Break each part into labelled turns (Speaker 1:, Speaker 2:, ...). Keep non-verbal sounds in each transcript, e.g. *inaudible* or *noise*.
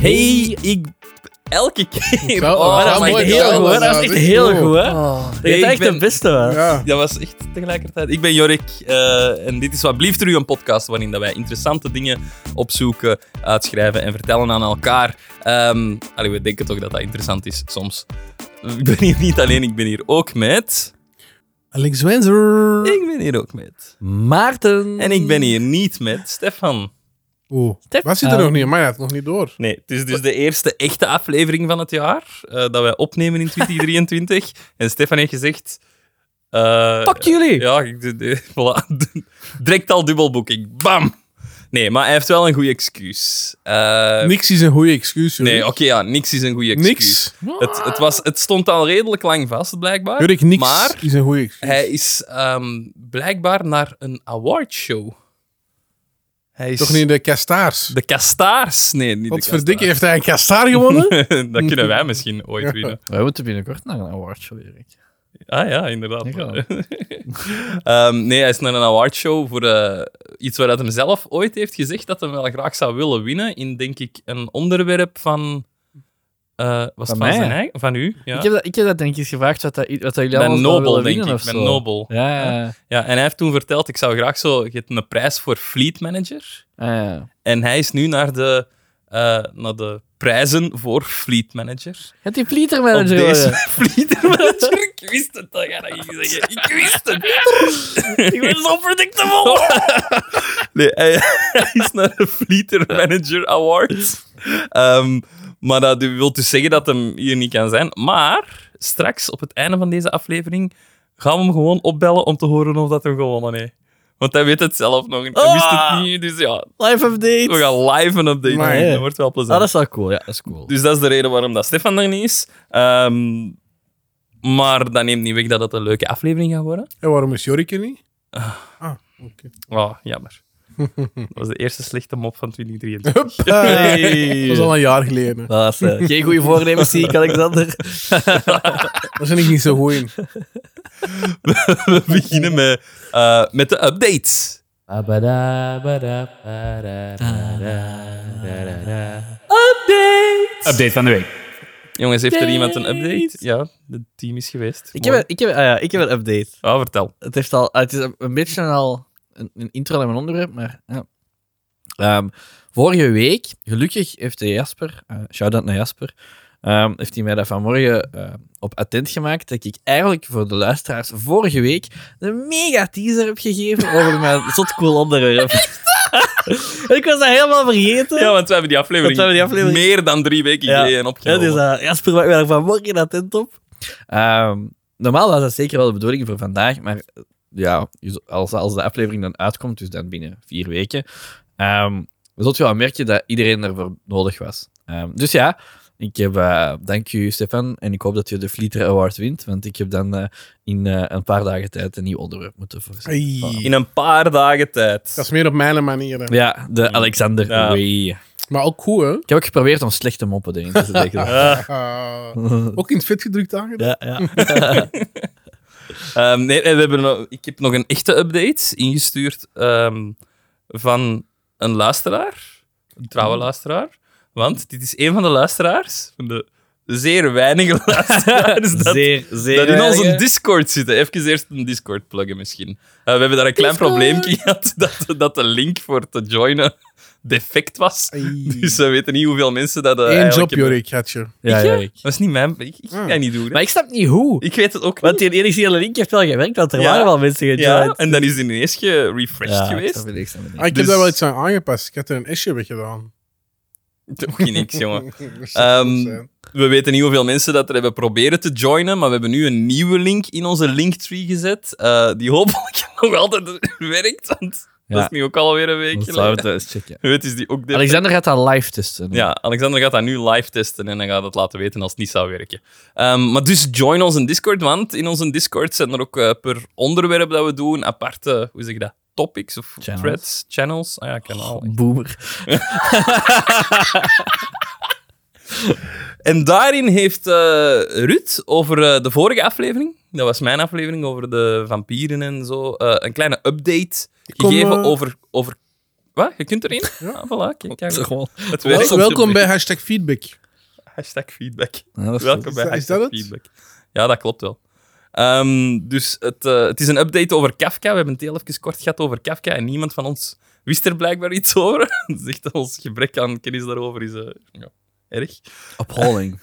Speaker 1: Hey, ik... Elke *laughs* keer.
Speaker 2: Ja,
Speaker 1: Oh,
Speaker 2: ja,
Speaker 1: dat was
Speaker 2: mooi
Speaker 1: echt heel
Speaker 2: gedaan,
Speaker 1: goed. hè. Dat
Speaker 2: ja,
Speaker 1: was echt
Speaker 2: goed.
Speaker 1: heel
Speaker 2: Oh.
Speaker 1: goed, hè. Dat
Speaker 2: Nee,
Speaker 1: is
Speaker 2: ik
Speaker 1: echt de
Speaker 2: ben-
Speaker 1: beste was.
Speaker 2: Ja.
Speaker 1: Dat was echt tegelijkertijd. Ik ben Jorik eh, en dit is Wat Blieft er u een podcast waarin dat wij interessante dingen opzoeken, uitschrijven en vertellen aan elkaar. Ehm allee, we denken toch dat dat interessant is soms. Ik ben hier niet alleen, ik ben hier ook met.
Speaker 2: Alex Wenzer.
Speaker 1: Ik ben hier ook met.
Speaker 3: Maarten.
Speaker 1: En ik ben hier niet met Stefan.
Speaker 2: Oeh,
Speaker 3: Stef-
Speaker 2: was hij er
Speaker 3: Ah.
Speaker 2: nog niet? Maar hij had nog niet door.
Speaker 1: Nee, het is dus de eerste echte aflevering van het jaar eh, dat wij opnemen in
Speaker 2: *laughs*
Speaker 1: 2023. en Stefan heeft gezegd. eh,
Speaker 3: Pak jullie!
Speaker 1: Ja, ik, de, de, *laughs* voilà. direct al dubbelboeking. Bam! Nee, maar hij heeft wel een goede excuus. Eh,
Speaker 2: Niks is een goede excuus, Jurik.
Speaker 1: nee, oké, ja, niks is een goede excuus.
Speaker 2: niks.
Speaker 1: Het, het, was, het stond al redelijk lang vast, blijkbaar.
Speaker 2: Jurik, niks
Speaker 1: Maar
Speaker 2: is een goede excuus.
Speaker 1: hij is ehm, blijkbaar naar een awardshow. Hij is
Speaker 2: Toch niet de kastaars?
Speaker 1: de kastaars. Nee, niet
Speaker 2: Wat
Speaker 1: de
Speaker 2: verdikke, heeft hij een kastaar
Speaker 1: *laughs*
Speaker 2: gewonnen?
Speaker 1: kastaars. Dat kunnen wij misschien ooit winnen.
Speaker 3: Wij moeten binnenkort naar een awardshow, Erik.
Speaker 1: Ah ja, inderdaad.
Speaker 3: Ja.
Speaker 1: *laughs* Ehm, nee, hij is naar een awardshow voor eh, iets waar hij hem zelf ooit heeft gezegd dat hij wel graag zou willen winnen. In, denk ik, een onderwerp van... eh, was het
Speaker 3: Van
Speaker 1: van,
Speaker 3: mij?
Speaker 1: zijn eigen? Van u, ja.
Speaker 3: Ik, heb dat, ik heb dat denk ik eens gevraagd, wat, dat, wat dat jullie
Speaker 1: Bij
Speaker 3: allemaal zouden
Speaker 1: Nobel,
Speaker 3: willen
Speaker 1: denk
Speaker 3: winnen
Speaker 1: ik.
Speaker 3: of
Speaker 1: Bij
Speaker 3: zo.
Speaker 1: Nobel.
Speaker 3: Ja, ja, ja.
Speaker 1: Ja, en hij heeft toen verteld, ik zou graag zo... Je hebt een prijs voor Fleet Manager.
Speaker 3: Ah, ja.
Speaker 1: En hij is nu naar de, eh, naar de prijzen voor Fleet Manager.
Speaker 3: Gaat die Fleeter manager
Speaker 1: Op deze
Speaker 3: worden?
Speaker 1: *laughs* Fleet Manager. Ik wist het, dat ga ik niet zeggen. Ik wist het.
Speaker 3: Ik ben zo predictable!
Speaker 1: *laughs* Nee, hij, hij is naar de Fleeter Manager Awards. Ehm, maar dat wil dus zeggen dat hem hier niet kan zijn. Maar straks, op het einde van deze aflevering, gaan we hem gewoon opbellen om te horen of dat hem gewonnen heeft. Want hij weet het zelf nog niet. Hij wist het
Speaker 3: Ah.
Speaker 1: niet, dus ja,
Speaker 3: Live
Speaker 1: we
Speaker 3: update!
Speaker 1: gaan live een update
Speaker 2: Maar,
Speaker 1: doen.
Speaker 3: hè.
Speaker 1: Dat wordt wel plezant.
Speaker 3: Ah, dat is wel cool, ja, dat is cool.
Speaker 1: Dus dat is de reden waarom dat Stefan er niet is. Ehm, maar dat neemt niet weg dat het een leuke aflevering gaat worden.
Speaker 2: En waarom is Jorik er
Speaker 1: *laughs*
Speaker 2: niet? Ah, oké.
Speaker 1: Oh, jammer. Dat was de eerste slechte mop
Speaker 3: *laughs*
Speaker 1: van 2023.
Speaker 3: Hey.
Speaker 2: Dat was al een jaar geleden.
Speaker 3: Dat is, eh, geen goede voornemens, zie ik, Alexander.
Speaker 2: Daar ben ik niet zo goed in.
Speaker 1: *laughs* we beginnen met, eh, met de updates.
Speaker 4: Update van de week.
Speaker 1: Jongens, heeft er iemand een update? Ja, het team is geweest.
Speaker 3: Ik heb, een- ik, heb, ah ja, ik heb een update.
Speaker 1: Ah, vertel.
Speaker 3: het, heeft al, het is een beetje al een, een intro naar mijn onderwerp, maar ja. Ehm, vorige week, gelukkig heeft de Jasper, eh shout-out naar Jasper, ehm, heeft hij mij daar vanmorgen eh, op attent gemaakt dat ik eigenlijk voor de luisteraars vorige week een mega teaser heb gegeven over mijn *laughs* zot cool onderwerp. *laughs* ik was dat helemaal vergeten.
Speaker 1: Ja, want we hebben die aflevering,
Speaker 3: Want we hebben die aflevering-
Speaker 1: meer dan drie weken
Speaker 3: Ja.
Speaker 1: geleden
Speaker 3: Ja,
Speaker 1: opgenomen.
Speaker 3: dus eh, Jasper maakt mij daar vanmorgen attent op. Ehm, normaal was dat zeker wel de bedoeling voor vandaag, maar eh, ja, je z- als, als de aflevering dan uitkomt, dus dan binnen vier weken, ehm zult je wel merken dat iedereen ervoor nodig was. Ehm, dus ja, ik heb, eh, dank u Stefan, en ik hoop dat je de Vlieter Award wint, want ik heb dan eh, in eh, een paar dagen tijd een nieuw onderwerp moeten voorzien.
Speaker 2: Ei.
Speaker 1: In een paar dagen tijd.
Speaker 2: Dat is meer op mijn manier. hè.
Speaker 3: Ja, de Alexander
Speaker 1: Ja.
Speaker 3: Way. Ik
Speaker 2: Maar ook goed, hè?
Speaker 3: heb ook geprobeerd om slechte moppen erin te dus *laughs* zetten.
Speaker 2: Ah, ook in het vet gedrukt aangedaan.
Speaker 3: ja, ja.
Speaker 1: Ehm, nee, we hebben, nog- ik heb nog een echte update ingestuurd ehm, van een luisteraar. Een trouwe luisteraar. Want dit is een van de luisteraars, van de zeer
Speaker 2: *laughs*
Speaker 1: weinige luisteraars, dat
Speaker 3: zeer, zeer.
Speaker 1: dat in onze
Speaker 3: erg.
Speaker 1: Discord zitten. Even eerst een Discord pluggen misschien. Eh, we hebben daar een klein
Speaker 3: Discord.
Speaker 1: probleempje gehad *laughs* dat, dat de link voor te joinen defect was.
Speaker 2: Ei.
Speaker 1: Dus we weten niet hoeveel mensen dat... eh,
Speaker 2: Eén
Speaker 1: eigenlijk
Speaker 2: job,
Speaker 1: hebben.
Speaker 2: Jorik, had je.
Speaker 3: Ja,
Speaker 1: Ik, ja?
Speaker 3: ja, ik.
Speaker 1: Dat is niet mijn... Ik, ik ga
Speaker 2: Ah.
Speaker 1: niet doen. hè.
Speaker 3: Maar ik snap niet hoe.
Speaker 1: Ik weet het ook
Speaker 3: Want
Speaker 1: niet.
Speaker 3: die initiële link heeft wel gewerkt, want er
Speaker 1: Ja.
Speaker 3: waren wel mensen gejoined.
Speaker 1: Ja, en dan is die ineens gerefreshed
Speaker 3: Ja, ik
Speaker 1: geweest.
Speaker 3: snap het, ik snap het niet.
Speaker 2: Ah, ik
Speaker 1: Dus-
Speaker 2: heb daar wel iets aan aangepast. Ik had er een S'je weggedaan.
Speaker 1: Ook niet niks, *laughs* jongen.
Speaker 2: Dat zou goed
Speaker 1: Ehm
Speaker 2: zijn.
Speaker 1: we weten niet hoeveel mensen dat er hebben proberen te joinen, maar we hebben nu een nieuwe link in onze linktree gezet, eh, die hopelijk *laughs* nog altijd werkt, want dat
Speaker 3: Ja.
Speaker 1: is nu ook alweer een week
Speaker 3: Dan zouden we
Speaker 1: geleden.
Speaker 3: het eens
Speaker 1: *laughs*
Speaker 3: checken.
Speaker 1: Het is die ook de...
Speaker 3: Alexander gaat dat live testen.
Speaker 1: Ja, Alexander gaat dat nu live testen en dan gaat het laten weten als het niet zou werken. Ehm, maar dus join onze Discord, want in onze Discord zijn er ook eh, per onderwerp dat we doen aparte, hoe zeg je dat, topics of
Speaker 3: Channels. Oh,
Speaker 1: threads, channels. Ah ja, kanaal. *laughs*
Speaker 3: Boomer.
Speaker 1: En daarin heeft eh, Ruud over eh, de vorige aflevering, dat was mijn aflevering over de vampieren en zo, eh, een kleine update
Speaker 2: kom,
Speaker 1: gegeven
Speaker 2: eh,
Speaker 1: over, over Wat? Je kunt erin?
Speaker 2: Ja.
Speaker 1: Ah, voilà. Kijk, kijk.
Speaker 3: gewoon.
Speaker 1: Het
Speaker 2: Wel-
Speaker 1: werkt op
Speaker 2: welkom
Speaker 1: de-
Speaker 2: bij hashtag feedback.
Speaker 1: Hashtag feedback.
Speaker 3: Ja, dat is goed.
Speaker 1: Welkom
Speaker 2: Is
Speaker 1: bij
Speaker 2: dat- is
Speaker 1: Hashtag
Speaker 2: dat het?
Speaker 1: Feedback. Ja, dat klopt wel. Ehm, dus het, eh, het is een update over Kafka. We hebben het heel even kort gehad over Kafka en niemand van ons wist er blijkbaar iets over. *laughs* Dus echt ons gebrek aan kennis daarover is eh, ja, erg. *laughs*
Speaker 3: Appalling.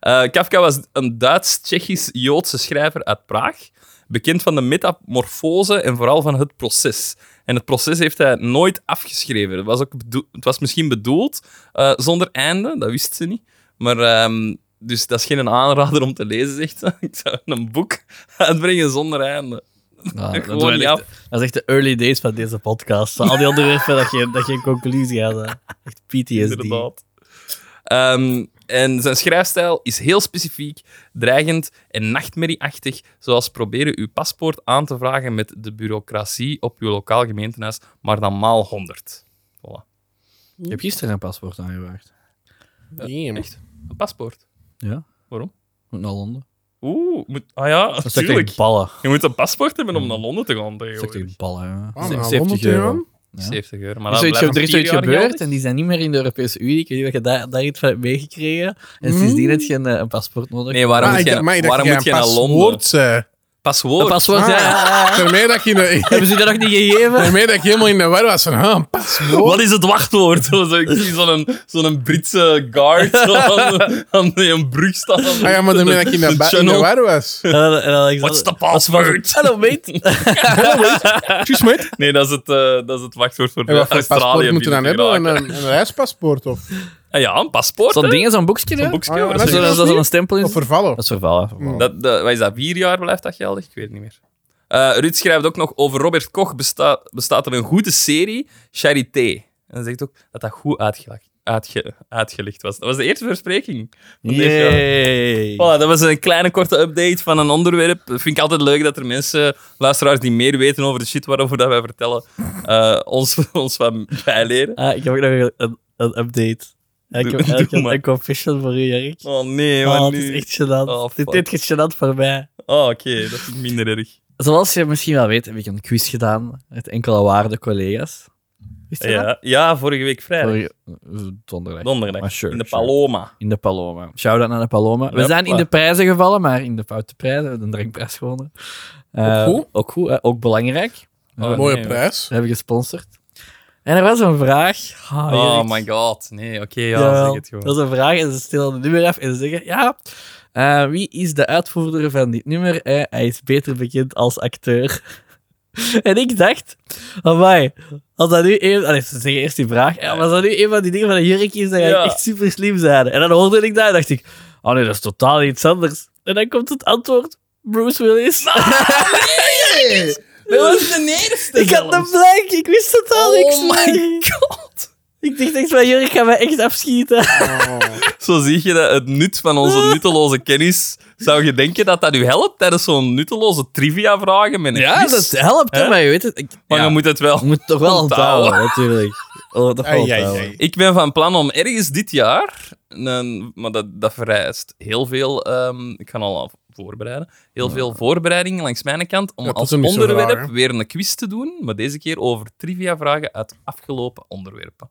Speaker 1: Eh, Kafka was een Duits-Tsjechisch-Joodse schrijver uit Praag, bekend van de metamorfose en vooral van het proces. En het proces heeft hij nooit afgeschreven. Het was, ook bedo- het was misschien bedoeld eh, zonder einde, dat wist ze niet. Maar ehm, dus dat is geen aanrader om te lezen, zegt ze. *laughs* Ik zou een boek *laughs* uitbrengen zonder einde.
Speaker 3: Nou, dat,
Speaker 1: Gewoon
Speaker 3: waren
Speaker 1: niet
Speaker 3: echt- dat is echt de early days van deze podcast. Van al die
Speaker 1: *laughs*
Speaker 3: onderwerpen dat je, dat je een conclusie had. hè. Echt PTSD.
Speaker 1: Inderdaad. Ehm, en zijn schrijfstijl is heel specifiek, dreigend en nachtmerrieachtig, zoals proberen uw paspoort aan te vragen met de bureaucratie op uw lokaal gemeentehuis, maar dan maal 100. Voilà.
Speaker 3: Ik heb gisteren een paspoort aangevraagd.
Speaker 2: Damn.
Speaker 1: echt? Een paspoort.
Speaker 3: Ja?
Speaker 1: Waarom?
Speaker 3: Moet naar Londen.
Speaker 1: Oeh, moet, ah ja,
Speaker 3: Dat is echt
Speaker 1: natuurlijk.
Speaker 3: tegen ballen.
Speaker 1: Je moet een paspoort hebben om naar Londen te gaan
Speaker 3: Dat is echt
Speaker 1: tegenwoordig.
Speaker 3: tegen ballen, ja.
Speaker 2: Ah,
Speaker 3: Ze-
Speaker 2: maar
Speaker 3: 70
Speaker 2: 100
Speaker 3: euro.
Speaker 2: euro?
Speaker 3: Ja.
Speaker 1: 70 euro. Maar
Speaker 3: Er is
Speaker 1: dat
Speaker 3: zoiets, ge-
Speaker 1: blijft
Speaker 3: er
Speaker 1: nog
Speaker 3: is zoiets
Speaker 1: vier jaar
Speaker 3: gebeurd
Speaker 1: geldig.
Speaker 3: en die zijn niet meer in de Europese Unie. Ik weet niet of je daar, daar iets van hebt meegekregen. En
Speaker 2: Mm.
Speaker 3: sindsdien heb je een, eh, een paspoort nodig.
Speaker 1: Nee, waarom
Speaker 2: Ah,
Speaker 1: moet
Speaker 2: ik
Speaker 1: je,
Speaker 2: dacht- maar ik dacht
Speaker 1: waarom
Speaker 2: dat
Speaker 1: moet je
Speaker 2: jij
Speaker 1: naar
Speaker 2: een
Speaker 1: Londen?
Speaker 2: paswoord zei.
Speaker 3: Een
Speaker 1: Paswoord.
Speaker 3: paspoort, ja,
Speaker 2: Ah.
Speaker 3: ja, ja.
Speaker 2: Daarmee dat, je in de-
Speaker 3: Hebben ze je dat nog niet
Speaker 1: *laughs*
Speaker 3: gegeven?
Speaker 2: daarmee dat ik helemaal in de war was van, ah, een paswoord.
Speaker 1: Wat is het wachtwoord? *laughs* Zo- zo- Ik zie zo'n zo'n Britse guard
Speaker 2: *laughs*
Speaker 1: zo aan, aan een brug staan.
Speaker 2: Ah ja, maar daarmee dat ik in de, ba- in de
Speaker 1: Channel.
Speaker 2: war was.
Speaker 3: En dan- en dan-
Speaker 1: What's
Speaker 3: *laughs*
Speaker 1: the password?
Speaker 3: Hallo, mate.
Speaker 2: Tjus, mate.
Speaker 1: Nee, dat is het, eh, dat is het wachtwoord voor
Speaker 2: En wat voor
Speaker 1: Australië.
Speaker 2: paspoort moeten we dan
Speaker 1: binnen te
Speaker 2: hebben? Een,
Speaker 1: geraken.
Speaker 2: een, een reispaspoort of,
Speaker 1: Ah ja, een paspoort.
Speaker 3: Zo'n
Speaker 1: hè?
Speaker 3: ding, zo'n boekje, hè? Mm.
Speaker 1: Een boekje.
Speaker 2: Ah, ja,
Speaker 1: hoor.
Speaker 2: dat
Speaker 1: dat,
Speaker 3: Zo-
Speaker 1: is-
Speaker 2: is-
Speaker 3: Dat dat er een stempel
Speaker 2: of
Speaker 3: is.
Speaker 2: vervallen?
Speaker 3: Dat is vervallen. vervallen.
Speaker 1: dat, dat- wat is dat, vier jaar blijft dat geldig? Ik weet het niet meer. Eh Ruud schrijft ook nog over Robert Koch besta- bestaat er een goede serie, Charité. En hij zegt ook dat dat goed uitgelegd, uitge- uitgelicht was. Dat was de eerste verspreking. van dit jaar.
Speaker 3: Yay.
Speaker 1: Voilà, dat was een kleine korte update van een onderwerp. Vind ik altijd leuk dat er mensen, luisteraars die meer weten over de shit waarover dat wij vertellen, eh, ons, *laughs* ons van bijleren.
Speaker 3: Ah, ik heb ook nog een, een update. Ik heb
Speaker 1: Doe- doe
Speaker 3: eigenlijk een,
Speaker 1: maar.
Speaker 3: een confession voor u, Jark.
Speaker 1: Oh nee,
Speaker 3: Oh,
Speaker 1: man.
Speaker 3: het is echt gênant.
Speaker 1: Oh,
Speaker 3: dit, dit is gênant voor mij.
Speaker 1: Oh, oké, dat vind ik minder erg.
Speaker 3: Zoals je misschien wel weet, heb ik een quiz gedaan met enkele waarde collega's. Wist je dat?
Speaker 1: Ja, ja vorige week vrijdag.
Speaker 3: Vorige- eh, Donderdag.
Speaker 1: Donderdag.
Speaker 3: Maar sure,
Speaker 1: in de
Speaker 3: sure.
Speaker 1: Paloma.
Speaker 3: In de Paloma. Shout-out naar de Paloma. We
Speaker 1: Ja,
Speaker 3: zijn in
Speaker 1: voilà.
Speaker 3: de prijzen gevallen, maar in de foute prijzen. We hebben een drinkprijs gewonnen. Eh,
Speaker 2: Ook goed.
Speaker 3: Ook goed, hè. ook belangrijk.
Speaker 1: Oh,
Speaker 2: Mooie
Speaker 1: nee,
Speaker 2: prijs.
Speaker 3: We hebben gesponsord. En er was een vraag. Ah,
Speaker 1: Oh
Speaker 3: Erik.
Speaker 1: my god, nee, oké, ja,
Speaker 3: Jawel.
Speaker 1: zeg het gewoon.
Speaker 3: Dat is een vraag en ze stellen het nummer af en ze zeggen, ja, eh, wie is de uitvoerder van dit nummer? Eh, hij is beter bekend als acteur. *laughs* en ik dacht, amai, als dat nu een... Allee, ze zeggen eerst die vraag. Ja, maar als dat nu een van die dingen van een jurk is, dan ga ik
Speaker 1: Ja.
Speaker 3: echt super slim zijn. En dan hoorde ik dat en dacht ik, oh nee, dat is totaal iets anders. En dan komt het antwoord, Bruce *laughs* Willis.
Speaker 1: Dat was de eerste.
Speaker 3: ik had een blank, ik wist totaal
Speaker 1: Oh
Speaker 3: niks.
Speaker 1: my
Speaker 3: god. Ik dacht echt, mijn jurk gaat mij echt afschieten.
Speaker 2: Oh.
Speaker 1: Zo zie je dat het nut van
Speaker 3: *laughs*
Speaker 1: onze nutteloze kennis. Zou je denken dat dat u helpt tijdens zo'n nutteloze trivia-vragen? met een
Speaker 3: Ja, *laughs*
Speaker 1: quiz?
Speaker 3: dat helpt, Dus hè,
Speaker 1: Hè?
Speaker 3: maar je weet het. Ik,
Speaker 1: Maar
Speaker 3: ja,
Speaker 1: je moet het wel.
Speaker 3: je moet toch wel
Speaker 1: onthouden.
Speaker 3: onthouden, natuurlijk. Oh, toch wel
Speaker 2: Ai, ai,
Speaker 3: onthouden.
Speaker 2: ai.
Speaker 1: Ik ben van plan om ergens dit jaar, een- maar dat, dat vereist heel veel, ehm, ik ga al af- voorbereiden, heel veel voorbereiding langs mijn kant, om
Speaker 2: Ja, dat
Speaker 1: als
Speaker 2: is niet zo
Speaker 1: onderwerp
Speaker 2: raar, hè?
Speaker 1: weer een quiz te doen, maar deze keer over trivia-vragen uit afgelopen onderwerpen.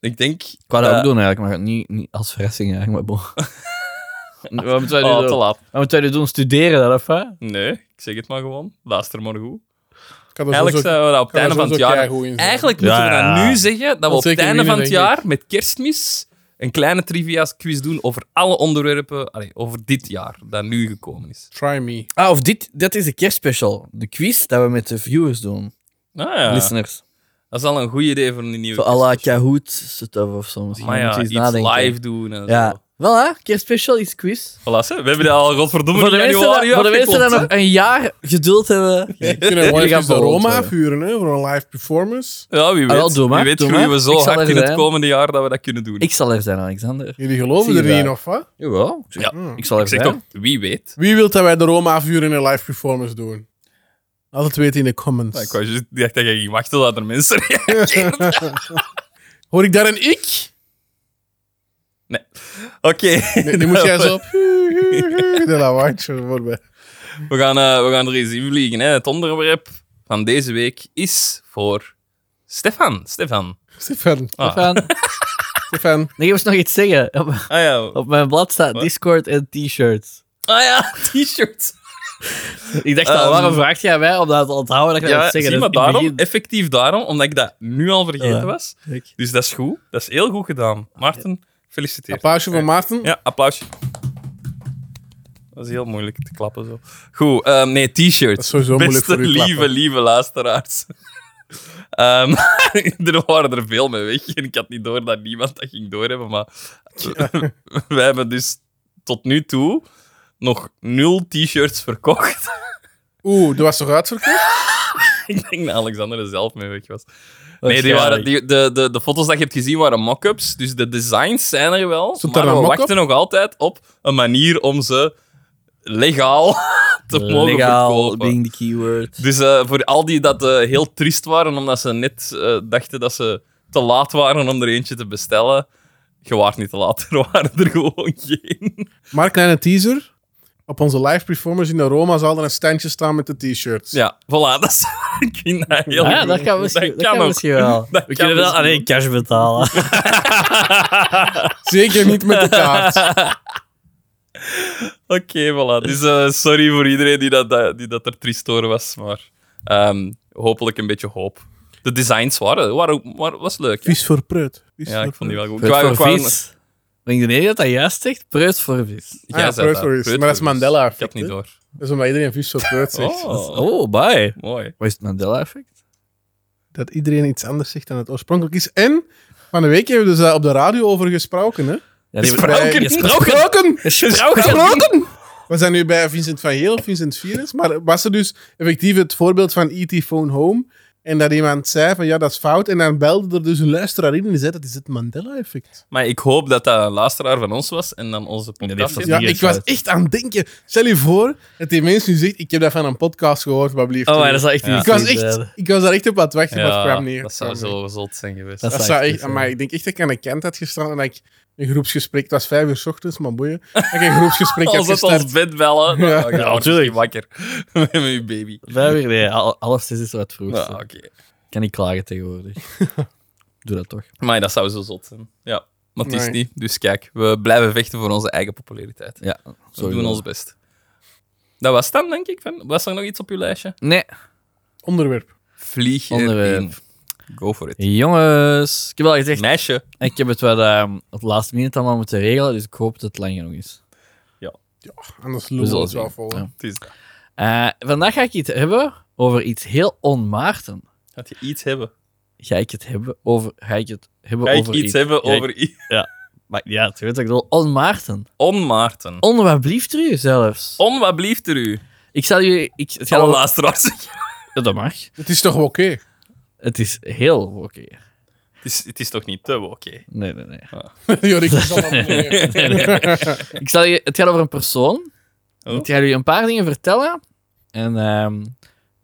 Speaker 1: Ik denk... eh,
Speaker 3: Ik wou dat ook doen eigenlijk, maar niet, niet als verrassing eigenlijk, maar bon. *laughs* Wat moeten wij nu
Speaker 1: Oh, te
Speaker 3: doen?
Speaker 1: laat.
Speaker 3: Wat moeten wij nu doen? Studeren dan, of wat?
Speaker 1: Nee, ik zeg het maar gewoon. Luister maar goed.
Speaker 2: Ik had dus er
Speaker 1: Eigenlijk
Speaker 2: sowieso-
Speaker 1: zijn we dat op het
Speaker 2: kan
Speaker 1: einde
Speaker 2: er
Speaker 1: van het
Speaker 2: sowieso
Speaker 1: jaar...
Speaker 2: keigoed in zijn.
Speaker 1: Eigenlijk
Speaker 3: Ja,
Speaker 1: moeten we dat
Speaker 3: ja, ja.
Speaker 1: nu zeggen, dat
Speaker 2: Dat
Speaker 1: we op het
Speaker 2: zeker
Speaker 1: einde
Speaker 2: winnen,
Speaker 1: van het
Speaker 2: denk
Speaker 1: jaar met kerstmis een kleine trivia-quiz doen over alle onderwerpen, allee, over dit jaar, dat nu gekomen is.
Speaker 2: Try me.
Speaker 3: Ah, of dit, dat is de kerstspecial. De quiz dat we met de viewers doen.
Speaker 1: Ah, ja.
Speaker 3: Listeners.
Speaker 1: Dat is al een goed idee voor een nieuwe
Speaker 3: Zo à la Kahoot stuff of zo. Misschien
Speaker 1: Maar ja,
Speaker 3: moet je
Speaker 1: iets
Speaker 3: eens nadenken.
Speaker 1: live doen en zo.
Speaker 3: Ja. Wel hè, kerstspecial is quiz.
Speaker 1: Voilà, ze, we hebben dat al godverdomme
Speaker 3: Voor de
Speaker 1: in
Speaker 3: mensen,
Speaker 1: januari
Speaker 3: dat- voor de mensen die
Speaker 1: afgeklopt,
Speaker 3: nog een jaar geduld *laughs* hebben.
Speaker 2: We kunnen
Speaker 3: Die
Speaker 2: gewoon
Speaker 3: gaan
Speaker 2: even de
Speaker 3: borreld
Speaker 2: Roma
Speaker 3: worden.
Speaker 2: afhuren hè, voor een live performance.
Speaker 1: hè. Ja, wie weet.
Speaker 3: Ah, wel, doe maar,
Speaker 1: wie weet
Speaker 3: doe
Speaker 1: groeien
Speaker 3: maar.
Speaker 1: we zo
Speaker 3: Ik zal
Speaker 1: hard
Speaker 3: er
Speaker 1: in het
Speaker 3: zijn.
Speaker 1: komende jaar dat we dat kunnen doen.
Speaker 3: Ik zal er zijn, Alexander.
Speaker 2: Jullie geloven
Speaker 3: Zie
Speaker 2: er
Speaker 3: je
Speaker 2: niet in,
Speaker 3: dat?
Speaker 2: of wat?
Speaker 3: Jawel. Ik zeg,
Speaker 2: Hmm.
Speaker 3: ik zal er
Speaker 1: Ik zeg
Speaker 3: zijn.
Speaker 1: toch, wie weet.
Speaker 2: Wie wil dat wij de Roma afhuren en een live performance doen? Laat het weten in de comments.
Speaker 1: Ja, Ik wou juist- ik dacht dat je ging wachten dat er mensen *laughs*
Speaker 2: Hoor ik daar een ik?
Speaker 1: Nee. Oké.
Speaker 2: Nee, die moet
Speaker 1: *laughs*
Speaker 2: jij zo op... De lawaai voorbij.
Speaker 1: We gaan, eh, we gaan er eens in vliegen. Hè. Het onderwerp van deze week is voor Stefan. Stefan.
Speaker 2: Stefan,
Speaker 1: Ah.
Speaker 3: Stefan,
Speaker 2: Stefan.
Speaker 3: nee, ik moest nog iets zeggen. Op,
Speaker 1: Ah ja,
Speaker 3: op mijn blad staat
Speaker 1: Wat?
Speaker 3: Discord en t-shirts.
Speaker 1: ah, ja *laughs* t-shirt.
Speaker 3: Ik dacht al,
Speaker 1: Ehm,
Speaker 3: waarom vraag jij mij om dat te onthouden? Dat ik dat
Speaker 1: Ja,
Speaker 3: moet zeggen.
Speaker 1: zie maar
Speaker 3: Dus in het
Speaker 1: daarom,
Speaker 3: begin-
Speaker 1: effectief daarom, omdat ik dat nu al vergeten
Speaker 3: Ja.
Speaker 1: was.
Speaker 3: Kijk. *laughs*
Speaker 1: Dus dat is goed. Dat is heel goed gedaan. Maarten, gefeliciteerd.
Speaker 2: Applausje voor Maarten.
Speaker 1: Ja, applausje. Dat is heel moeilijk te klappen zo. Goed, ehm, nee,
Speaker 2: Dat is
Speaker 1: t-shirts.
Speaker 2: sowieso moeilijk
Speaker 1: Beste
Speaker 2: voor u
Speaker 1: lieve,
Speaker 2: klappen.
Speaker 1: lieve luisteraars. *laughs* Ehm, *laughs* er waren er veel mee weg en ik had niet door dat niemand dat ging doorhebben, maar eh, *laughs* wij hebben dus tot nu toe nog nul t-shirts verkocht. *laughs*
Speaker 2: Oeh, dat was toch uitverkocht?
Speaker 1: ik denk dat Alexander er zelf mee weg was. Nee, die
Speaker 3: Waarschijnlijk.
Speaker 1: waren, die, de, de, de foto's dat je hebt gezien waren mock-ups. Dus de designs zijn er wel.
Speaker 2: Stond
Speaker 1: maar
Speaker 2: daar
Speaker 1: we
Speaker 2: een mock-up?
Speaker 1: wachten nog altijd op een manier om ze legaal *laughs* te mogen
Speaker 3: Legaal,
Speaker 1: verkopen.
Speaker 3: being the keyword.
Speaker 1: Dus eh, voor al die dat eh, heel triest waren, omdat ze net eh, dachten dat ze te laat waren om er eentje te bestellen. Je waart niet te laat, *laughs* er waren er gewoon geen.
Speaker 2: Maar een kleine teaser. Op onze live performance in de Roma zal er een standje staan met de t-shirts.
Speaker 1: Ja, voilà. Dat is, *laughs* ik vind dat heel
Speaker 3: Ah, ja,
Speaker 1: goed.
Speaker 3: dat kan misschien, dat
Speaker 1: kan
Speaker 3: kan
Speaker 1: ook.
Speaker 3: misschien wel.
Speaker 1: Dat
Speaker 3: we
Speaker 1: kan
Speaker 3: kunnen wel
Speaker 1: misschien
Speaker 3: alleen cash betalen.
Speaker 2: Zeker niet met de kaart.
Speaker 1: *laughs* *laughs* Oké, voilà. Dus eh, sorry voor iedereen die dat, dat- die dat er triest door was, maar ehm, hopelijk een beetje hoop. De designs waren, waren, waren- was leuk. hè?
Speaker 2: Vies voor prut. Vies
Speaker 1: Ja,
Speaker 2: voor
Speaker 1: ik vond die wel goed.
Speaker 3: Preut
Speaker 1: Qua-
Speaker 3: voor
Speaker 1: qua-
Speaker 3: vis. Ik denk dat dat juist zegt. Preut voor vis.
Speaker 1: Jij zei
Speaker 2: Ah, Preut
Speaker 1: dat,
Speaker 2: voor vis.
Speaker 1: Preut
Speaker 2: Maar dat is
Speaker 1: voor vis.
Speaker 2: Mandela
Speaker 1: Ik heb
Speaker 2: effect,
Speaker 1: niet
Speaker 2: hè?
Speaker 1: door.
Speaker 2: Dat is omdat iedereen vies voor prut zegt.
Speaker 1: Oh,
Speaker 3: Oh, bye.
Speaker 1: mooi.
Speaker 3: Wat is het Mandela effect?
Speaker 2: Dat iedereen iets anders zegt dan het oorspronkelijk is. En van de week hebben we dus daar op de radio over gesproken. Hè?
Speaker 3: Ja,
Speaker 1: *laughs* Is
Speaker 3: *laughs*
Speaker 1: Sprout- Gesproken,
Speaker 2: Bij-
Speaker 1: gesproken.
Speaker 2: Gesproken!
Speaker 1: *laughs* Gesproken.
Speaker 2: Gesproken! We zijn nu bij Vincent van Heel, Vincent Vierens. Maar was er dus effectief het voorbeeld van E.T. Phone Home? En dat iemand zei van ja, dat is fout. En dan belde er dus een luisteraar in en die zei dat is het Mandela-effect.
Speaker 1: Maar ik hoop dat dat een luisteraar van ons was en dan onze
Speaker 3: Nee,
Speaker 1: podcast
Speaker 3: dat
Speaker 1: is.
Speaker 3: was
Speaker 2: Ja,
Speaker 3: niet
Speaker 2: ik
Speaker 3: fout.
Speaker 2: was echt aan het denken. Stel je voor dat die mensen nu zegt, ik heb dat van een podcast gehoord, wat blieft.
Speaker 3: Oh, maar dat zou echt
Speaker 1: Ja.
Speaker 3: niet
Speaker 2: ik, was
Speaker 3: goed
Speaker 2: echt,
Speaker 3: zijn.
Speaker 2: ik was daar echt op aan het wachten, maar
Speaker 1: Ja,
Speaker 2: het kwam neer.
Speaker 1: dat zou zo gezond zijn geweest.
Speaker 3: Dat
Speaker 2: Dat
Speaker 3: zou
Speaker 2: zou
Speaker 3: echt
Speaker 2: echt,
Speaker 3: goed
Speaker 2: maar
Speaker 3: zijn.
Speaker 2: ik denk echt dat ik aan de kant had gestaan en dat ik een groepsgesprek, het was vijf uur 's ochtends, maar boeien, dat ik een groepsgesprek
Speaker 1: *laughs* *laughs*
Speaker 2: had
Speaker 1: Als het ons
Speaker 2: gestart.
Speaker 1: bed bellen, dan
Speaker 2: Ja.
Speaker 1: ja, natuurlijk wakker met je baby.
Speaker 3: Vijf uur, nee. al- Alles is iets wat vroeg.
Speaker 1: Ja, oké.
Speaker 3: Kan niet
Speaker 1: *laughs*
Speaker 3: klagen tegenwoordig. Doe dat toch.
Speaker 1: Maar dat zou zo zot zijn. Ja, maar het is
Speaker 2: Nee.
Speaker 1: niet. Dus kijk, we blijven vechten voor onze eigen populariteit.
Speaker 3: Ja,
Speaker 1: We doen ons best. Dat was het dan, denk ik. Van. Was er nog iets op je lijstje?
Speaker 3: Nee,
Speaker 2: Onderwerp.
Speaker 1: Vlieg
Speaker 3: Onderwerp.
Speaker 1: erin. Go for it.
Speaker 3: jongens. Ik heb al gezegd,
Speaker 1: Meisje.
Speaker 3: ik heb het wel ehm op de laatste minuut allemaal moeten regelen, dus ik hoop dat het lang genoeg is.
Speaker 2: Anders
Speaker 3: We
Speaker 2: lopen we
Speaker 3: zullen
Speaker 2: het wel
Speaker 3: zien.
Speaker 2: vol.
Speaker 3: Ja.
Speaker 1: Het is
Speaker 3: Eh, vandaag ga ik iets hebben over iets heel onmaarten.
Speaker 1: Gaat je iets hebben?
Speaker 3: Ga ik het hebben over... Ga ik het hebben
Speaker 1: Ga ik
Speaker 3: over
Speaker 1: iets, hebben
Speaker 3: Ga ik-
Speaker 1: over iets?
Speaker 3: Maar ja, het weet ik wel. Onmaarten.
Speaker 1: On Maarten.
Speaker 3: On wat blieft er u zelfs?
Speaker 1: On, wat blieft er u?
Speaker 3: Ik zal jullie... Ik, het gaat
Speaker 1: Alle
Speaker 3: om-
Speaker 1: *laughs* luisteraars.
Speaker 3: Ja, dat mag.
Speaker 2: Het is toch wel oké? *laughs*
Speaker 3: Het is heel oké.
Speaker 1: Het is, het is toch niet te oké?
Speaker 3: Nee, nee, nee.
Speaker 2: Jorik is al aan het
Speaker 3: *laughs*
Speaker 2: boeien.
Speaker 3: Ik zal je, het gaat over een persoon.
Speaker 1: Oh.
Speaker 3: Ik ga jullie een paar dingen vertellen. En ehm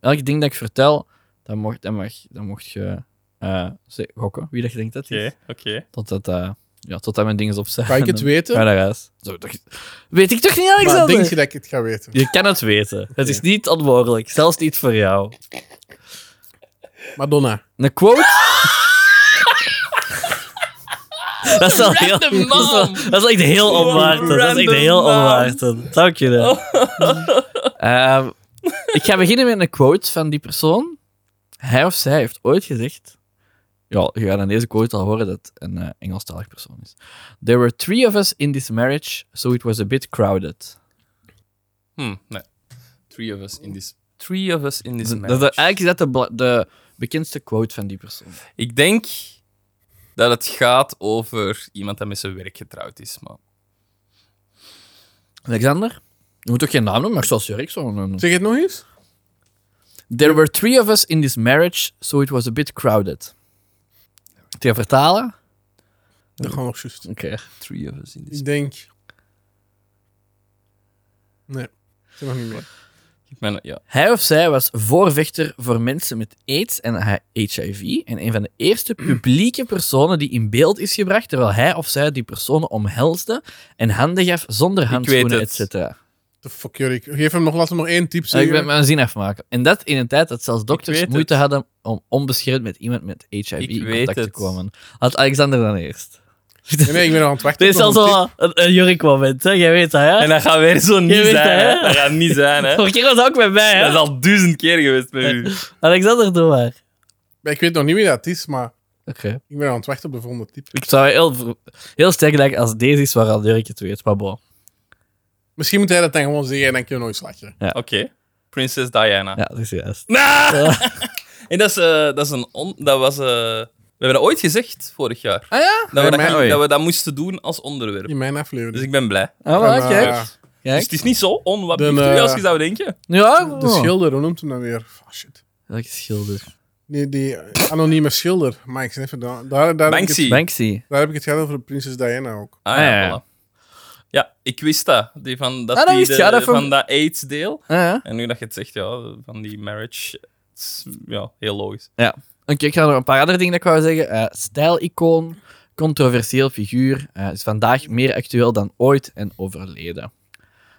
Speaker 3: elk ding dat ik vertel, dan mocht, dan mag, dan mocht je eh, ze- gokken wie dat je denkt dat het is.
Speaker 1: Oké, oké.
Speaker 3: Totdat, eh, ja, totdat mijn dingen op zijn.
Speaker 2: Kan ik het
Speaker 3: En-
Speaker 2: weten?
Speaker 3: Ga naar huis. Zo, dat, weet ik toch niet,
Speaker 2: Maar
Speaker 3: Alexander?
Speaker 2: denk je dat ik het ga weten?
Speaker 3: Je kan het weten. Het is niet onmogelijk. Zelfs niet voor jou.
Speaker 2: Madonna.
Speaker 3: Een quote. *laughs* dat is wel heel. Dat
Speaker 1: Random
Speaker 3: is, wel-
Speaker 1: naam.
Speaker 3: dat is echt heel
Speaker 1: Zo'n
Speaker 3: onwaardig. Dat is echt
Speaker 1: random
Speaker 3: heel
Speaker 1: naam.
Speaker 3: onwaardig. Zou ik kunnen. Oh. *laughs* Ehm, ik ga beginnen met een quote van die persoon. Hij of zij heeft ooit gezegd. Ja, je gaat aan deze quote al horen dat het een eh, Engelstalig persoon is. There were three of us in this marriage, so it was a bit crowded.
Speaker 1: Hm, nee. Three of us in this... Three of us in this
Speaker 3: Dat,
Speaker 1: match.
Speaker 3: dat, eigenlijk is dat de, bla- de bekendste quote van die persoon.
Speaker 1: Ik denk dat het gaat over iemand dat met zijn werk getrouwd is. Maar...
Speaker 3: Alexander? Je moet ook geen naam noemen, maar zoals Jurk zo'n... een-
Speaker 2: Zeg het nog eens?
Speaker 3: There were three of us in this marriage, so it was a bit crowded. Te vertalen?
Speaker 2: Dat gaan we nog juist.
Speaker 3: Oké.
Speaker 1: Three of us in this...
Speaker 2: Ik denk... Nee. Ik zeg nog niet meer.
Speaker 1: Ik ben, ja.
Speaker 3: Hij of zij was voorvechter voor mensen met AIDS en HIV en een van de eerste *clears throat* publieke personen die in beeld is gebracht terwijl hij of zij die personen omhelsde en handen gaf zonder
Speaker 1: weet
Speaker 3: handschoenen,
Speaker 1: het.
Speaker 3: et cetera.
Speaker 2: The fuck, Jorik. Geef hem nog, laat hem nog één tip
Speaker 3: Ja, ik
Speaker 2: zeggen.
Speaker 3: ben mijn zin afmaken. En dat in een tijd dat zelfs dokters
Speaker 1: weet
Speaker 3: moeite hadden om onbeschermd met iemand met HIV
Speaker 1: Ik
Speaker 3: in
Speaker 1: weet
Speaker 3: contact te
Speaker 1: het.
Speaker 3: komen. Had Alexander dan eerst.
Speaker 2: Nee, nee, ik ben nog aan het wachten.
Speaker 3: Dit is
Speaker 2: op nog
Speaker 3: zelfs
Speaker 2: een
Speaker 3: al een, een Jorik-moment, hè? Jij weet dat, hè?
Speaker 1: En dat gaat weer zo niet
Speaker 3: weet
Speaker 1: zijn,
Speaker 3: dat,
Speaker 1: hè?
Speaker 3: hè?
Speaker 1: Dat gaat niet zijn, *laughs* hè?
Speaker 3: Vorige keer was dat ook met mij,
Speaker 1: Dat is
Speaker 3: hè?
Speaker 1: al duizend keer geweest bij u.
Speaker 3: Alexander, doe maar.
Speaker 2: tip. Ik weet nog niet wie dat is, maar
Speaker 3: Oké.
Speaker 2: ik ben nog aan het wachten op de volgende tip.
Speaker 3: Ik zou heel, vro- heel sterk lijken als deze is waar al Jorik het weet, maar bon.
Speaker 2: Misschien moet hij dat dan gewoon zeggen en dan kunnen we nog eens lachen.
Speaker 1: Oké. Princess Diana.
Speaker 3: Ja, dat is juist.
Speaker 1: *laughs* Ah! En dat, is, eh, dat, is een on- dat was... eh, we hebben dat ooit gezegd, vorig jaar.
Speaker 3: Ah ja?
Speaker 1: Dat we dat,
Speaker 2: Nee, maar-
Speaker 1: gingen- dat we dat moesten doen als onderwerp.
Speaker 2: In mijn aflevering.
Speaker 1: Dus ik ben blij.
Speaker 3: Ah,
Speaker 2: En,
Speaker 3: maar,
Speaker 2: eh,
Speaker 3: kijk.
Speaker 1: Dus
Speaker 3: Kijk.
Speaker 1: het is niet zo
Speaker 2: Dan,
Speaker 1: onwaardig
Speaker 2: eh,
Speaker 1: als je zou denken.
Speaker 3: Ja,
Speaker 2: De schilder, hoe noemt hem dan weer? Ah, shit.
Speaker 3: Oh. Welke schilder?
Speaker 2: Die, die anonieme schilder. Mike, even daar, daar, daar, heb ik het,
Speaker 1: Banksy.
Speaker 3: Banksy.
Speaker 2: daar heb ik het gehad over prinses Diana ook.
Speaker 1: Ah, ja,
Speaker 3: Ah, ja.
Speaker 1: voilà. Ja, ik wist dat. Die van dat,
Speaker 3: Ah, dat
Speaker 1: die
Speaker 3: wist je,
Speaker 1: de-
Speaker 3: ja, dat
Speaker 1: van
Speaker 3: vond-
Speaker 1: dat AIDS-deel.
Speaker 3: Ah, ja.
Speaker 1: En nu dat je het zegt, ja, van die marriage. het is, ja, heel logisch.
Speaker 3: Oké, ik ga nog een paar andere dingen dat ik wou zeggen. Eh, stijlicoon, controversieel figuur, eh, is vandaag meer actueel dan ooit en overleden.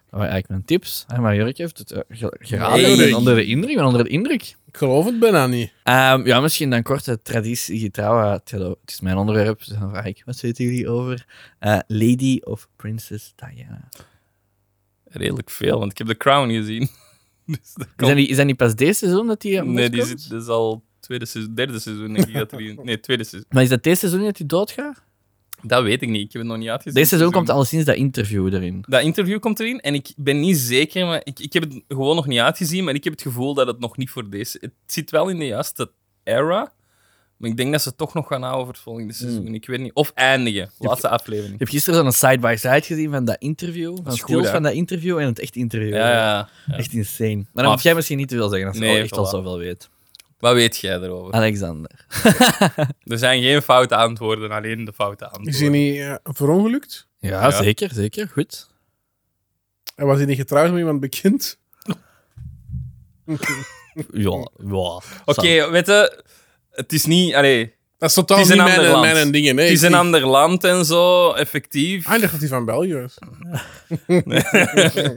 Speaker 3: Dat waren eigenlijk mijn tips. Hè, maar Jurk heeft het eh, ge- geraden.
Speaker 1: Nee.
Speaker 3: Ik ben onder de indruk. ik ben onder de indruk.
Speaker 2: Ik geloof het bijna niet.
Speaker 3: Ehm, ja, misschien dan kort de traditiegetrouw. eh, telo- het is mijn onderwerp, dus dan vraag ik, wat weten jullie over eh, Lady of Princess Diana?
Speaker 1: Redelijk veel, want ik heb The Crown gezien. Dus dat
Speaker 3: Is
Speaker 1: kan-
Speaker 3: dat, niet, is dat niet pas deze seizoen *laughs* dat die eh,
Speaker 1: nee, die
Speaker 3: komt?
Speaker 1: zit, dat is al tweede seizoen, derde seizoen, denk ik. Dat er
Speaker 3: *laughs*
Speaker 1: die- nee, tweede seizoen.
Speaker 3: Maar is dat deze seizoen dat die doodgaat?
Speaker 1: Dat weet ik niet, ik heb het nog niet uitgezien. Dus
Speaker 3: Deze seizoen komt al sinds dat interview erin.
Speaker 1: Dat interview komt erin en ik ben niet zeker, maar ik, ik heb het gewoon nog niet uitgezien, maar ik heb het gevoel dat het nog niet voor deze... Het zit wel in de juiste era, maar ik denk dat ze het toch nog gaan houden voor het volgende seizoen. Ik weet niet. Of eindigen, laatste aflevering.
Speaker 3: Hmm. Ik heb gisteren zo'n side-by-side gezien van dat interview. Van
Speaker 1: is goed,
Speaker 3: skills
Speaker 1: hè?
Speaker 3: van dat interview en het echt interview.
Speaker 1: Ja, ja. ja.
Speaker 3: Echt insane. Maar dan
Speaker 1: Maar-
Speaker 3: mag jij misschien niet te veel zeggen als je
Speaker 1: Nee,
Speaker 3: al echt al
Speaker 1: voilà.
Speaker 3: zoveel weet.
Speaker 1: Wat weet jij erover?
Speaker 3: Alexander.
Speaker 1: Er zijn geen foute antwoorden, alleen de foute
Speaker 2: Is hij
Speaker 1: antwoorden.
Speaker 2: niet eh, verongelukt?
Speaker 3: Ja,
Speaker 1: Ja.
Speaker 3: zeker, zeker. Goed.
Speaker 2: En was hij niet getrouwd met iemand bekend?
Speaker 3: Ja, ja.
Speaker 1: Oké, weet je, het is niet... Allee,
Speaker 2: Dat is totaal
Speaker 1: Het is
Speaker 2: niet
Speaker 1: een
Speaker 2: mijn,
Speaker 1: ander land.
Speaker 2: mijn dingen. Nee,
Speaker 1: het is
Speaker 2: ik-
Speaker 1: een ander land en zo, effectief.
Speaker 2: Ah, ik dacht dat hij van België was.
Speaker 1: *laughs*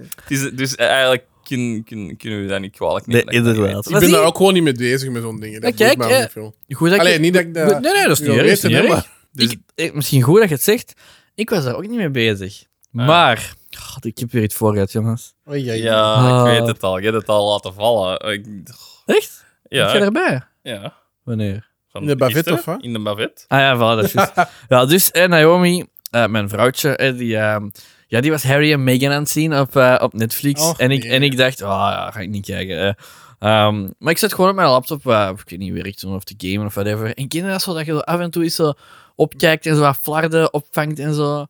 Speaker 1: Het is, dus eigenlijk kun- kun- kunnen we dat niet kwalijk nemen. dat ik dat
Speaker 3: inderdaad.
Speaker 2: Ik ben daar ook gewoon niet mee bezig met zo'n dingen. Dat
Speaker 3: Maar
Speaker 2: doet
Speaker 3: kijk,
Speaker 2: mij ook
Speaker 3: eh,
Speaker 2: niet veel.
Speaker 3: Goed dat ik-
Speaker 2: Allee, niet dat ik dat-
Speaker 3: Goed- Nee, nee, dat is niet
Speaker 2: wil
Speaker 3: erg. is
Speaker 2: weten,
Speaker 3: niet
Speaker 2: hè,
Speaker 3: erg.
Speaker 1: Dus-
Speaker 3: Ik- eh, misschien goed dat je het zegt. Ik was daar ook niet mee bezig. Maar... God, ik heb weer iets voor gehad, jongens.
Speaker 2: Oei, oei.
Speaker 1: Ja,
Speaker 3: Ah.
Speaker 1: ik weet het al. Je hebt het al laten vallen. Ik-
Speaker 3: Echt? Was jij
Speaker 1: ja,
Speaker 3: erbij?
Speaker 1: ja.
Speaker 3: Wanneer?
Speaker 1: Van
Speaker 2: In de bavet,
Speaker 1: gisteren,
Speaker 2: of wat?
Speaker 1: In de bavet.
Speaker 3: Ah ja, voilà, dat is juist.
Speaker 1: *laughs*
Speaker 3: Ja, dus eh, Naomi, eh, mijn vrouwtje, eh, die, ehm, ja, die was Harry en Meghan aan het zien op, eh, op Netflix.
Speaker 2: Och,
Speaker 3: en, ik,
Speaker 2: nee.
Speaker 3: en ik dacht, ah ja, ga ik niet kijken. eh. Ehm, maar ik zat gewoon op mijn laptop, eh, of ik weet niet, werk toen of te gamen of whatever. En kinderen, dat is zo dat je zo af en toe eens zo opkijkt en zo wat flarden opvangt en zo.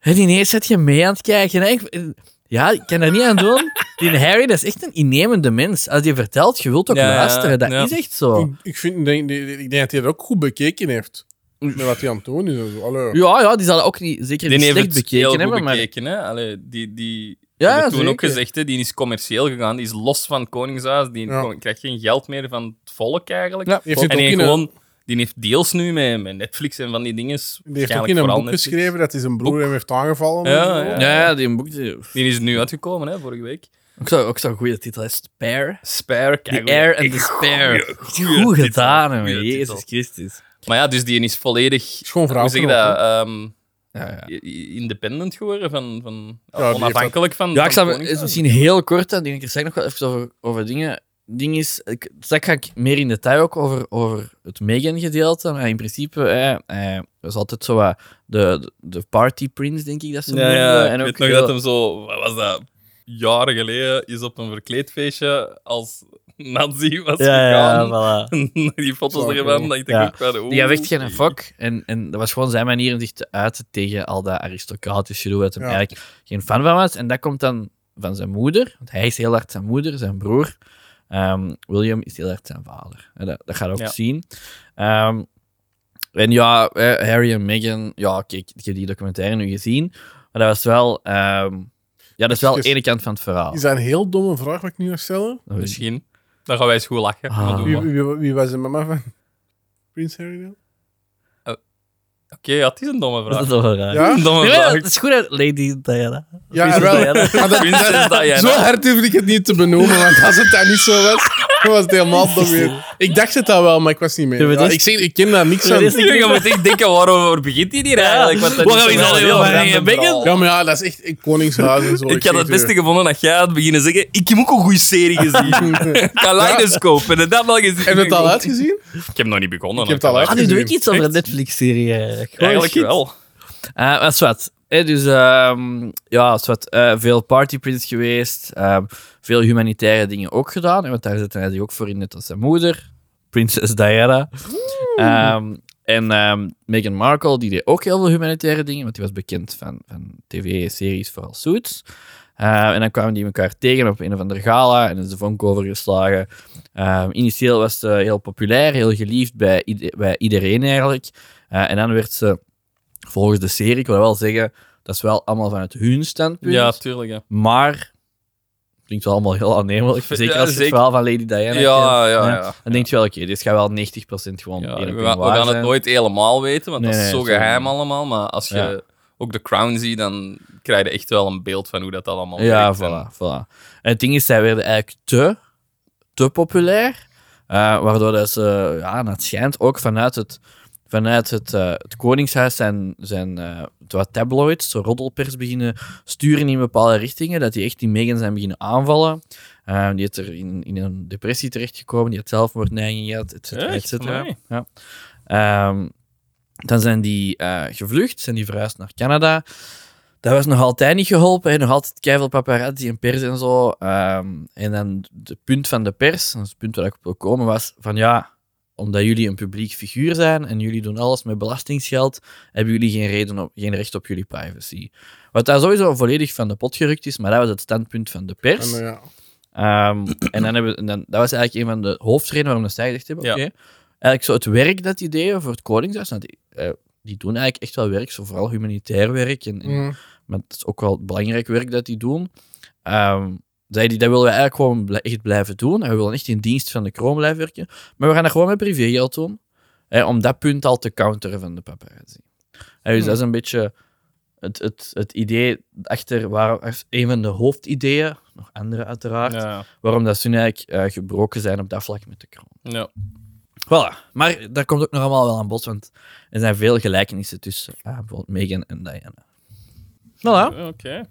Speaker 3: En ineens zit je mee aan het kijken. hè. Ik- eh, Ja, ik kan er niet aan
Speaker 1: *laughs*
Speaker 3: doen. Die Harry, dat is echt een innemende mens. Als die vertelt, je wilt ook
Speaker 1: Ja,
Speaker 3: luisteren. Dat
Speaker 1: ja.
Speaker 3: is echt zo.
Speaker 2: Ik, ik, vind, denk, die- die- ik denk dat hij dat ook goed bekeken heeft. Met wat hij aan het doen is. en zo. Allee.
Speaker 3: Ja, ja, die zal dat ook niet, zeker
Speaker 1: Die
Speaker 3: niet
Speaker 1: heeft
Speaker 3: slecht
Speaker 1: het heel
Speaker 3: bekeken hebben,
Speaker 1: goed
Speaker 3: maar
Speaker 1: bekeken. Hè? Allee, die die
Speaker 3: Ja,
Speaker 1: hebben toen
Speaker 3: zeker.
Speaker 1: ook gezegd, hè, die is commercieel gegaan. Die is los van het Koningshuis. Die
Speaker 2: Ja.
Speaker 1: kon- krijgt geen geld meer van het volk eigenlijk.
Speaker 2: Die heeft het
Speaker 1: en
Speaker 2: ook
Speaker 1: die,
Speaker 2: in een,
Speaker 1: gewoon, die heeft deals nu met, met Netflix en van die dingen.
Speaker 2: die heeft ook in een boek geschreven dat hij zijn broer hem heeft aangevallen. en
Speaker 1: Ja,
Speaker 2: zo.
Speaker 1: ja.
Speaker 3: Ja, ja, die boek. Die,
Speaker 1: Die is nu uitgekomen, hè, vorige week.
Speaker 3: ook zo'n ook zo'n goede titel, hè? Spare.
Speaker 1: Spare,
Speaker 3: The
Speaker 1: kijk.
Speaker 3: Air and the Spare.
Speaker 1: goeie
Speaker 3: Goed
Speaker 1: titel,
Speaker 3: gedaan, hoor.
Speaker 1: goeie titel.
Speaker 3: Jezus Christus.
Speaker 1: Maar ja, dus die is volledig...
Speaker 2: Schoon verhaal.
Speaker 1: Hoe zeg je dat? ehm,
Speaker 3: Ja, ja.
Speaker 1: i- i- independent geworden, van, van,
Speaker 2: die heeft
Speaker 1: onafhankelijk van...
Speaker 3: ja,
Speaker 1: van
Speaker 3: ik zal
Speaker 1: Koningshuis.
Speaker 3: het misschien heel kort, en ik zeg nog wel even over, over dingen. Ding is, ik, straks ga ik meer in detail ook over, over het Megan-gedeelte. Maar in principe, eh, eh, dat is altijd zo wat de, de party prince, denk ik dat ze
Speaker 1: Ja,
Speaker 3: noemen.
Speaker 1: ja, eh, ik
Speaker 3: en
Speaker 1: weet nog
Speaker 3: heel-
Speaker 1: dat hem zo... Wat was dat? Jaren geleden is op een verkleedfeestje als nazi was
Speaker 3: ja, ja,
Speaker 1: gegaan.
Speaker 3: ja,
Speaker 1: *laughs*
Speaker 3: voilà.
Speaker 1: die foto's
Speaker 2: Zo,
Speaker 1: ervan,
Speaker 2: ja.
Speaker 1: dat ik
Speaker 3: Ja.
Speaker 1: denk ook wel...
Speaker 3: Die had echt geen fuck. En, en dat was gewoon zijn manier om zich te uiten tegen al dat aristocratische gedoe, dat hij
Speaker 2: Ja.
Speaker 3: eigenlijk geen fan van was. En dat komt dan van zijn moeder, want hij is heel hard zijn moeder, zijn broer. Ehm, William is heel hard zijn vader. En dat, dat gaat ook
Speaker 1: Ja.
Speaker 3: zien. Ehm, en ja, eh, Harry en Meghan, ja, kijk, ik heb die documentaire nu gezien, maar dat was wel... ehm, ja, dat is wel
Speaker 2: Excuus.
Speaker 3: ene kant van het verhaal.
Speaker 2: Is dat een heel domme vraag wat ik nu ga stellen?
Speaker 3: Dat weet ik.
Speaker 1: Misschien. Dan gaan wij eens goed lachen.
Speaker 3: Ah.
Speaker 1: Maar doen
Speaker 2: Wie,
Speaker 1: we.
Speaker 2: wie, wie was de mama van Prins Harry dan?
Speaker 1: Oké, ja, het is een domme
Speaker 3: Dat
Speaker 1: vraag.
Speaker 3: is toch wel raar.
Speaker 2: Ja?
Speaker 1: Een domme
Speaker 3: Nee, maar
Speaker 1: vraag.
Speaker 3: Het is goed, hè, Lady Diana.
Speaker 2: Ja,
Speaker 3: Prinses
Speaker 2: wel.
Speaker 3: Diana.
Speaker 2: Maar dat-
Speaker 1: Prinses Diana.
Speaker 2: Zo hard hoefde ik het niet te benoemen, want als het daar niet zo was, dan was het
Speaker 1: *laughs*
Speaker 2: helemaal dom weer. Ik dacht het al wel, maar ik was niet mee.
Speaker 3: Ja, maar
Speaker 2: Ja,
Speaker 3: dat is-
Speaker 2: ik, zeg, ik ken daar niks
Speaker 3: Ja,
Speaker 2: aan.
Speaker 3: dat is-
Speaker 1: Je moet echt denken, waarover begint hij hier eigenlijk? Want dat
Speaker 3: Waarom
Speaker 1: toch
Speaker 3: is dat
Speaker 1: wel
Speaker 3: heel
Speaker 1: een
Speaker 3: random
Speaker 1: begin?
Speaker 3: verhaal?
Speaker 2: Ja, maar ja, dat is echt een koningshuis en zo.
Speaker 1: Ik had het
Speaker 2: geef
Speaker 1: beste gevonden dat jij had beginnen zeggen, ik heb ook een goede serie
Speaker 2: *laughs*
Speaker 1: gezien.
Speaker 2: u.
Speaker 1: Kaleidoscope, en dat heb ik al gezien.
Speaker 2: Heb je het al
Speaker 1: *laughs*
Speaker 2: uitgezien?
Speaker 1: Ik heb nog niet begonnen.
Speaker 2: Ik heb het al
Speaker 1: hoor.
Speaker 3: Ah, nu doe ik iets over een Netflix-serie eigenlijk. Gewoon
Speaker 1: Eigenlijk
Speaker 3: iets.
Speaker 1: wel.
Speaker 3: Eh, maar zwart. Eh, dus ehm, ja, zwart. Eh, veel partyprints geweest. ehm, veel humanitaire dingen ook gedaan. hè, Want daar zit hij zich ook voor in, net als zijn moeder. Prinses Diana. Ehm, en ehm, Meghan Markle, die deed ook heel veel humanitaire dingen. Want die was bekend van, van tv-series, vooral Suits. Eh, en dan kwamen die elkaar tegen op een of andere gala. En is de vonk overgeslagen. Ehm, initieel was ze heel populair, heel geliefd bij, ied- bij iedereen eigenlijk. Eh, en dan werd ze volgens de serie, ik wil wel zeggen, dat is wel allemaal vanuit hun standpunt.
Speaker 1: Ja, tuurlijk. Ja,
Speaker 3: Maar klinkt wel allemaal
Speaker 1: *laughs*
Speaker 3: heel aannemelijk.
Speaker 1: Ja,
Speaker 3: Zeker als je het
Speaker 1: zeker.
Speaker 3: verhaal van Lady Diana
Speaker 1: ja, ja.
Speaker 3: kent.
Speaker 1: ja,
Speaker 3: Eh, Dan denk je wel, oké, dit gaat wel 90% gewoon
Speaker 1: Ja,
Speaker 3: één op
Speaker 1: we,
Speaker 3: één
Speaker 1: gaan, we
Speaker 3: waar
Speaker 1: gaan het
Speaker 3: zijn.
Speaker 1: nooit helemaal weten, want
Speaker 3: Nee,
Speaker 1: dat is
Speaker 3: nee,
Speaker 1: zo
Speaker 3: sorry.
Speaker 1: geheim allemaal. Maar als je
Speaker 3: Ja.
Speaker 1: ook de crown ziet, dan krijg je echt wel een beeld van hoe dat allemaal
Speaker 3: Ja,
Speaker 1: werkt.
Speaker 3: voilà, voilà. En het ding is, zij werden eigenlijk te, te populair. eh, waardoor dat ze, ja, naar het schijnt, ook vanuit het, vanuit het, eh, het Koningshuis zijn, zijn eh, wat tabloids, zo roddelpers beginnen sturen in bepaalde richtingen. Dat die echt die Megan zijn beginnen aanvallen. Eh, die is er in, in een depressie terechtgekomen, die had zelfmoordneigingen gehad, et cetera, et
Speaker 1: Echt?
Speaker 3: cetera.
Speaker 1: Amai.
Speaker 3: Ja. Ehm, dan zijn die eh, gevlucht, zijn die verhuisd naar Canada. Dat was nog altijd niet geholpen. hè. Nog altijd keiveel paparazzi en pers en zo. Ehm, en dan het punt van de pers, dat is het punt waar ik op wil komen, was van ja, omdat jullie een publiek figuur zijn en jullie doen alles met belastingsgeld, hebben jullie geen, reden op, geen recht op jullie privacy. Wat daar sowieso volledig van de pot gerukt is, maar dat was het standpunt van de pers.
Speaker 2: En, eh, ja.
Speaker 3: Ehm, en dan hebben we, en dan, dat was eigenlijk een van de hoofdredenen waarom dat zij gezegd hebben:
Speaker 1: Ja.
Speaker 3: oké, eigenlijk zo het werk dat die deden voor het Koningshuis, nou, die, eh, die doen eigenlijk echt wel werk, zo vooral humanitair werk, en, en-
Speaker 2: Mm.
Speaker 3: maar het is ook wel belangrijk werk dat die doen. Ehm zei die, dat willen we eigenlijk gewoon bl- echt blijven doen. En we willen echt in dienst van de kroon blijven werken. Maar we gaan dat gewoon met privégeld doen. Hè, om dat punt al te counteren van de paparazzi. Hè, dus
Speaker 2: Hmm.
Speaker 3: dat is een beetje het, het, het idee achter, waar, een van de hoofdideeën, nog andere uiteraard,
Speaker 1: Ja,
Speaker 3: waarom dat ze nu eigenlijk eh, gebroken zijn op dat vlak met de kroon.
Speaker 1: ja.
Speaker 3: Voilà. Maar daar komt ook nog allemaal wel aan bod, want er zijn veel gelijkenissen tussen eh, bijvoorbeeld Meghan en Diana. Voilà.
Speaker 2: Ah.
Speaker 1: Oké.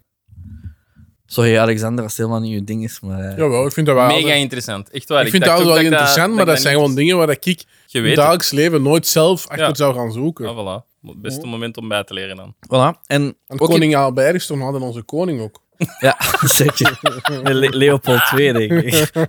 Speaker 3: Sorry, Alexander, als het helemaal niet uw ding is, maar... eh,
Speaker 2: Jawel, ik vind dat wel...
Speaker 1: Mega interessant. Echt waar.
Speaker 2: ik vind dat
Speaker 1: dacht
Speaker 2: wel
Speaker 1: ook ik
Speaker 2: interessant, maar dat,
Speaker 1: ik
Speaker 2: zijn gewoon
Speaker 1: niet-
Speaker 2: dingen waar ik in
Speaker 1: Je
Speaker 2: het
Speaker 1: weet het.
Speaker 2: dagelijks leven nooit zelf achter
Speaker 1: Ja.
Speaker 2: zou gaan zoeken.
Speaker 1: Ah, voilà. Het beste
Speaker 2: Oh.
Speaker 1: moment om bij te leren dan.
Speaker 3: Voilà. En
Speaker 2: Want
Speaker 3: ook in-
Speaker 2: koning Albert is toch hadden onze koning ook.
Speaker 3: Ja, *laughs* zeker. Le- Leopold II, denk *laughs* ik. Ehm,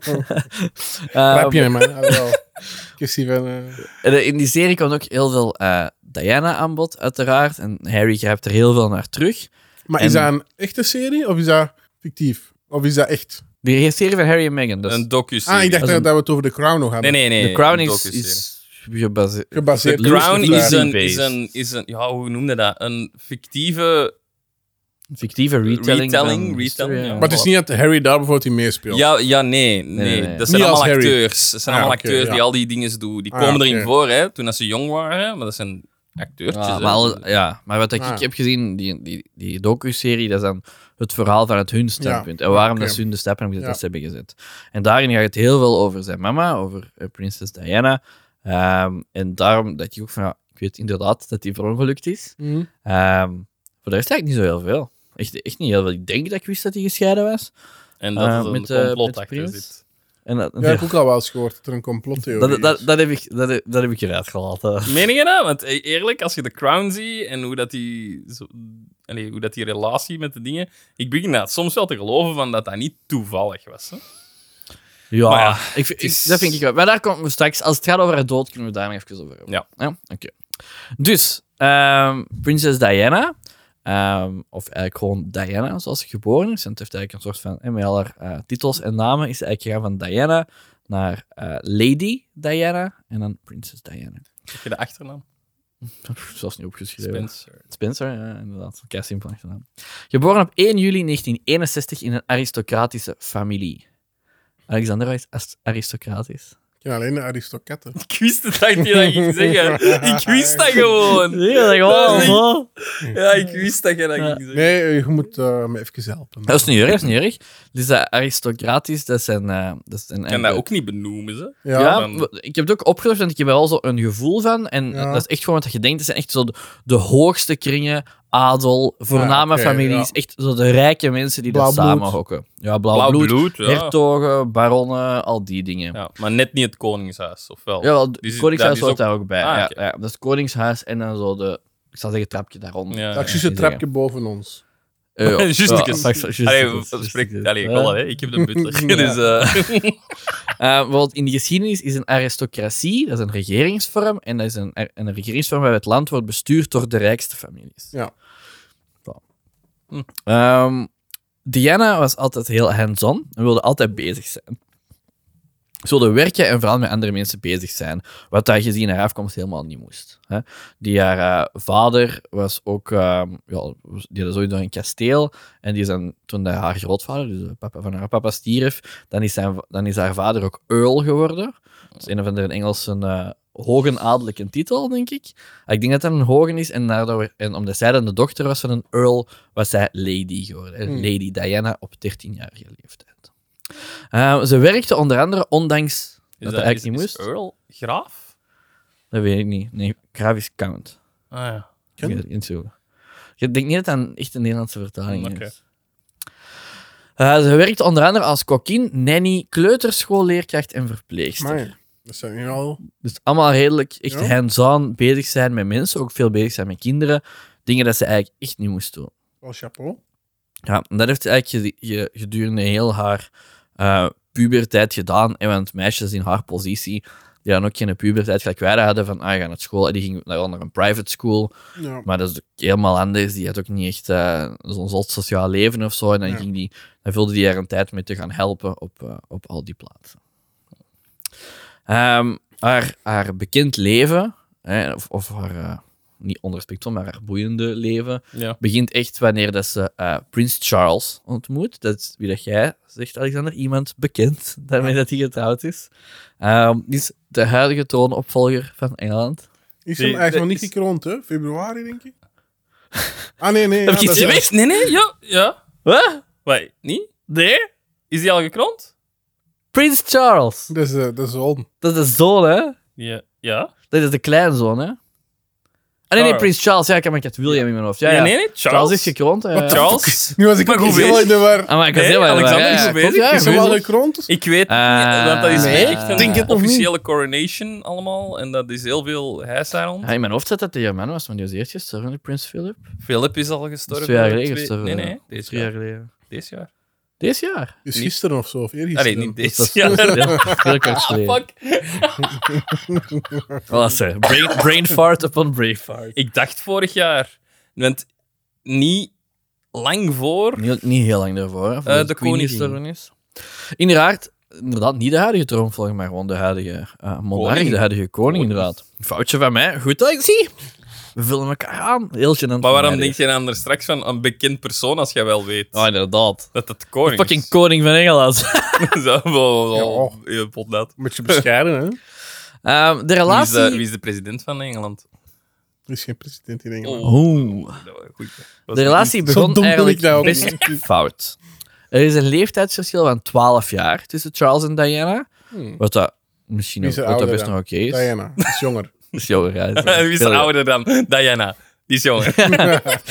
Speaker 2: Daar heb je hem, hè? Ah,
Speaker 1: *laughs*
Speaker 2: wel. Ik heb zien van... eh,
Speaker 3: en, eh, in die serie kwam ook heel veel eh, Diana aan bod, uiteraard. En Harry grijpt er heel veel naar terug.
Speaker 2: Maar
Speaker 3: En-
Speaker 2: is dat een echte serie of is dat fictief? Of is dat echt?
Speaker 3: Die serie van Harry en Meghan, dus.
Speaker 1: Een docu
Speaker 2: Ah, ik dacht
Speaker 3: Dat is
Speaker 2: dat,
Speaker 3: een-
Speaker 2: dat we het over The Crown nog
Speaker 1: Nee,
Speaker 2: hadden.
Speaker 1: nee, nee.
Speaker 3: The Crown
Speaker 1: een
Speaker 3: is,
Speaker 1: docuserie.
Speaker 3: is gebaseerd...
Speaker 2: Gebaseerd
Speaker 3: The
Speaker 1: The Crown
Speaker 2: Loose
Speaker 1: is een, is,
Speaker 3: based.
Speaker 1: een, is een... Ja, hoe noemde dat? Een fictieve...
Speaker 3: Een fictieve retelling.
Speaker 1: Retelling,
Speaker 3: van
Speaker 1: retelling,
Speaker 3: history,
Speaker 1: ja.
Speaker 2: Maar het is niet dat Harry daar bijvoorbeeld in meespeelt.
Speaker 1: Ja, ja nee, nee.
Speaker 3: Nee, nee.
Speaker 1: Dat zijn allemaal
Speaker 2: Niet als Harry.
Speaker 1: acteurs. Dat zijn
Speaker 2: Ah,
Speaker 1: allemaal
Speaker 2: oké,
Speaker 1: acteurs die
Speaker 2: ja.
Speaker 1: al die dingen doen. Die
Speaker 2: Ah,
Speaker 1: komen erin
Speaker 2: oké.
Speaker 1: voor, hè, toen dat ze jong waren. Maar dat zijn acteurtjes.
Speaker 3: Ja,
Speaker 1: hè.
Speaker 3: maar, al- ja, maar wat ik,
Speaker 2: Ah.
Speaker 3: ik heb gezien, die, die, die docu-serie, dat is dan het verhaal vanuit hun standpunt. En waarom
Speaker 2: oké.
Speaker 3: dat ze hun de stap hebben gezet dat
Speaker 2: Ja.
Speaker 3: ze hebben gezet. En daarin gaat het heel veel over zijn mama, over eh, prinses Diana. Ehm, en daarom dat je ook van, ja, ik weet inderdaad dat die verongelukt is.
Speaker 2: Mhm.
Speaker 3: Ehm, voor de rest eigenlijk niet zo heel veel. Echt, echt niet heel veel. Ik denk dat ik wist dat hij gescheiden was.
Speaker 1: En dat
Speaker 3: Eh,
Speaker 1: is een
Speaker 3: met, eh, met
Speaker 1: complot
Speaker 3: de
Speaker 1: achter
Speaker 3: prins?
Speaker 1: zit.
Speaker 3: En *laughs* dat,
Speaker 2: Ja, ik heb ook al wel eens gehoord dat er een complottheorie
Speaker 3: dat, dat, dat, heb ik, dat, heb- dat heb ik eruit gehaald. hè.
Speaker 1: Meen je dat? Want eh, eerlijk, als je The Crown ziet en hoe dat die... Zo, allee, hoe dat die relatie met de dingen... Ik begin dat soms wel te geloven van dat dat niet toevallig was. Hè?
Speaker 3: Ja,
Speaker 1: Maar ja,
Speaker 3: ik, vind-
Speaker 1: is-
Speaker 3: ik- dat vind ik wel. Maar daar komt we straks, als het gaat over haar dood, kunnen we daar nog even over hebben.
Speaker 1: Ja.
Speaker 3: oké. Dus, ehm, prinses Diana, ehm, of eigenlijk gewoon Diana zoals ze geboren is, en het heeft eigenlijk een soort van, en met al haar eh, titels en namen, is ze eigenlijk gegaan van Diana naar eh, Lady Diana en dan
Speaker 1: *laughs*
Speaker 3: prinses Diana.
Speaker 1: Heb je de achternaam?
Speaker 3: Zoals niet opgeschreven.
Speaker 1: Spencer. *laughs*
Speaker 3: Spencer, ja, inderdaad. Kei simpel gedaan. Geboren op 1 juli 1961 in een aristocratische familie. Alexander was aristocratisch.
Speaker 2: ken alleen de
Speaker 3: *laughs*
Speaker 2: Aristocatten.
Speaker 1: Ik wist het dat ik je dat ging zeggen.
Speaker 2: *laughs*
Speaker 1: Ik wist dat gewoon.
Speaker 3: Ja, dat
Speaker 1: gewoon,
Speaker 3: gewoon.
Speaker 1: Ja, ik wist dat je dat ging zeggen.
Speaker 2: Nee, eh, je moet eh, me even helpen.
Speaker 3: Dat is niet erg, dat is niet erg. Dus dat aristocratisch, dat zijn... eh dat zijn
Speaker 1: Ik kan dat ook niet benoemen, ze.
Speaker 2: Ja,
Speaker 3: Ja,
Speaker 2: ja.
Speaker 1: dan-
Speaker 3: maar ik heb het ook opgelost en ik heb er al zo een gevoel van. En
Speaker 2: Ja.
Speaker 3: dat is echt gewoon wat je denkt. Het zijn echt zo de, de hoogste kringen, adel, voorname
Speaker 2: Ah, oké,
Speaker 3: families.
Speaker 2: ja.
Speaker 3: Echt zo de rijke mensen die daar
Speaker 2: Blauw bloed.
Speaker 3: samen hokken. Ja, blauw,
Speaker 1: Blauw
Speaker 3: bloed,
Speaker 1: bloed, ja.
Speaker 3: hertogen, baronnen, al die dingen. Ja,
Speaker 1: Ja, maar net niet het koningshuis, of wel?
Speaker 3: wel, het
Speaker 1: Die zit-
Speaker 3: koningshuis
Speaker 1: daar is
Speaker 3: hoort daar ook bij.
Speaker 1: Ah,
Speaker 3: ja,
Speaker 1: oké.
Speaker 3: ja, dat is het koningshuis en dan zo de... Ik zal zeggen, trapje daaronder.
Speaker 1: Ja,
Speaker 2: dat is
Speaker 1: ja.
Speaker 2: juist het trapje boven ons.
Speaker 3: Eh, ja.
Speaker 1: *laughs* Juist
Speaker 3: Ja,
Speaker 1: een keer.
Speaker 3: straks- juist
Speaker 1: Allee, we-
Speaker 3: een keer,
Speaker 1: we
Speaker 3: juist een
Speaker 1: spreken-
Speaker 3: keer.
Speaker 1: allee, ik
Speaker 3: Ja.
Speaker 1: wel, hè. Ik heb de
Speaker 3: *laughs*
Speaker 1: butler.
Speaker 2: Ja.
Speaker 1: Dus, eh,
Speaker 3: Eh, want in de geschiedenis is een aristocratie, dat is een regeringsvorm, en dat is een, een regeringsvorm waarbij het land wordt bestuurd door de rijkste families.
Speaker 2: Ja.
Speaker 3: Voilà. Hm. Ehm, Diana was altijd heel hands-on en wilde altijd bezig zijn. Ze wilde werken en vooral met andere mensen bezig zijn, wat daar gezien haar afkomst helemaal niet moest. Hè? Die haar eh, vader was ook, ehm, ja, die had ooit door een kasteel en die is dan, toen dat haar grootvader, dus de papa van haar papa, stierf, dan is, zijn, dan is haar vader ook Earl geworden. Dat is een of andere in Engels een eh hoge adellijke titel, denk ik. Ik denk dat dat een hoge is. En, daardoor, en omdat zij dan de dochter was van een Earl, was zij Lady geworden. hè.
Speaker 2: Hmm.
Speaker 3: Lady Diana op 13-jarige leeftijd. Eh, ze werkte onder andere, ondanks
Speaker 1: is
Speaker 3: dat, dat
Speaker 1: is-
Speaker 3: eigenlijk niet
Speaker 1: is
Speaker 3: moest.
Speaker 1: Earl Graaf?
Speaker 3: Dat weet ik niet. Nee, Graaf is Count.
Speaker 1: Ah ja.
Speaker 3: Ik weet het niet zo. Ik denk niet dat dat echt een Nederlandse vertaling
Speaker 1: Oké.
Speaker 3: is. Eh, ze werkte onder andere als kokkin, nanny, kleuterschoolleerkracht en verpleegster.
Speaker 2: Maar dat zijn nu al.
Speaker 3: Dus allemaal redelijk echt
Speaker 2: Ja.
Speaker 3: hands-on bezig zijn met mensen, ook veel bezig zijn met kinderen. Dingen dat ze eigenlijk echt niet moest doen.
Speaker 2: Wel chapeau.
Speaker 3: Ja, en dat heeft ze eigenlijk ge- ge- gedurende heel haar eh, pubertijd gedaan. En want meisjes in haar positie, die dan ook geen pubertijd gelijk wij hadden, van ah, gaan naar school. En die gingen naar naar een private school.
Speaker 2: Ja.
Speaker 3: Maar dat is ook helemaal anders. Die had ook niet echt eh, zo'n zot sociaal leven of zo. En dan,
Speaker 2: Ja.
Speaker 3: ging die, dan vulde die er een tijd mee te gaan helpen op, eh, op al die plaatsen. Ehm, haar, haar bekend leven, hè, of, of haar, eh, niet onrespectvol, maar haar boeiende leven,
Speaker 1: Ja.
Speaker 3: begint echt wanneer dat ze eh Prins Charles ontmoet. Dat is wie dat jij zegt, Alexander. Iemand bekend daarmee dat hij getrouwd is. Ehm, die is de huidige troonopvolger van Engeland.
Speaker 2: Is
Speaker 1: Die-
Speaker 2: hem, hij is
Speaker 1: dat
Speaker 2: nog niet
Speaker 1: is-
Speaker 2: gekroond, hè? Februari, denk ik. Ah, nee, nee.
Speaker 3: *laughs* Heb ik
Speaker 2: ja,
Speaker 3: iets
Speaker 2: dat is-
Speaker 3: gemist?
Speaker 1: Nee, nee, ja. Ja. Wat? Wait, niet? Nee? Is die al gekroond?
Speaker 3: Prins Charles!
Speaker 2: Dat is, eh, dat is on.
Speaker 3: Dat is de zoon, hè?
Speaker 1: Ja. Ja?
Speaker 3: Dat is de kleinzoon, hè? Ah, nee, nee,
Speaker 1: Charles.
Speaker 3: Prins Charles. Ja, ik heb ik had William in mijn hoofd. Ja,
Speaker 1: Nee,
Speaker 3: ja.
Speaker 1: nee, nee. Charles.
Speaker 3: Charles is gekroond. hè.
Speaker 1: Charles?
Speaker 2: Nu was ik
Speaker 1: Maar
Speaker 2: ook
Speaker 1: goed
Speaker 2: heel
Speaker 1: bezig.
Speaker 2: in de war.
Speaker 3: Ah, maar ik was
Speaker 1: Nee,
Speaker 3: heel erg
Speaker 1: Alexander
Speaker 3: waar,
Speaker 1: is
Speaker 3: ja.
Speaker 1: goed bezig.
Speaker 3: Ja,
Speaker 2: Is hem
Speaker 3: goed.
Speaker 2: al gekroond? of-
Speaker 1: Ik weet het
Speaker 3: Ah,
Speaker 1: niet, want dat is
Speaker 3: nee,
Speaker 1: echt een
Speaker 3: denk het
Speaker 2: nog niet.
Speaker 1: officiële coronation allemaal. En dat is heel veel hijs daar rond.
Speaker 3: Ja, in mijn hoofd zat dat de German was, maar die was eerst gestorven, die Prins Philip.
Speaker 1: Philip is al gestorven.
Speaker 3: twee jaar
Speaker 1: Twee-
Speaker 3: geleden gestorven,
Speaker 1: Nee,
Speaker 3: ja.
Speaker 1: nee, deze
Speaker 3: Drie
Speaker 1: jaar.
Speaker 3: jaar geleden.
Speaker 1: Deze jaar.
Speaker 3: Dit jaar?
Speaker 2: Dus
Speaker 1: Niet-
Speaker 2: gisteren of zo, of eergisteren.
Speaker 1: Allee, niet
Speaker 3: Dus dat
Speaker 1: deze
Speaker 3: is *laughs*
Speaker 1: jaar.
Speaker 3: heel, heel kort
Speaker 1: Ah,
Speaker 3: geleden.
Speaker 1: fuck.
Speaker 3: Oh, sorry. Brain, brain fart upon brain fart.
Speaker 1: Ik dacht vorig jaar. Want niet lang voor.
Speaker 3: Niet, niet heel lang daarvoor, hè, voordat
Speaker 1: de
Speaker 3: Queen
Speaker 1: koningin.
Speaker 3: gestorven is. Inderdaad, inderdaad, niet de huidige troonvolger, maar gewoon de huidige eh monarch,
Speaker 1: Koning.
Speaker 3: de huidige koning, inderdaad. Foutje van mij, goed dat ik zie. We vullen elkaar aan. Heel gênant.
Speaker 1: Maar waarom
Speaker 3: denk
Speaker 1: denk je dan er straks van een bekend persoon als jij wel weet
Speaker 3: Oh, inderdaad.
Speaker 1: dat het koning *laughs*
Speaker 3: Fucking koning van Engeland.
Speaker 1: is? Zo, wow, wow,
Speaker 2: Ja.
Speaker 1: wow. Je pot dat.
Speaker 2: Een beetje bescheiden, hè?
Speaker 3: *laughs* Ehm, de
Speaker 1: Wie is,
Speaker 3: relatie...
Speaker 1: de, wie is de president van Engeland?
Speaker 2: Er is geen president in Engeland.
Speaker 1: Oh,
Speaker 3: Oeh.
Speaker 1: dat was goed. Dat was
Speaker 3: De relatie
Speaker 2: Zo dom
Speaker 3: begon
Speaker 2: ben
Speaker 3: eigenlijk
Speaker 2: ik nou.
Speaker 3: best
Speaker 2: *laughs*
Speaker 3: fout. Er is een leeftijdsverschil van 12 jaar tussen Charles en Diana.
Speaker 2: Hmm.
Speaker 3: Wat dat misschien
Speaker 2: Wie
Speaker 3: ook,
Speaker 2: is er
Speaker 3: wat dat
Speaker 2: ouder
Speaker 3: best nog
Speaker 2: dan?
Speaker 3: oké is.
Speaker 2: Diana, is *laughs* jonger.
Speaker 3: Dat is jonger. ja, dat is
Speaker 1: *laughs*
Speaker 3: *laughs*
Speaker 1: Wie is
Speaker 3: veel-
Speaker 1: er ouder dan? Diana. Die is
Speaker 3: *laughs*
Speaker 1: jonger.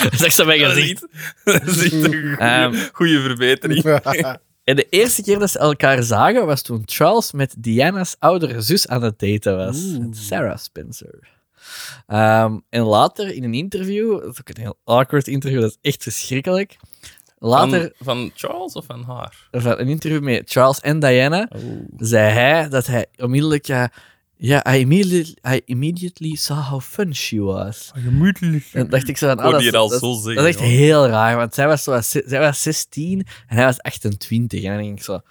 Speaker 3: Dat is echt zo mijn
Speaker 1: Dat is
Speaker 3: gezicht.
Speaker 1: niet. Dat is echt *laughs* een
Speaker 3: Ehm,
Speaker 1: goede- goede verbetering.
Speaker 3: En de eerste keer dat ze elkaar zagen was toen Charles met Diana's oudere zus aan het daten was.
Speaker 2: Oeh.
Speaker 3: Sarah Spencer. Ehm, en later in een interview, dat is ook een heel awkward interview, dat is echt verschrikkelijk. Later
Speaker 1: Van, van Charles of van haar?
Speaker 3: van een interview met Charles en Diana zei hij dat hij onmiddellijk. ja, ja, I immediately, I immediately saw how fun she was.
Speaker 1: Gemoedelijk.
Speaker 3: En dacht ik zo van, ah,
Speaker 1: Kon
Speaker 3: dat,
Speaker 1: je
Speaker 3: is-
Speaker 1: dat al
Speaker 3: dat is-
Speaker 1: zo
Speaker 3: dat
Speaker 1: zeggen?
Speaker 3: is echt
Speaker 1: joh.
Speaker 3: heel raar, want zij was, zo, wat- zij was 16 en hij was 28. En dan denk ik zo,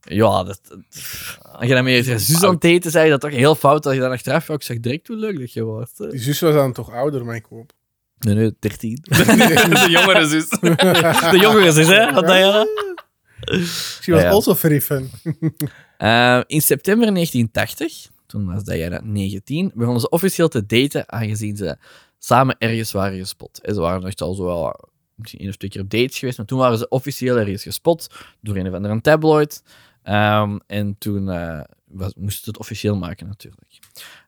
Speaker 3: ja, dat, pff, als je dan met je zus aan het daten zei, dat toch heel fout dat je dan achteraf ja, ik zeg direct hoe leuk dat je wordt. hè.
Speaker 2: Die zus was dan toch ouder, mijn *laughs* koop.
Speaker 3: Nee, nee,
Speaker 1: *laughs*
Speaker 3: 13.
Speaker 1: *laughs* de jongere
Speaker 3: *laughs*
Speaker 1: zus.
Speaker 3: De jongere zus, hè, van Diana.
Speaker 2: She was
Speaker 3: Ja.
Speaker 2: also very fun.
Speaker 3: Eh, in september 1980, toen was Diana 19, begonnen ze officieel te daten, aangezien ze samen ergens waren gespot. En ze waren echt al zo wel misschien één of twee keer op dates geweest, maar toen waren ze officieel ergens gespot door een of andere tabloid. Ehm, en toen eh, was, moesten ze het officieel maken, natuurlijk.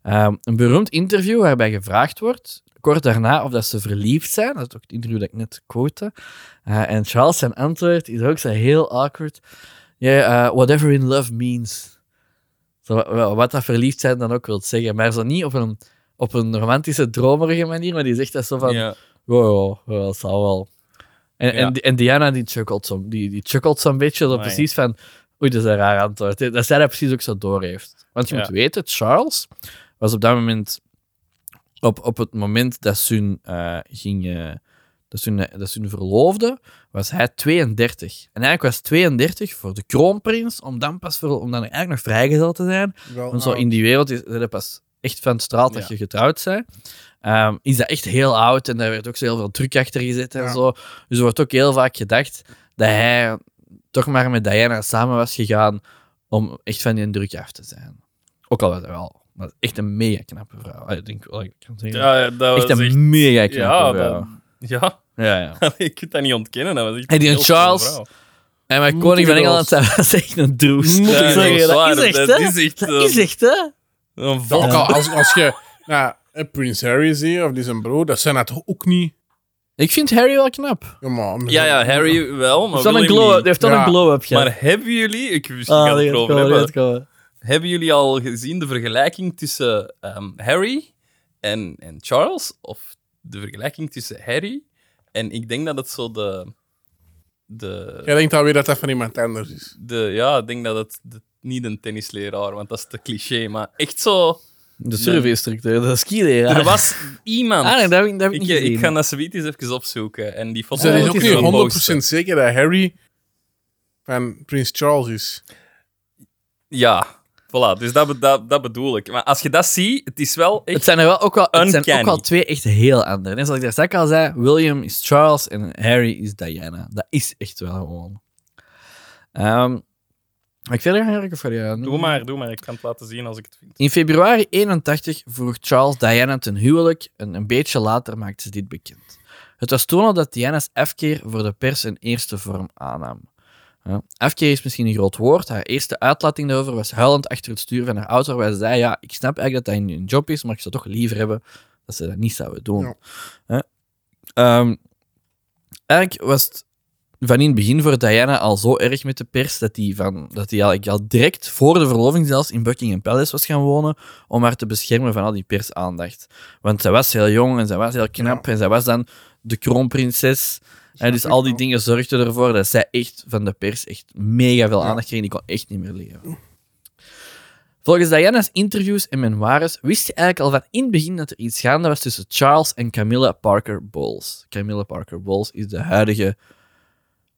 Speaker 3: Ehm, een beroemd interview waarbij gevraagd wordt, kort daarna, of dat ze verliefd zijn. Dat is ook het interview dat ik net quote. Eh, en Charles zijn antwoord is ook zo heel awkward. Yeah, eh, whatever in love means. Zo, wa- wa- wat dat verliefd zijn dan ook wil zeggen. Maar zo niet op een, op een romantische, dromerige manier, maar die zegt dat zo van...
Speaker 1: Ja.
Speaker 3: Wow, wow, dat zal wel. En,
Speaker 1: Ja.
Speaker 3: en, en Diana die chuckelt zo'n die, die chuckelt zo'n beetje. Zo
Speaker 1: Amai.
Speaker 3: precies van, oei, dat is een raar antwoord. Dat zij dat precies ook zo door heeft. Want je
Speaker 1: Ja.
Speaker 3: moet weten, Charles was op dat moment... Op, op het moment dat ze hun, eh, ging... eh, dat ze hun, dat ze hun verloofde, was hij 32. En eigenlijk was 32 voor de kroonprins, om dan pas voor, om dan eigenlijk nog vrijgezel te zijn.
Speaker 2: Wel nou,
Speaker 3: Want zo
Speaker 2: oud.
Speaker 3: in die wereld is dat pas echt van straalt dat
Speaker 1: Ja.
Speaker 3: je getrouwd bent. Ehm, is dat echt heel oud en daar werd ook zo heel veel druk achter gezet en
Speaker 2: Ja.
Speaker 3: zo. Dus er wordt ook heel vaak gedacht dat hij toch maar met Diana samen was gegaan om echt van die druk af te zijn. Ook al was hij wel maar echt een mega knappe vrouw. Ah, Ik denk wel, ik kan het zeggen.
Speaker 1: Ja, ja, dat
Speaker 3: echt
Speaker 1: was
Speaker 3: een
Speaker 1: echt...
Speaker 3: mega
Speaker 1: Ja,
Speaker 3: knappe
Speaker 1: dat-
Speaker 3: vrouw.
Speaker 1: ja. *laughs*
Speaker 3: Ja, ja.
Speaker 1: ik kan dat niet ontkennen. Dat was echt
Speaker 3: En die
Speaker 1: een heel schone
Speaker 3: Charles?
Speaker 1: vrouw.
Speaker 3: En maar
Speaker 2: Moet
Speaker 3: koning
Speaker 2: ik
Speaker 3: van
Speaker 2: wel
Speaker 3: Engeland dat was echt een droes.
Speaker 2: Moet ik
Speaker 3: Ja,
Speaker 2: wel
Speaker 3: sorry,
Speaker 1: eens
Speaker 3: dat is
Speaker 1: waar,
Speaker 3: echt,
Speaker 1: dat
Speaker 3: hè?
Speaker 1: is echt,
Speaker 3: Dat is
Speaker 1: eh,
Speaker 3: echt, hè?
Speaker 1: Een
Speaker 2: Dat
Speaker 1: val.
Speaker 2: kan- als, als je nou, een Prins Harry ziet, of die zijn broer, dat zijn dat toch ook niet...
Speaker 3: Ik vind Harry wel knap.
Speaker 2: Ja, maar-
Speaker 1: Ja, ja, Harry wel,
Speaker 3: Hij
Speaker 1: maar
Speaker 3: heeft wel een
Speaker 1: William
Speaker 3: glow-
Speaker 1: niet.
Speaker 3: hij heeft wel
Speaker 2: Ja.
Speaker 3: een glow-up gehad.
Speaker 1: Maar hebben jullie... Ik wist
Speaker 3: Ah,
Speaker 1: niet
Speaker 3: die
Speaker 1: het
Speaker 3: gaat
Speaker 1: over
Speaker 3: komen, die
Speaker 1: hebben.
Speaker 3: gaat komen.
Speaker 1: Hebben jullie al gezien de vergelijking tussen ehm, Harry en, en Charles? Of de vergelijking tussen Harry en ik denk dat het zo de. de,
Speaker 2: Jij denkt alweer dat dat van iemand anders is.
Speaker 1: de ja, ik denk dat het de- niet een tennisleraar, want dat is te cliché, maar echt zo.
Speaker 3: De survey-instructeur, de skileraar.
Speaker 1: Er was iemand.
Speaker 3: Ah, nee, dat heb ik, dat heb ik
Speaker 1: ik,
Speaker 3: niet
Speaker 1: eh,
Speaker 3: gezien.
Speaker 1: ik ga dat zoiets eens even opzoeken. En die
Speaker 2: Dus
Speaker 1: foto
Speaker 2: dat
Speaker 1: wil
Speaker 2: is
Speaker 1: ik
Speaker 2: ook
Speaker 1: eens gaan
Speaker 2: niet 100%
Speaker 1: posten.
Speaker 2: zeker dat Harry van Prins Charles is.
Speaker 1: Ja, voilà. Dus dat, be- dat, dat bedoel ik. Maar als je dat ziet, het is wel echt.
Speaker 3: Het zijn er wel ook wel, het zijn ook
Speaker 1: Uncanny.
Speaker 3: wel twee echt heel andere. Net zoals ik daar straks al zei, William is Charles en Harry is Diana. Dat is echt wel gewoon. Ehm mag ik verder gaan werken voor jou?
Speaker 1: Doe maar, doe maar. Ik kan het laten zien als ik het vind.
Speaker 3: In februari 81 vroeg Charles Diana ten huwelijk en een beetje later maakte ze dit bekend. Het was toen al dat Diana's afkeer voor de pers een eerste vorm aannam. Ja, afkeer is misschien een groot woord. Haar eerste uitlating daarover was huilend achter het stuur van haar auto, waarbij ze zei, ja, ik snap eigenlijk dat dat een job is, maar ik zou toch liever hebben dat ze dat niet zouden doen.
Speaker 2: Ja.
Speaker 3: Ja. Ehm, eigenlijk was het van in het begin voor Diana al zo erg met de pers dat hij van, dat die al, al direct voor de verloving zelfs in Buckingham Palace was gaan wonen om haar te beschermen van al die persaandacht. Want zij was heel jong en zij was heel knap en zij was dan de kroonprinses. En dus al die dingen zorgden ervoor dat zij echt van de pers echt mega veel aandacht kreeg. en Die kon echt niet meer leven. Volgens Diana's interviews en memoires wist je eigenlijk al van in het begin dat er iets gaande was tussen Charles en Camilla Parker Bowles. Camilla Parker Bowles is de huidige,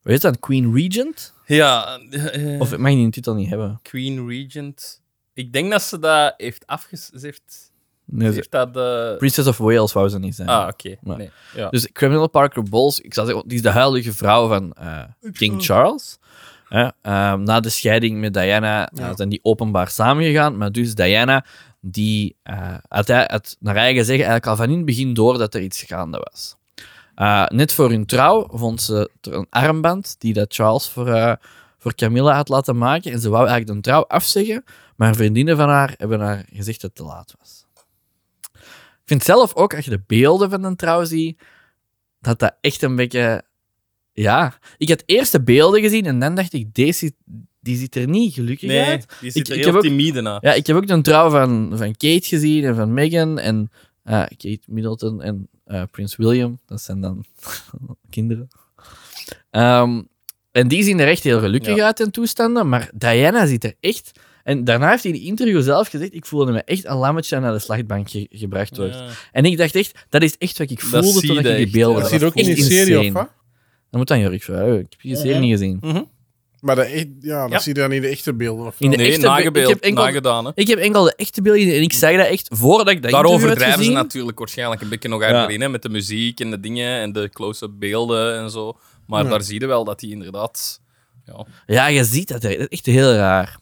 Speaker 3: weet je dat, Queen Regent?
Speaker 1: Ja, eh, eh,
Speaker 3: Of ik mag die titel niet hebben.
Speaker 1: Queen Regent. Ik denk dat ze dat heeft afges... Ze heeft,
Speaker 3: Nee,
Speaker 1: ze
Speaker 3: ze-
Speaker 1: heeft dat... eh,
Speaker 3: Princess of Wales wou ze niet zijn.
Speaker 1: Ah, oké.
Speaker 3: Maar-
Speaker 1: Nee. Ja.
Speaker 3: Dus Camilla Parker Bowles, ik zou zeggen, die is de huidige vrouw van eh, King Charles. Hè, ehm, na de scheiding met Diana eh,
Speaker 2: Ja.
Speaker 3: zijn die openbaar samengegaan. Maar dus Diana, die eh, had, hij- had naar eigen zeggen eigenlijk al van in het begin door dat er iets gaande was. Eh, net voor hun trouw vond ze er een armband die dat Charles voor, eh, voor Camilla had laten maken. En ze wou eigenlijk de trouw afzeggen, maar vriendinnen van haar hebben haar gezegd dat het te laat was. Ik vind zelf ook, als je de beelden van de trouw ziet, dat dat echt een beetje... Ja, ik had eerst de beelden gezien en dan dacht ik, deze ziet- die ziet er niet gelukkig
Speaker 1: nee,
Speaker 3: uit.
Speaker 1: die zit
Speaker 3: Ik-
Speaker 1: er
Speaker 3: ik
Speaker 1: heel
Speaker 3: heb ook-
Speaker 1: timide na.
Speaker 3: Ja, ik heb ook de trouw van, van Kate gezien en van Meghan en eh, Kate Middleton en eh, Prins William. Dat zijn dan *laughs* kinderen. Ehm, en die zien er echt heel gelukkig
Speaker 1: Ja.
Speaker 3: uit in toestanden, maar Diana ziet er echt... En daarna heeft hij in het interview zelf gezegd, ik voelde me echt een lammetje naar de slachtbank ge- gebracht wordt.
Speaker 1: Ja.
Speaker 3: En ik dacht echt, dat is echt wat ik voelde
Speaker 1: zie
Speaker 3: toen ik
Speaker 1: je
Speaker 3: die
Speaker 1: echt, ja.
Speaker 3: beelden
Speaker 1: dat
Speaker 2: Dat zie je ook in
Speaker 3: echt
Speaker 2: die serie,
Speaker 3: insane.
Speaker 2: of wat?
Speaker 3: Dat moet dan Jorik vragen. Ik heb die serie niet gezien.
Speaker 1: Mhm.
Speaker 2: Maar de echt, ja, dat
Speaker 1: Ja.
Speaker 2: zie je dan in de echte beelden. Of
Speaker 3: In de
Speaker 2: wel?
Speaker 1: Nee,
Speaker 3: echte be-
Speaker 1: nagebeeld,
Speaker 3: ik heb enkel-
Speaker 1: nagedaan. Hè.
Speaker 3: Ik heb enkel de echte beelden gezien en ik zag dat echt voordat ik dat
Speaker 1: Daar
Speaker 3: interview had
Speaker 1: overdrijven ze
Speaker 3: gezien.
Speaker 1: natuurlijk waarschijnlijk een beetje nog erin, hè, met de muziek en de dingen en de close-up beelden en zo. Maar
Speaker 2: Ja.
Speaker 1: daar zie je wel dat die inderdaad... Ja.
Speaker 3: Ja, je ziet dat er. Dat is echt heel raar.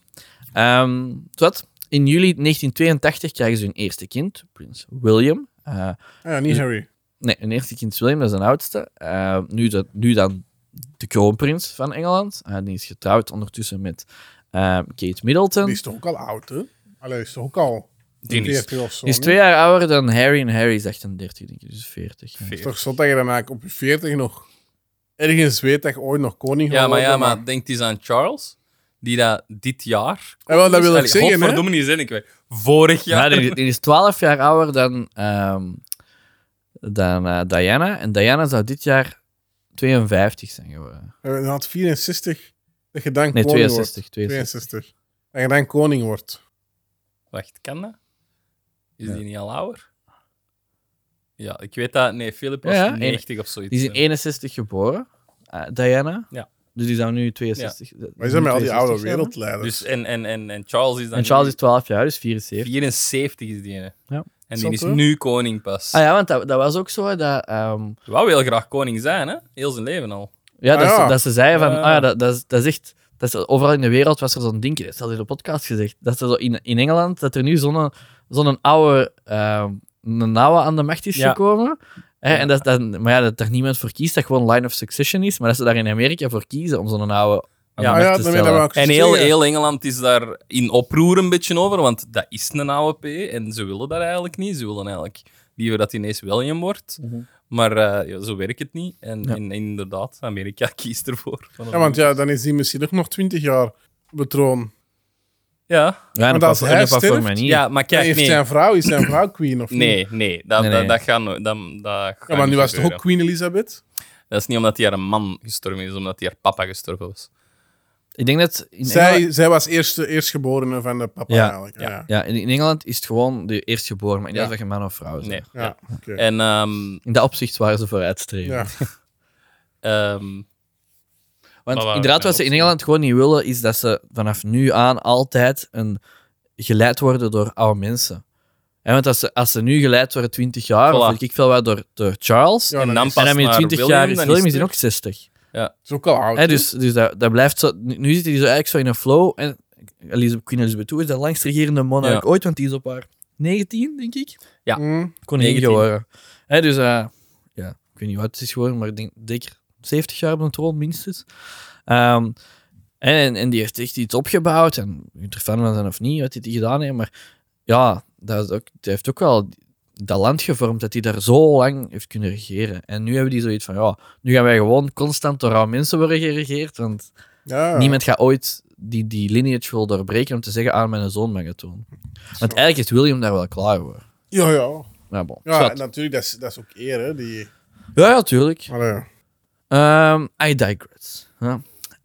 Speaker 3: Ehm, zowat, in juli 1982 krijgen ze hun eerste kind, prins William. Eh,
Speaker 2: Ah, ja, niet Harry.
Speaker 3: nee, hun eerste kind is William, dat is hun oudste. Eh, nu, dat, nu dan de kroonprins van Engeland. Eh, die is getrouwd ondertussen met eh, Kate Middleton.
Speaker 2: Die is toch ook al oud, hè? Allee, die is toch ook al...
Speaker 1: Die is-
Speaker 2: 40 of zo,
Speaker 3: Die is
Speaker 2: nee?
Speaker 3: twee jaar ouder dan Harry en Harry is 38, denk ik, dus 40. ja.
Speaker 2: Het is toch zot dat je dan eigenlijk op je 40 nog ergens weet dat je ooit nog koning
Speaker 1: Ja,
Speaker 2: gaat
Speaker 1: maar, ja,
Speaker 2: worden,
Speaker 1: maar denk eens aan Charles, die dat dit jaar...
Speaker 2: Ja, Eh, wel, Ah, dat wil ik
Speaker 1: Allee,
Speaker 2: zeggen, hè.
Speaker 1: Godverdomme, die zin ik weet. Vorig
Speaker 3: Ja,
Speaker 1: jaar.
Speaker 3: die, die is 12 jaar ouder dan, ehm, dan eh, Diana. En Diana zou dit jaar 52 zijn geworden.
Speaker 2: Eh, Dan had 64 dat je dan
Speaker 3: Nee,
Speaker 2: koning
Speaker 3: 62.
Speaker 2: wordt.
Speaker 3: 62.
Speaker 2: 62. Dat je dan koning wordt.
Speaker 1: Wacht, kan dat? Is
Speaker 3: Ja.
Speaker 1: die niet al ouder? Ja, ik weet dat. Nee, Philip was
Speaker 3: Ja, ja,
Speaker 1: 90 of zoiets.
Speaker 3: Die is in 61 geboren, eh, Diana.
Speaker 1: Ja.
Speaker 3: Dus die zou nu 62
Speaker 2: Maar is dat met al die oude
Speaker 3: 62 zijn, hè?
Speaker 2: wereldleiders? Ah
Speaker 1: Dus, en, en, en, en Charles is dan...
Speaker 3: En Charles is
Speaker 1: nu-
Speaker 3: 12 jaar, dus 74.
Speaker 1: 74 is die. hè.
Speaker 3: Ja.
Speaker 1: En
Speaker 2: Zot,
Speaker 1: die is
Speaker 2: hoor.
Speaker 1: nu koning pas.
Speaker 3: Ah ja, want dat, dat was ook zo hè, dat... ehm,
Speaker 1: Hij Wou heel graag koning zijn, hè? Heel zijn leven al.
Speaker 3: Ja,
Speaker 2: Ah,
Speaker 3: dat,
Speaker 2: ja.
Speaker 3: Ze, dat ze zeiden van,
Speaker 1: Ja.
Speaker 3: ah, ja, dat, dat, is- dat is echt... Dat is, overal in de wereld was er zo'n ding, dat is al in de podcast gezegd, dat ze zo in, in Engeland, dat er nu zo'n zo'n oude, ehm, een oude aan de macht is
Speaker 1: Ja.
Speaker 3: gekomen. Hè,
Speaker 1: Ja.
Speaker 3: En dat, dat, maar ja, dat daar niemand voor kiest, dat gewoon line of succession is, maar dat ze daar in Amerika voor kiezen om zo'n oude aan
Speaker 1: Ja.
Speaker 3: de macht
Speaker 2: Ah ja,
Speaker 3: te
Speaker 2: dat weet ik
Speaker 3: stellen.
Speaker 2: wel.
Speaker 1: En heel, heel Engeland is daar in oproer een beetje over, want dat is een AWP en ze willen dat eigenlijk niet. Ze willen eigenlijk liever dat hij ineens William wordt.
Speaker 3: Mhm.
Speaker 1: Maar eh, ja, zo werkt het niet. En,
Speaker 3: Ja.
Speaker 1: en inderdaad, Amerika *laughs* kiest ervoor. Van een-
Speaker 2: Ja, want ja, dan is hij misschien ook nog 20 jaar betroon.
Speaker 1: ja.
Speaker 3: Ja, en
Speaker 2: Want
Speaker 3: op,
Speaker 2: als
Speaker 3: wat-
Speaker 2: hij
Speaker 3: en op wat voor
Speaker 2: sterft-
Speaker 3: manier.
Speaker 1: ja, maar
Speaker 2: Heeft
Speaker 1: kijk, nee.
Speaker 2: zijn vrouw, is zijn vrouw queen of niet?
Speaker 1: Nee, nee, dat,
Speaker 3: Nee, nee.
Speaker 1: Dat, dat gaat nooit- dat, dat gaat
Speaker 2: Ja, maar nu
Speaker 1: niet
Speaker 2: was het toch
Speaker 1: gebeuren.
Speaker 2: ook Queen Elizabeth?
Speaker 1: Dat is niet omdat hij haar man gestorven is, omdat hij haar papa gestorven was.
Speaker 3: Ik denk dat in Engeland,
Speaker 2: Zij, zij was eerste, eerstgeborene van de papa
Speaker 3: Ja.
Speaker 2: eigenlijk. Ja, ja.
Speaker 3: ja, in, in Engeland is het gewoon de eerstgeboren, maar ik denk
Speaker 2: Ja.
Speaker 3: dat je man of vrouw bent.
Speaker 1: Nee.
Speaker 2: oké.
Speaker 1: En ehm,
Speaker 3: In dat opzicht waren ze vooruitstrevend.
Speaker 2: Ja.
Speaker 1: ehm,
Speaker 3: Want
Speaker 1: Maar waar-
Speaker 3: inderdaad, wat
Speaker 1: ja,
Speaker 3: ze in
Speaker 1: op-
Speaker 3: Engeland gewoon niet willen, is dat ze vanaf nu aan altijd een, geleid worden door oude mensen. En want als ze, als ze nu geleid worden 20 jaar,
Speaker 1: Voilà.
Speaker 3: of weet ik veel wat, door, door Charles,
Speaker 2: Ja,
Speaker 1: en
Speaker 2: dan
Speaker 1: dan
Speaker 2: is-
Speaker 1: pas
Speaker 3: en dan in
Speaker 1: naar
Speaker 3: 20
Speaker 1: William,
Speaker 3: jaar is
Speaker 1: dan
Speaker 3: William is
Speaker 1: het
Speaker 3: in ook 60.
Speaker 2: is ook al oud.
Speaker 3: Hè, dus dus dat, dat blijft zo, nu nu zit hij zo eigenlijk zo in een flow. En Elizabeth, Queen Elizabeth II is de langst regerende monarch
Speaker 1: Ja.
Speaker 3: ooit, want die is op haar 19, denk ik.
Speaker 1: ja.
Speaker 2: Mm.
Speaker 3: Koningin
Speaker 1: 19.
Speaker 3: geworden. Hè, dus eh, ja, ik weet niet wat het is geworden, maar ik denk zeker 70 jaar op de troon minstens. Ehm, en, en die heeft echt iets opgebouwd. En je kunt er fan van zijn of niet, wat hij die gedaan heeft. Maar ja, dat, is ook, dat heeft ook wel dat land gevormd dat hij daar zo lang heeft kunnen regeren. En nu hebben die zoiets van, ja, nu gaan wij gewoon constant door oude mensen worden geregeerd. Want
Speaker 2: Ja.
Speaker 3: niemand gaat ooit die, die lineage wil doorbreken om te zeggen, aan mijn zoon mag het doen. Want eigenlijk is William daar wel klaar voor.
Speaker 2: Ja, ja.
Speaker 3: Maar bon,
Speaker 2: Ja,
Speaker 3: zwart.
Speaker 2: en natuurlijk, dat is, dat is ook eer, hè. Die...
Speaker 3: Ja, ja, tuurlijk.
Speaker 1: Ah,
Speaker 2: Allee.
Speaker 3: Ehm, I digress. Ja.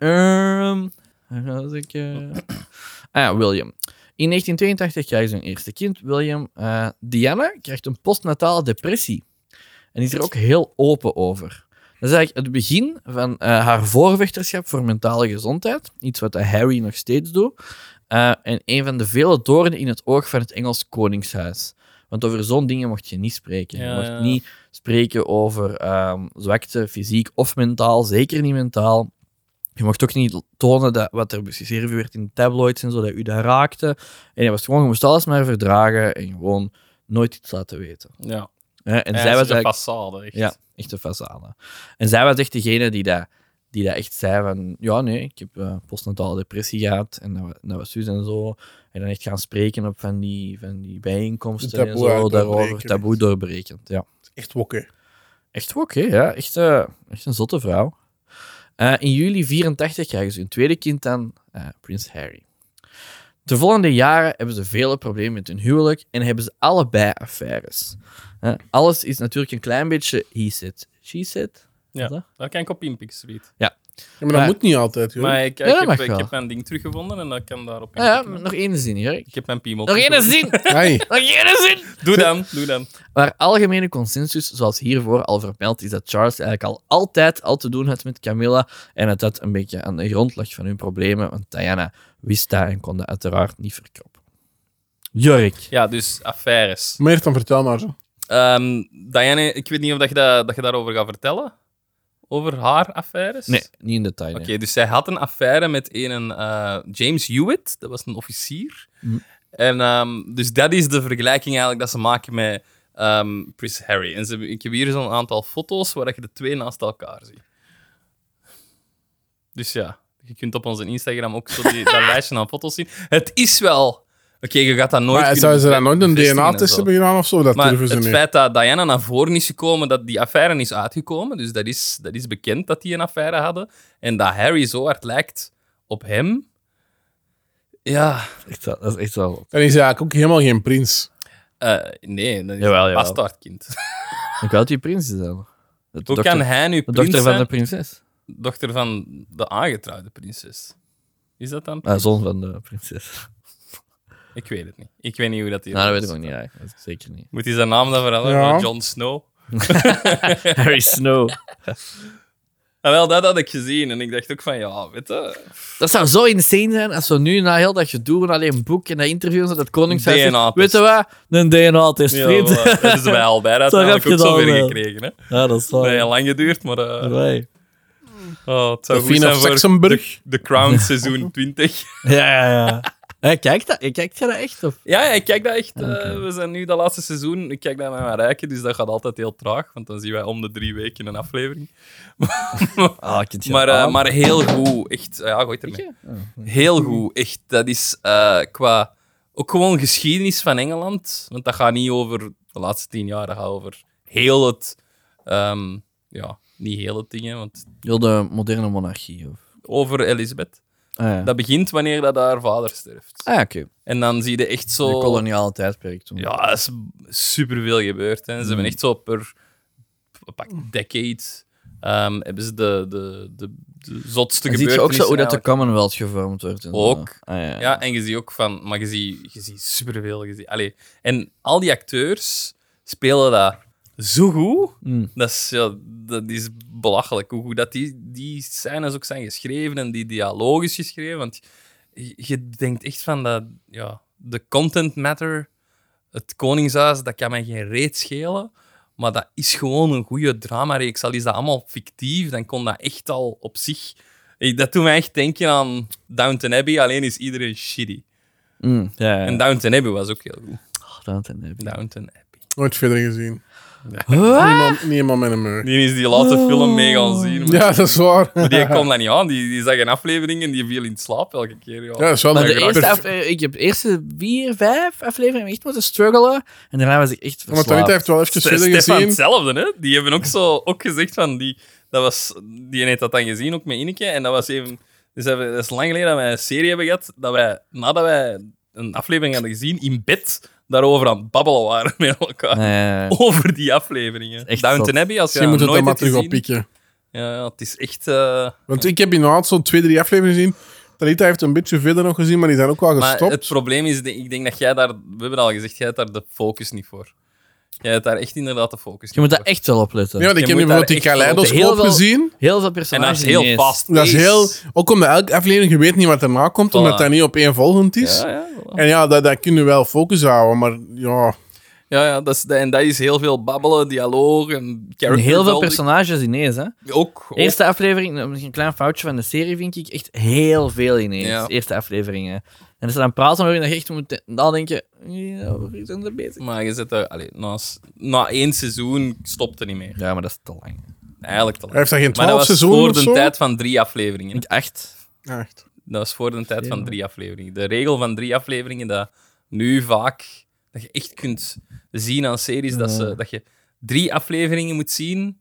Speaker 3: Ehm, waar was ik... eh? Ah ja, William. In 1982 krijgt ze hun eerste kind, William. Eh, Diana krijgt een postnatale depressie. En is er ook heel open over. Dat is eigenlijk het begin van eh, haar voorvechterschap voor mentale gezondheid. Iets wat de Harry nog steeds doet. Eh, en een van de vele doornen in het oog van het Engels Koningshuis. Want over zo'n dingen mocht je niet spreken. je
Speaker 1: Ja,
Speaker 3: mocht
Speaker 1: ja.
Speaker 3: niet spreken over ehm, zwakte, fysiek of mentaal. Zeker niet mentaal. Je mocht ook niet tonen dat wat er beschreven werd in de tabloids en zo, dat u dat raakte. En je, was gewoon, je moest alles maar verdragen en gewoon nooit iets laten weten.
Speaker 1: Ja.
Speaker 3: Hè, En
Speaker 1: En
Speaker 3: zij was
Speaker 1: een
Speaker 3: eigenlijk-
Speaker 1: façade, echt.
Speaker 3: ja, echt een façade. En zij was echt degene die dat, die dat echt zei van... Ja, nee, ik heb eh, postnatale depressie gehad. En dat, wa- dat was dus en zo. En dan echt gaan spreken op van die, van die bijeenkomsten
Speaker 2: Taboe
Speaker 3: en zo. Daarover
Speaker 2: doorbrekend.
Speaker 3: taboe doorbrekend, ja.
Speaker 2: Echt wokken.
Speaker 3: Echt wel oké, ja. Echt, eh, echt een zotte vrouw. Eh, in juli 84 krijgen ze hun tweede kind aan, eh, Prins Harry. De volgende jaren hebben ze vele problemen met hun huwelijk en hebben ze allebei affaires. Eh, alles is natuurlijk een klein beetje he said, she said.
Speaker 1: Ja.
Speaker 3: Is dat?
Speaker 1: Daar kan ik op inpikken,
Speaker 2: Ja, maar dat
Speaker 3: Maar-
Speaker 2: moet niet altijd, joh.
Speaker 1: Maar ik,
Speaker 3: Ja,
Speaker 1: ik
Speaker 3: dat mag
Speaker 1: heb, ik
Speaker 3: wel.
Speaker 1: heb mijn ding teruggevonden en dat kan daarop
Speaker 3: Ah ja,
Speaker 1: inpikken.
Speaker 3: nog één zin, Jurk.
Speaker 1: Ik heb mijn piemel
Speaker 3: Nog één
Speaker 1: teruggevonden.
Speaker 3: zin!
Speaker 2: Ai.
Speaker 3: Nog één zin!
Speaker 1: Doe dan, doe dan.
Speaker 3: Waar algemene consensus, zoals hiervoor al vermeld, is dat Charles eigenlijk al altijd al te doen had met Camilla en dat dat een beetje aan de grond lag van hun problemen, want Diana wist dat en kon dat uiteraard niet verkroppen. Jurk.
Speaker 1: Ja, dus affaires.
Speaker 2: Meer dan vertel maar zo.
Speaker 1: Ehm Diane, ik weet niet of dat je, dat, dat je daarover gaat vertellen. over haar affaires?
Speaker 3: Nee, niet in detail.
Speaker 1: Oké,
Speaker 3: nee.
Speaker 1: dus zij had een affaire met een eh, James Hewitt, dat was een officier.
Speaker 3: Mhm.
Speaker 1: En, ehm, dus dat is de vergelijking eigenlijk dat ze maken met ehm Prins Harry. En ze, ik heb hier zo'n aantal foto's waar je de twee naast elkaar ziet. Dus ja, je kunt op onze Instagram ook zo
Speaker 2: *laughs*
Speaker 1: die, dat lijstje aan foto's zien. Het is wel... Oké, je gaat dat nooit
Speaker 2: Maar
Speaker 1: kunnen
Speaker 2: zouden ze daar nooit een
Speaker 1: bevestigen en
Speaker 2: DNA-test
Speaker 1: zo.
Speaker 2: hebben gedaan of zo? Dat
Speaker 1: Maar
Speaker 2: durven ze
Speaker 1: het
Speaker 2: niet.
Speaker 1: feit dat Diana naar voren is gekomen, dat die affaire is uitgekomen, dus dat is, dat is bekend dat die een affaire hadden. En dat Harry zo hard lijkt op hem. Ja,
Speaker 3: Echt wel- dat is echt wel.
Speaker 2: Dan is hij eigenlijk ook helemaal geen prins.
Speaker 1: eh, nee, dat is
Speaker 3: Jawel,
Speaker 1: een
Speaker 3: jawel. *laughs*
Speaker 1: bastaardkind.
Speaker 3: Ik wel die prins is dan. De
Speaker 1: Hoe
Speaker 3: dochter-
Speaker 1: kan hij nu
Speaker 3: de
Speaker 1: prins
Speaker 3: dochter van
Speaker 1: zijn?
Speaker 3: de prinses.
Speaker 1: dochter van de aangetrouwde prinses? Is dat dan?
Speaker 3: Ah, zoon van de prinses.
Speaker 1: Ik weet het niet. Ik weet niet hoe dat hier
Speaker 3: Nou, dat
Speaker 1: was.
Speaker 3: weet ik ook niet eigenlijk. Dat is zeker niet.
Speaker 1: Moet hij zijn naam dan veranderen
Speaker 2: Ja.
Speaker 1: naar Jon Snow?
Speaker 3: Harry Snow.
Speaker 1: Ah, wel, dat had ik gezien. En ik dacht ook van, ja, weet je...
Speaker 3: Dat zou zo insane zijn als we nu na heel dat gedoe en alleen boek en dat interview en zo, dat koningshuis... zegt,
Speaker 1: DNA-test.
Speaker 3: Weet je wat? Een DNA-test,
Speaker 1: Ja,
Speaker 3: vriend.
Speaker 1: voilà. dat is bij Albert
Speaker 3: heb
Speaker 1: uiteindelijk
Speaker 3: je
Speaker 1: ook zo
Speaker 3: dan,
Speaker 1: weer
Speaker 3: eh,
Speaker 1: gekregen. Hè?
Speaker 3: *laughs* Ja, dat is
Speaker 1: Dat
Speaker 3: wel...
Speaker 1: heeft lang geduurd, maar... eh,
Speaker 3: Amai.
Speaker 1: Oh, het zou goed
Speaker 2: Sophie
Speaker 1: zijn
Speaker 2: of
Speaker 1: voor
Speaker 2: Saxenburg.
Speaker 1: The Crown seizoen 20.
Speaker 3: Ja, ja, ja. Hé, kijk, dat, kijk jij dat nou echt? Of?
Speaker 1: *laughs* Ja, ja, ik kijk dat echt. eh,
Speaker 3: Oké.
Speaker 1: we zijn nu dat laatste seizoen. Ik kijk dat met mijn rijken, dus dat gaat altijd heel traag. Want dan zien wij om de drie weken een aflevering. *laughs*
Speaker 3: Ah, ik het
Speaker 1: Maar, eh, maar heel goed. Echt, Ah ja, gooi het ermee. Heel goed. Echt, dat is eh, qua... Ook gewoon geschiedenis van Engeland. Want dat gaat niet over de laatste tien jaar. Dat gaat over heel het... ehm, ja, niet heel het ding, hè, want...
Speaker 3: de moderne monarchie. Of?
Speaker 1: Over Elisabeth.
Speaker 3: Ah, ja.
Speaker 1: Dat begint wanneer dat haar vader sterft.
Speaker 3: Ah, ja, oké.
Speaker 1: En dan zie je echt
Speaker 3: De
Speaker 1: zo...
Speaker 3: koloniale tijdperk toen.
Speaker 1: Ja, er is superveel gebeurd. Hè. Ze
Speaker 3: Mm.
Speaker 1: hebben echt zo per pak, decade ehm, hebben ze de, de, de, de zotste
Speaker 3: Dan zie je
Speaker 1: gebeurtenissen.
Speaker 3: ook zo hoe dat de
Speaker 1: eigenlijk.
Speaker 3: Commonwealth gevormd wordt. En zo.
Speaker 1: Ook.
Speaker 3: Ah, ja.
Speaker 1: Ja, en je ziet ook van... Maar je ziet, je ziet superveel. Je ziet, allee, en al die acteurs spelen dat zo goed.
Speaker 3: Mm.
Speaker 1: Dat is, ja, dat is belachelijk. Hoe goed dat die, die scènes ook zijn geschreven en die dialoog is geschreven. Want je, je denkt echt van dat, ja, de content matter, het Koningshuis, dat kan mij geen reet schelen. Maar dat is gewoon een goede dramareeks. Al is dat allemaal fictief, dan kon dat echt al op zich. Ik- Dat doet mij echt denken aan Downton Abbey, alleen is iedereen shitty.
Speaker 3: Mm, ja, ja.
Speaker 1: En Downton Abbey was ook heel goed.
Speaker 3: Oh, Downton Abbey.
Speaker 1: Downton Abbey.
Speaker 2: Nooit verder gezien.
Speaker 3: Huh?
Speaker 2: Niemand, niemand met een mur.
Speaker 1: Die is die laatste film mee gaan zien. maar-
Speaker 2: Ja, dat is waar.
Speaker 1: Maar die kon dat niet aan. Die, die zag een aflevering en die viel in slaap elke keer. Ja.
Speaker 2: Ja, dat is wel
Speaker 3: Maar
Speaker 2: een
Speaker 3: de eerste
Speaker 2: grap.
Speaker 3: af- eh, ik heb de eerste vier, vijf afleveringen echt moeten struggelen. En daarna was ik echt
Speaker 2: Maar Tonita
Speaker 3: verslaafd.
Speaker 2: heeft wel even
Speaker 1: Ste-
Speaker 2: verder
Speaker 1: Stefan
Speaker 2: gezien.
Speaker 1: hetzelfde, hè? Die hebben ook zo ook gezegd van die. Dat was, die heeft dat dan gezien, ook met Ineke. En dat was even. Dus dat we- dat is lang geleden dat wij een serie hebben gehad. Dat wij, nadat wij een aflevering hadden gezien, in bed daarover aan het babbelen waren *laughs* met elkaar.
Speaker 3: Nee.
Speaker 1: *laughs* Over die afleveringen.
Speaker 3: Echt
Speaker 1: Downton
Speaker 3: zot.
Speaker 1: Abbey, als je
Speaker 2: Je
Speaker 1: dat
Speaker 2: moet het
Speaker 1: nooit
Speaker 2: dan maar
Speaker 1: hebt
Speaker 2: terug
Speaker 1: gezien.
Speaker 2: oppikken.
Speaker 1: Ja, ja, het is echt. eh,
Speaker 2: Want ik heb inderdaad zo'n twee, drie afleveringen gezien. Talita heeft een beetje verder nog gezien, maar die zijn ook wel
Speaker 1: Maar
Speaker 2: gestopt.
Speaker 1: het probleem is, ik denk dat jij daar, we hebben het al gezegd, jij hebt daar de focus niet voor. Jij hebt daar echt inderdaad de focus
Speaker 3: Je
Speaker 1: niet
Speaker 3: moet daar
Speaker 1: voor.
Speaker 3: echt wel op letten.
Speaker 2: ja, want ik
Speaker 1: je
Speaker 2: heb nu
Speaker 1: moet daar
Speaker 2: bijvoorbeeld die
Speaker 1: echt-
Speaker 2: kaleidoscoop
Speaker 3: heel veel-
Speaker 2: gezien.
Speaker 3: Heel veel
Speaker 1: En dat is
Speaker 3: personages.
Speaker 1: heel
Speaker 3: ineens.
Speaker 1: vast.
Speaker 2: Dat is heel... Ook omdat elke aflevering, je weet niet wat erna komt, omdat dat niet op één volgend is.
Speaker 1: Ja, ja, voilà.
Speaker 2: En ja, dat, dat kun je wel focus houden, maar ja...
Speaker 1: ja, ja dat is, en dat is heel veel babbelen, dialoog en
Speaker 3: En
Speaker 1: character
Speaker 3: heel veel
Speaker 1: building.
Speaker 3: personages ineens, hè?
Speaker 1: Ook, ook.
Speaker 3: Eerste aflevering, eh, misschien een klein foutje van de serie, vind ik echt heel veel ineens.
Speaker 1: Ja.
Speaker 3: Eerste afleveringen. En als ze dan praten, waarin je echt moet nadenken. Ja, waar zijn ze bezig?
Speaker 1: Maar je zit er, allee, na, s- na één seizoen stopte niet meer.
Speaker 3: Ja, maar dat is te lang.
Speaker 1: Eigenlijk te lang.
Speaker 2: Hij heeft daar geen
Speaker 1: Maar dat
Speaker 2: 12
Speaker 1: was
Speaker 2: seizoenen
Speaker 1: voor
Speaker 2: of
Speaker 1: de
Speaker 2: zo?
Speaker 1: tijd van drie afleveringen.
Speaker 3: Ik echt.
Speaker 2: Ja, echt.
Speaker 1: Dat was voor de tijd van drie afleveringen. De regel van drie afleveringen, dat nu vaak... Dat je echt kunt zien aan series, dat, ze, dat je drie afleveringen moet zien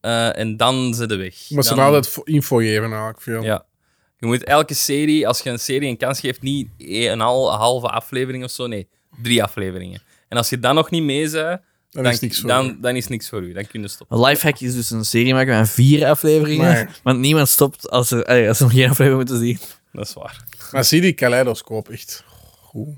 Speaker 1: eh, en dan ze de weg.
Speaker 2: Maar ze
Speaker 1: Dan-
Speaker 2: hadden het fo- info geven eigenlijk veel.
Speaker 1: Ja. Je moet elke serie, als je een serie een kans geeft, niet een, hal- een halve aflevering of zo. Nee, drie afleveringen. En als je dan nog niet mee bent,
Speaker 2: Dan is niks voor
Speaker 1: dan,
Speaker 2: u.
Speaker 1: dan is niks voor u. Dan kun je stoppen.
Speaker 3: Een lifehack is dus een serie maken van vier afleveringen.
Speaker 2: Nee.
Speaker 3: *laughs* Want niemand stopt als ze, eh, als ze nog geen aflevering moeten zien.
Speaker 1: Dat is waar.
Speaker 2: Maar zie die kaleidoscoop, echt. Goed.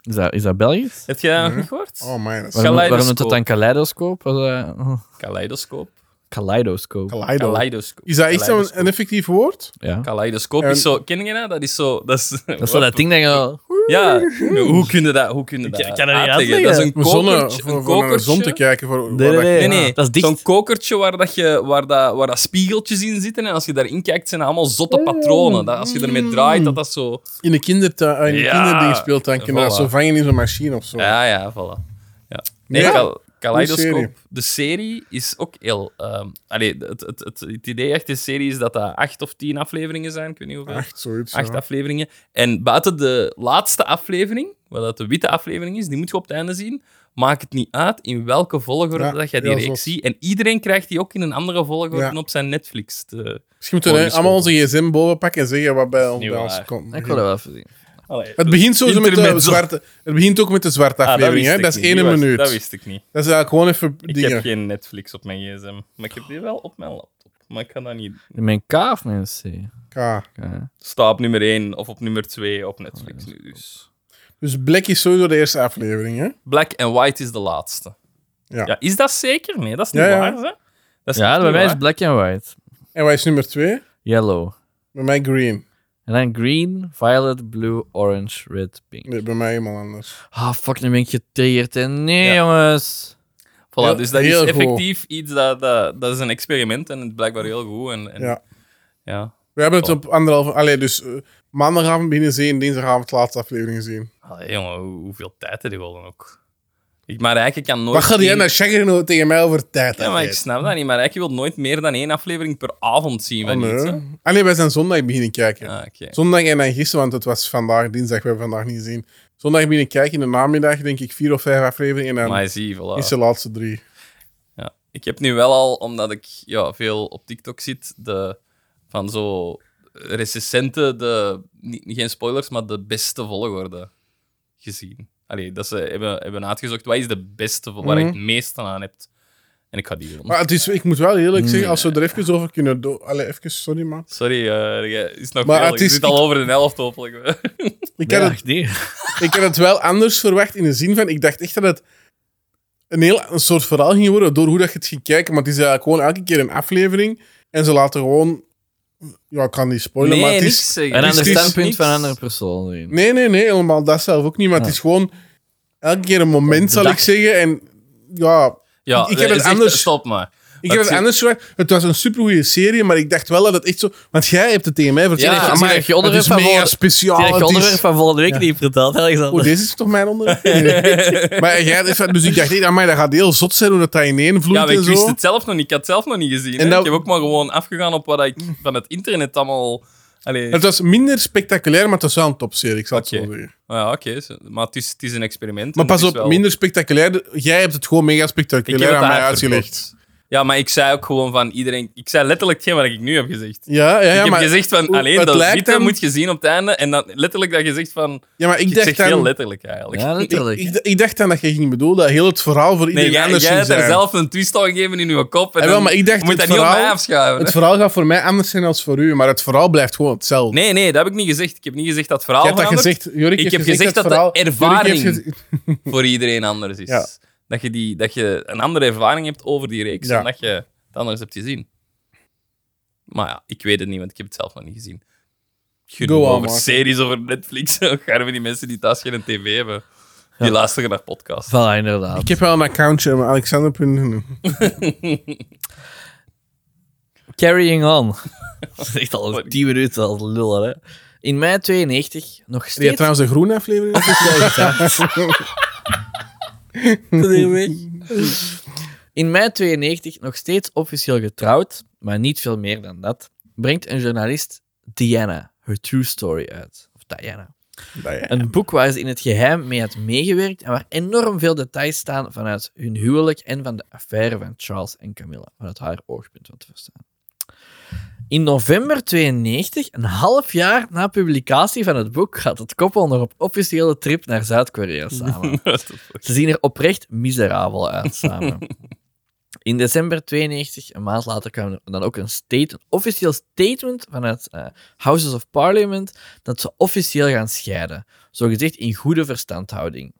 Speaker 3: Is dat, is dat Belgisch?
Speaker 1: Heb jij dat nog niet gehoord?
Speaker 2: Oh man, dat is
Speaker 3: Waarom,
Speaker 1: Kaleidoscoop.
Speaker 3: waarom noemt dat dan kaleidoscoop? Was dat- oh,
Speaker 1: Kaleidoscoop.
Speaker 3: kaleidoscoop.
Speaker 2: kaleido.
Speaker 1: Kaleidoscoop.
Speaker 2: Is dat echt zo'n
Speaker 1: Kaleidoscoop.
Speaker 2: een effectief woord?
Speaker 3: Ja.
Speaker 1: Kaleidoscoop
Speaker 2: En-
Speaker 1: is zo... Ken je dat? Dat is zo... Dat is,
Speaker 3: Dat is wel dat ding dat je...
Speaker 1: Ja, hoe kun je dat, hoe kun je dat
Speaker 3: Ik- ik kan dat niet
Speaker 1: uitleggen?
Speaker 3: uitleggen.
Speaker 1: Dat is een
Speaker 2: Voor zonne,
Speaker 1: kokertje.
Speaker 2: voor,
Speaker 1: Een
Speaker 2: voor naar de zon te
Speaker 1: kokertje.
Speaker 2: kijken. Voor,
Speaker 3: Nee,
Speaker 2: waar
Speaker 3: nee,
Speaker 1: Nee,
Speaker 2: dat-
Speaker 1: nee.
Speaker 3: Ja, dat is dicht.
Speaker 1: Zo'n kokertje waar, dat je, waar, dat, waar dat spiegeltjes in zitten. En als je daarin kijkt, zijn dat allemaal zotte
Speaker 2: Oh.
Speaker 1: patronen. Dat, als je ermee draait, dat dat zo...
Speaker 2: In de kindertuin, in de
Speaker 1: Ja,
Speaker 2: kinderding speelt, dan kun je dat
Speaker 1: voilà.
Speaker 2: zo vangen in zo'n machine of zo.
Speaker 1: Ja, ja, voilà. Ja. Nee,
Speaker 2: Ja,
Speaker 1: Kal- Kaleidoscope,
Speaker 2: serie.
Speaker 1: de serie is ook heel... ehm, allee, het, het, het, het idee achter de serie is dat dat acht of tien afleveringen zijn. Ik weet niet hoeveel.
Speaker 2: Acht, zoiets.
Speaker 1: acht
Speaker 2: ja.
Speaker 1: afleveringen. En buiten de laatste aflevering, wat dat de witte aflevering is, die moet je op het einde zien. Maakt het niet uit in welke volgorde
Speaker 2: Ja,
Speaker 1: dat jij die
Speaker 2: heel zot.
Speaker 1: reeks ziet. En iedereen krijgt die ook in een andere volgorde
Speaker 2: Ja.
Speaker 1: op zijn Netflix. te-
Speaker 2: Misschien moeten we
Speaker 1: Gewoon
Speaker 2: eh, allemaal onze gsm boven pakken en zeggen wat bij ons
Speaker 1: niet
Speaker 2: bij
Speaker 1: waar.
Speaker 2: ons komt.
Speaker 3: Ik wil dat wel even zien.
Speaker 2: Het begint sowieso met de
Speaker 1: Intermezzo.
Speaker 2: zwarte... Het begint ook met de zwarte
Speaker 1: Ah, dat
Speaker 2: aflevering,
Speaker 1: wist
Speaker 2: hè.
Speaker 1: ik
Speaker 2: Dat is
Speaker 1: niet.
Speaker 2: één
Speaker 1: Die was-
Speaker 2: minuut.
Speaker 1: Dat wist ik niet.
Speaker 2: Dat is eigenlijk gewoon even
Speaker 1: Ik
Speaker 2: dingen.
Speaker 1: heb geen Netflix op mijn gsm. Maar ik heb die wel op mijn laptop. Maar ik kan dat niet...
Speaker 3: Mijn K of mijn C?
Speaker 2: K.
Speaker 3: K, hè.
Speaker 1: Sta op nummer 1 of op nummer 2 op
Speaker 2: Oh,
Speaker 1: Netflix nu dus.
Speaker 2: Dus Black is sowieso de eerste aflevering, hè.
Speaker 1: Black and White is de laatste.
Speaker 2: Ja.
Speaker 1: is dat zeker? Nee, dat is niet
Speaker 2: Ja, ja.
Speaker 1: waar. Hè? Dat is
Speaker 3: Ja,
Speaker 1: echt
Speaker 3: bij
Speaker 1: niet
Speaker 3: mij is
Speaker 1: waar.
Speaker 3: black and white.
Speaker 2: En wat is nummer twee?
Speaker 3: Yellow.
Speaker 2: Bij mij green.
Speaker 3: En dan green, violet, blue, orange, red, pink.
Speaker 2: Nee, bij mij helemaal anders.
Speaker 3: Ah, fuck, nu ben ik getriggerd. hè. Nee,
Speaker 1: Ja.
Speaker 3: jongens.
Speaker 1: Voilà,
Speaker 2: Heel-
Speaker 1: dus dat
Speaker 2: heel
Speaker 1: is
Speaker 2: goed.
Speaker 1: effectief iets dat, dat... Dat is een experiment en het is blijkbaar heel goed. En, en-
Speaker 2: Ja.
Speaker 1: ja.
Speaker 2: We hebben het
Speaker 1: Oh.
Speaker 2: op anderhalve... Allee, dus eh, maandagavond beginnen zien, dinsdagavond de laatste aflevering zien.
Speaker 1: Allee, jongen, hoe- hoeveel tijd hebben die wel dan ook? Ik, maar eigenlijk kan nooit...
Speaker 2: Wat gaat jij
Speaker 1: één-
Speaker 2: naar Shaggy tegen mij over tijd?
Speaker 1: Ja, maar ik
Speaker 2: afgeven?
Speaker 1: snap dat niet. Maar eigenlijk wil nooit meer dan één aflevering per avond zien van
Speaker 2: Oh,
Speaker 1: iets.
Speaker 2: nee.
Speaker 1: hè.
Speaker 2: Allee, wij zijn zondag beginnen kijken.
Speaker 1: Ah, oké.
Speaker 2: Zondag en dan gisteren, want het was vandaag dinsdag, we hebben vandaag niet gezien. Zondag beginnen kijken, in de namiddag denk ik vier of vijf afleveringen en dan
Speaker 1: Maar zie, voilà.
Speaker 2: is de laatste drie.
Speaker 1: Ja. Ik heb nu wel al, omdat ik ja, veel op TikTok zit, de, van zo recensenten, de, niet, geen spoilers, maar de beste volgorde gezien. Allee, dat ze hebben, hebben uitgezocht, wat is de beste, vol- waar ik het meeste aan heb. En ik ga die doen.
Speaker 2: Mhm. Maar het is, ik moet wel eerlijk zeggen, als we er even over kunnen... do- Allee, even, sorry man.
Speaker 1: Sorry, eh, jij- is nog
Speaker 2: Maar
Speaker 1: veel.
Speaker 2: het
Speaker 1: Je
Speaker 2: is-
Speaker 1: zit al over de helft, hopelijk.
Speaker 2: Ik had, het,
Speaker 3: nee.
Speaker 2: *laughs* ik had het wel anders verwacht in de zin van, ik dacht echt dat het een heel een soort verhaal ging worden door hoe dat je het ging kijken, maar het is eigenlijk gewoon elke keer een aflevering en ze laten gewoon... Ja, ik kan niet spoilen, maar het is...
Speaker 1: zeggen.
Speaker 3: En
Speaker 2: Het
Speaker 3: aan
Speaker 2: is
Speaker 3: de
Speaker 2: dus niks.
Speaker 3: standpunt van een andere persoon. zien.
Speaker 2: Nee, nee, nee, helemaal dat zelf ook niet. Maar het is gewoon elke keer een moment, zal
Speaker 3: dag.
Speaker 2: ik zeggen. En ja,
Speaker 1: Ja,
Speaker 2: Ik heb het
Speaker 1: zeg,
Speaker 2: anders-
Speaker 1: Stop maar.
Speaker 2: ik heb het
Speaker 1: zie-
Speaker 2: anders verwacht. Het was een supergoeie serie, maar ik dacht wel dat het echt zo... Want jij hebt het tegen mij verteld.
Speaker 1: Ja,
Speaker 2: Ik
Speaker 1: ja,
Speaker 2: dacht,
Speaker 3: maar
Speaker 2: amai,
Speaker 3: je onderwerp
Speaker 2: het is
Speaker 3: van
Speaker 2: mega
Speaker 3: voor-
Speaker 2: speciaal.
Speaker 3: het
Speaker 2: het is-
Speaker 3: onderwerp van volgende week niet verteld,
Speaker 2: Oh,
Speaker 3: Alexander.
Speaker 2: deze is toch mijn onderwerp?
Speaker 1: *laughs*
Speaker 2: *laughs* Nee. maar jij had echt- dus ik dacht, hey, amai, dat gaat heel zot zijn hoe dat, dat ineenvloeit
Speaker 1: Ja, maar
Speaker 2: en
Speaker 1: ik wist
Speaker 2: zo.
Speaker 1: het zelf nog niet. Ik had het zelf nog niet gezien.
Speaker 2: En nou-
Speaker 1: hè.
Speaker 2: dat-
Speaker 1: Ik heb ook maar gewoon afgegaan op wat ik van het internet allemaal... Allee,
Speaker 2: Het was minder spectaculair, maar het was wel een topserie, ik zal het
Speaker 1: Oké.
Speaker 2: zo zeggen.
Speaker 1: Ah ja, oké. zo- Maar het is, het is een experiment.
Speaker 2: Maar
Speaker 1: en het
Speaker 2: pas
Speaker 1: is
Speaker 2: op,
Speaker 1: wel-
Speaker 2: minder spectaculair. Jij hebt het gewoon mega
Speaker 1: Ik heb
Speaker 2: spectaculair
Speaker 1: het
Speaker 2: aan mij
Speaker 1: haar
Speaker 2: uitgelegd.
Speaker 1: verkocht. Ja, maar ik zei ook gewoon van iedereen... Ik zei letterlijk hetgeen wat ik nu heb gezegd.
Speaker 2: Ja, ja, ja,
Speaker 1: ik heb
Speaker 2: maar,
Speaker 1: gezegd van,
Speaker 2: hoe-
Speaker 1: alleen
Speaker 2: het
Speaker 1: dat
Speaker 2: lijkt
Speaker 1: witte
Speaker 2: hem-
Speaker 1: moet je zien op het einde. En dan letterlijk dat je zegt van...
Speaker 2: ja, maar ik
Speaker 1: Ik
Speaker 2: dacht
Speaker 1: zeg
Speaker 2: dan...
Speaker 1: heel letterlijk eigenlijk.
Speaker 3: Ja, letterlijk.
Speaker 2: Ik, ik dacht dan dat je ging bedoelen dat heel het verhaal voor
Speaker 1: nee,
Speaker 2: iedereen
Speaker 1: jij,
Speaker 2: anders
Speaker 1: jij
Speaker 2: ging
Speaker 1: hebt er
Speaker 2: zijn.
Speaker 1: zelf een twist aan gegeven in je kop. En
Speaker 2: Ah, wel,
Speaker 1: dan
Speaker 2: maar ik dacht,
Speaker 1: moet
Speaker 2: het
Speaker 1: dat niet op
Speaker 2: verhaal-
Speaker 1: mij afschuiven. hè.
Speaker 2: Het verhaal gaat voor mij anders zijn dan voor u, maar het verhaal blijft gewoon hetzelfde.
Speaker 1: Nee, nee, dat heb ik niet gezegd. Ik heb niet gezegd dat het
Speaker 2: je
Speaker 1: verhaal
Speaker 2: hebt dat
Speaker 1: verandert.
Speaker 2: gezegd, Jorik.
Speaker 1: Ik
Speaker 2: heeft
Speaker 1: heb gezegd
Speaker 2: het
Speaker 1: dat de
Speaker 2: verhaal- Jorik heeft
Speaker 1: ervaring-
Speaker 2: gezegd-
Speaker 1: voor iedereen anders is.
Speaker 2: Ja.
Speaker 1: Dat, je die, dat je een andere ervaring hebt over die reeks
Speaker 2: Ja.
Speaker 1: dan dat je het anders hebt gezien. Maar ja, ik weet het niet, want ik heb het zelf nog niet gezien. Genoeg
Speaker 2: Go on,
Speaker 1: over
Speaker 2: Mark.
Speaker 1: series, over Netflix. *laughs* Gaan we die mensen die thuis geen tv hebben, die luisteren naar
Speaker 3: *laughs*
Speaker 1: podcasts.
Speaker 3: Voilà, inderdaad.
Speaker 2: Ik heb wel eh, een accountje, maar Alexander...
Speaker 3: Carrying
Speaker 2: *laughs*
Speaker 3: on. Dat is echt al 10 minuten als lullen, hè. In mei 92 nog
Speaker 2: Die had
Speaker 3: steeds...
Speaker 2: trouwens een groene aflevering. of is *laughs* dat-
Speaker 3: In mei 92 nog steeds officieel getrouwd, maar niet veel meer dan dat, brengt een journalist Diana Her True Story uit. Of Diana.
Speaker 2: Nee.
Speaker 3: Een boek waar ze in het geheim mee had meegewerkt en waar enorm veel details staan vanuit hun huwelijk en van de affaire van Charles en Camilla, vanuit haar oogpunt van te verstaan. In november 92, een half jaar na publicatie van het boek, gaat het koppel nog op officiële trip naar Zuid-Korea samen.
Speaker 1: What the fuck?
Speaker 3: Ze zien er oprecht miserabel uit
Speaker 1: *laughs*
Speaker 3: samen. In december 92, een maand later, kwam er dan ook een, state, een officieel statement vanuit eh, Houses of Parliament dat ze officieel gaan scheiden. Zogezegd in goede verstandhouding.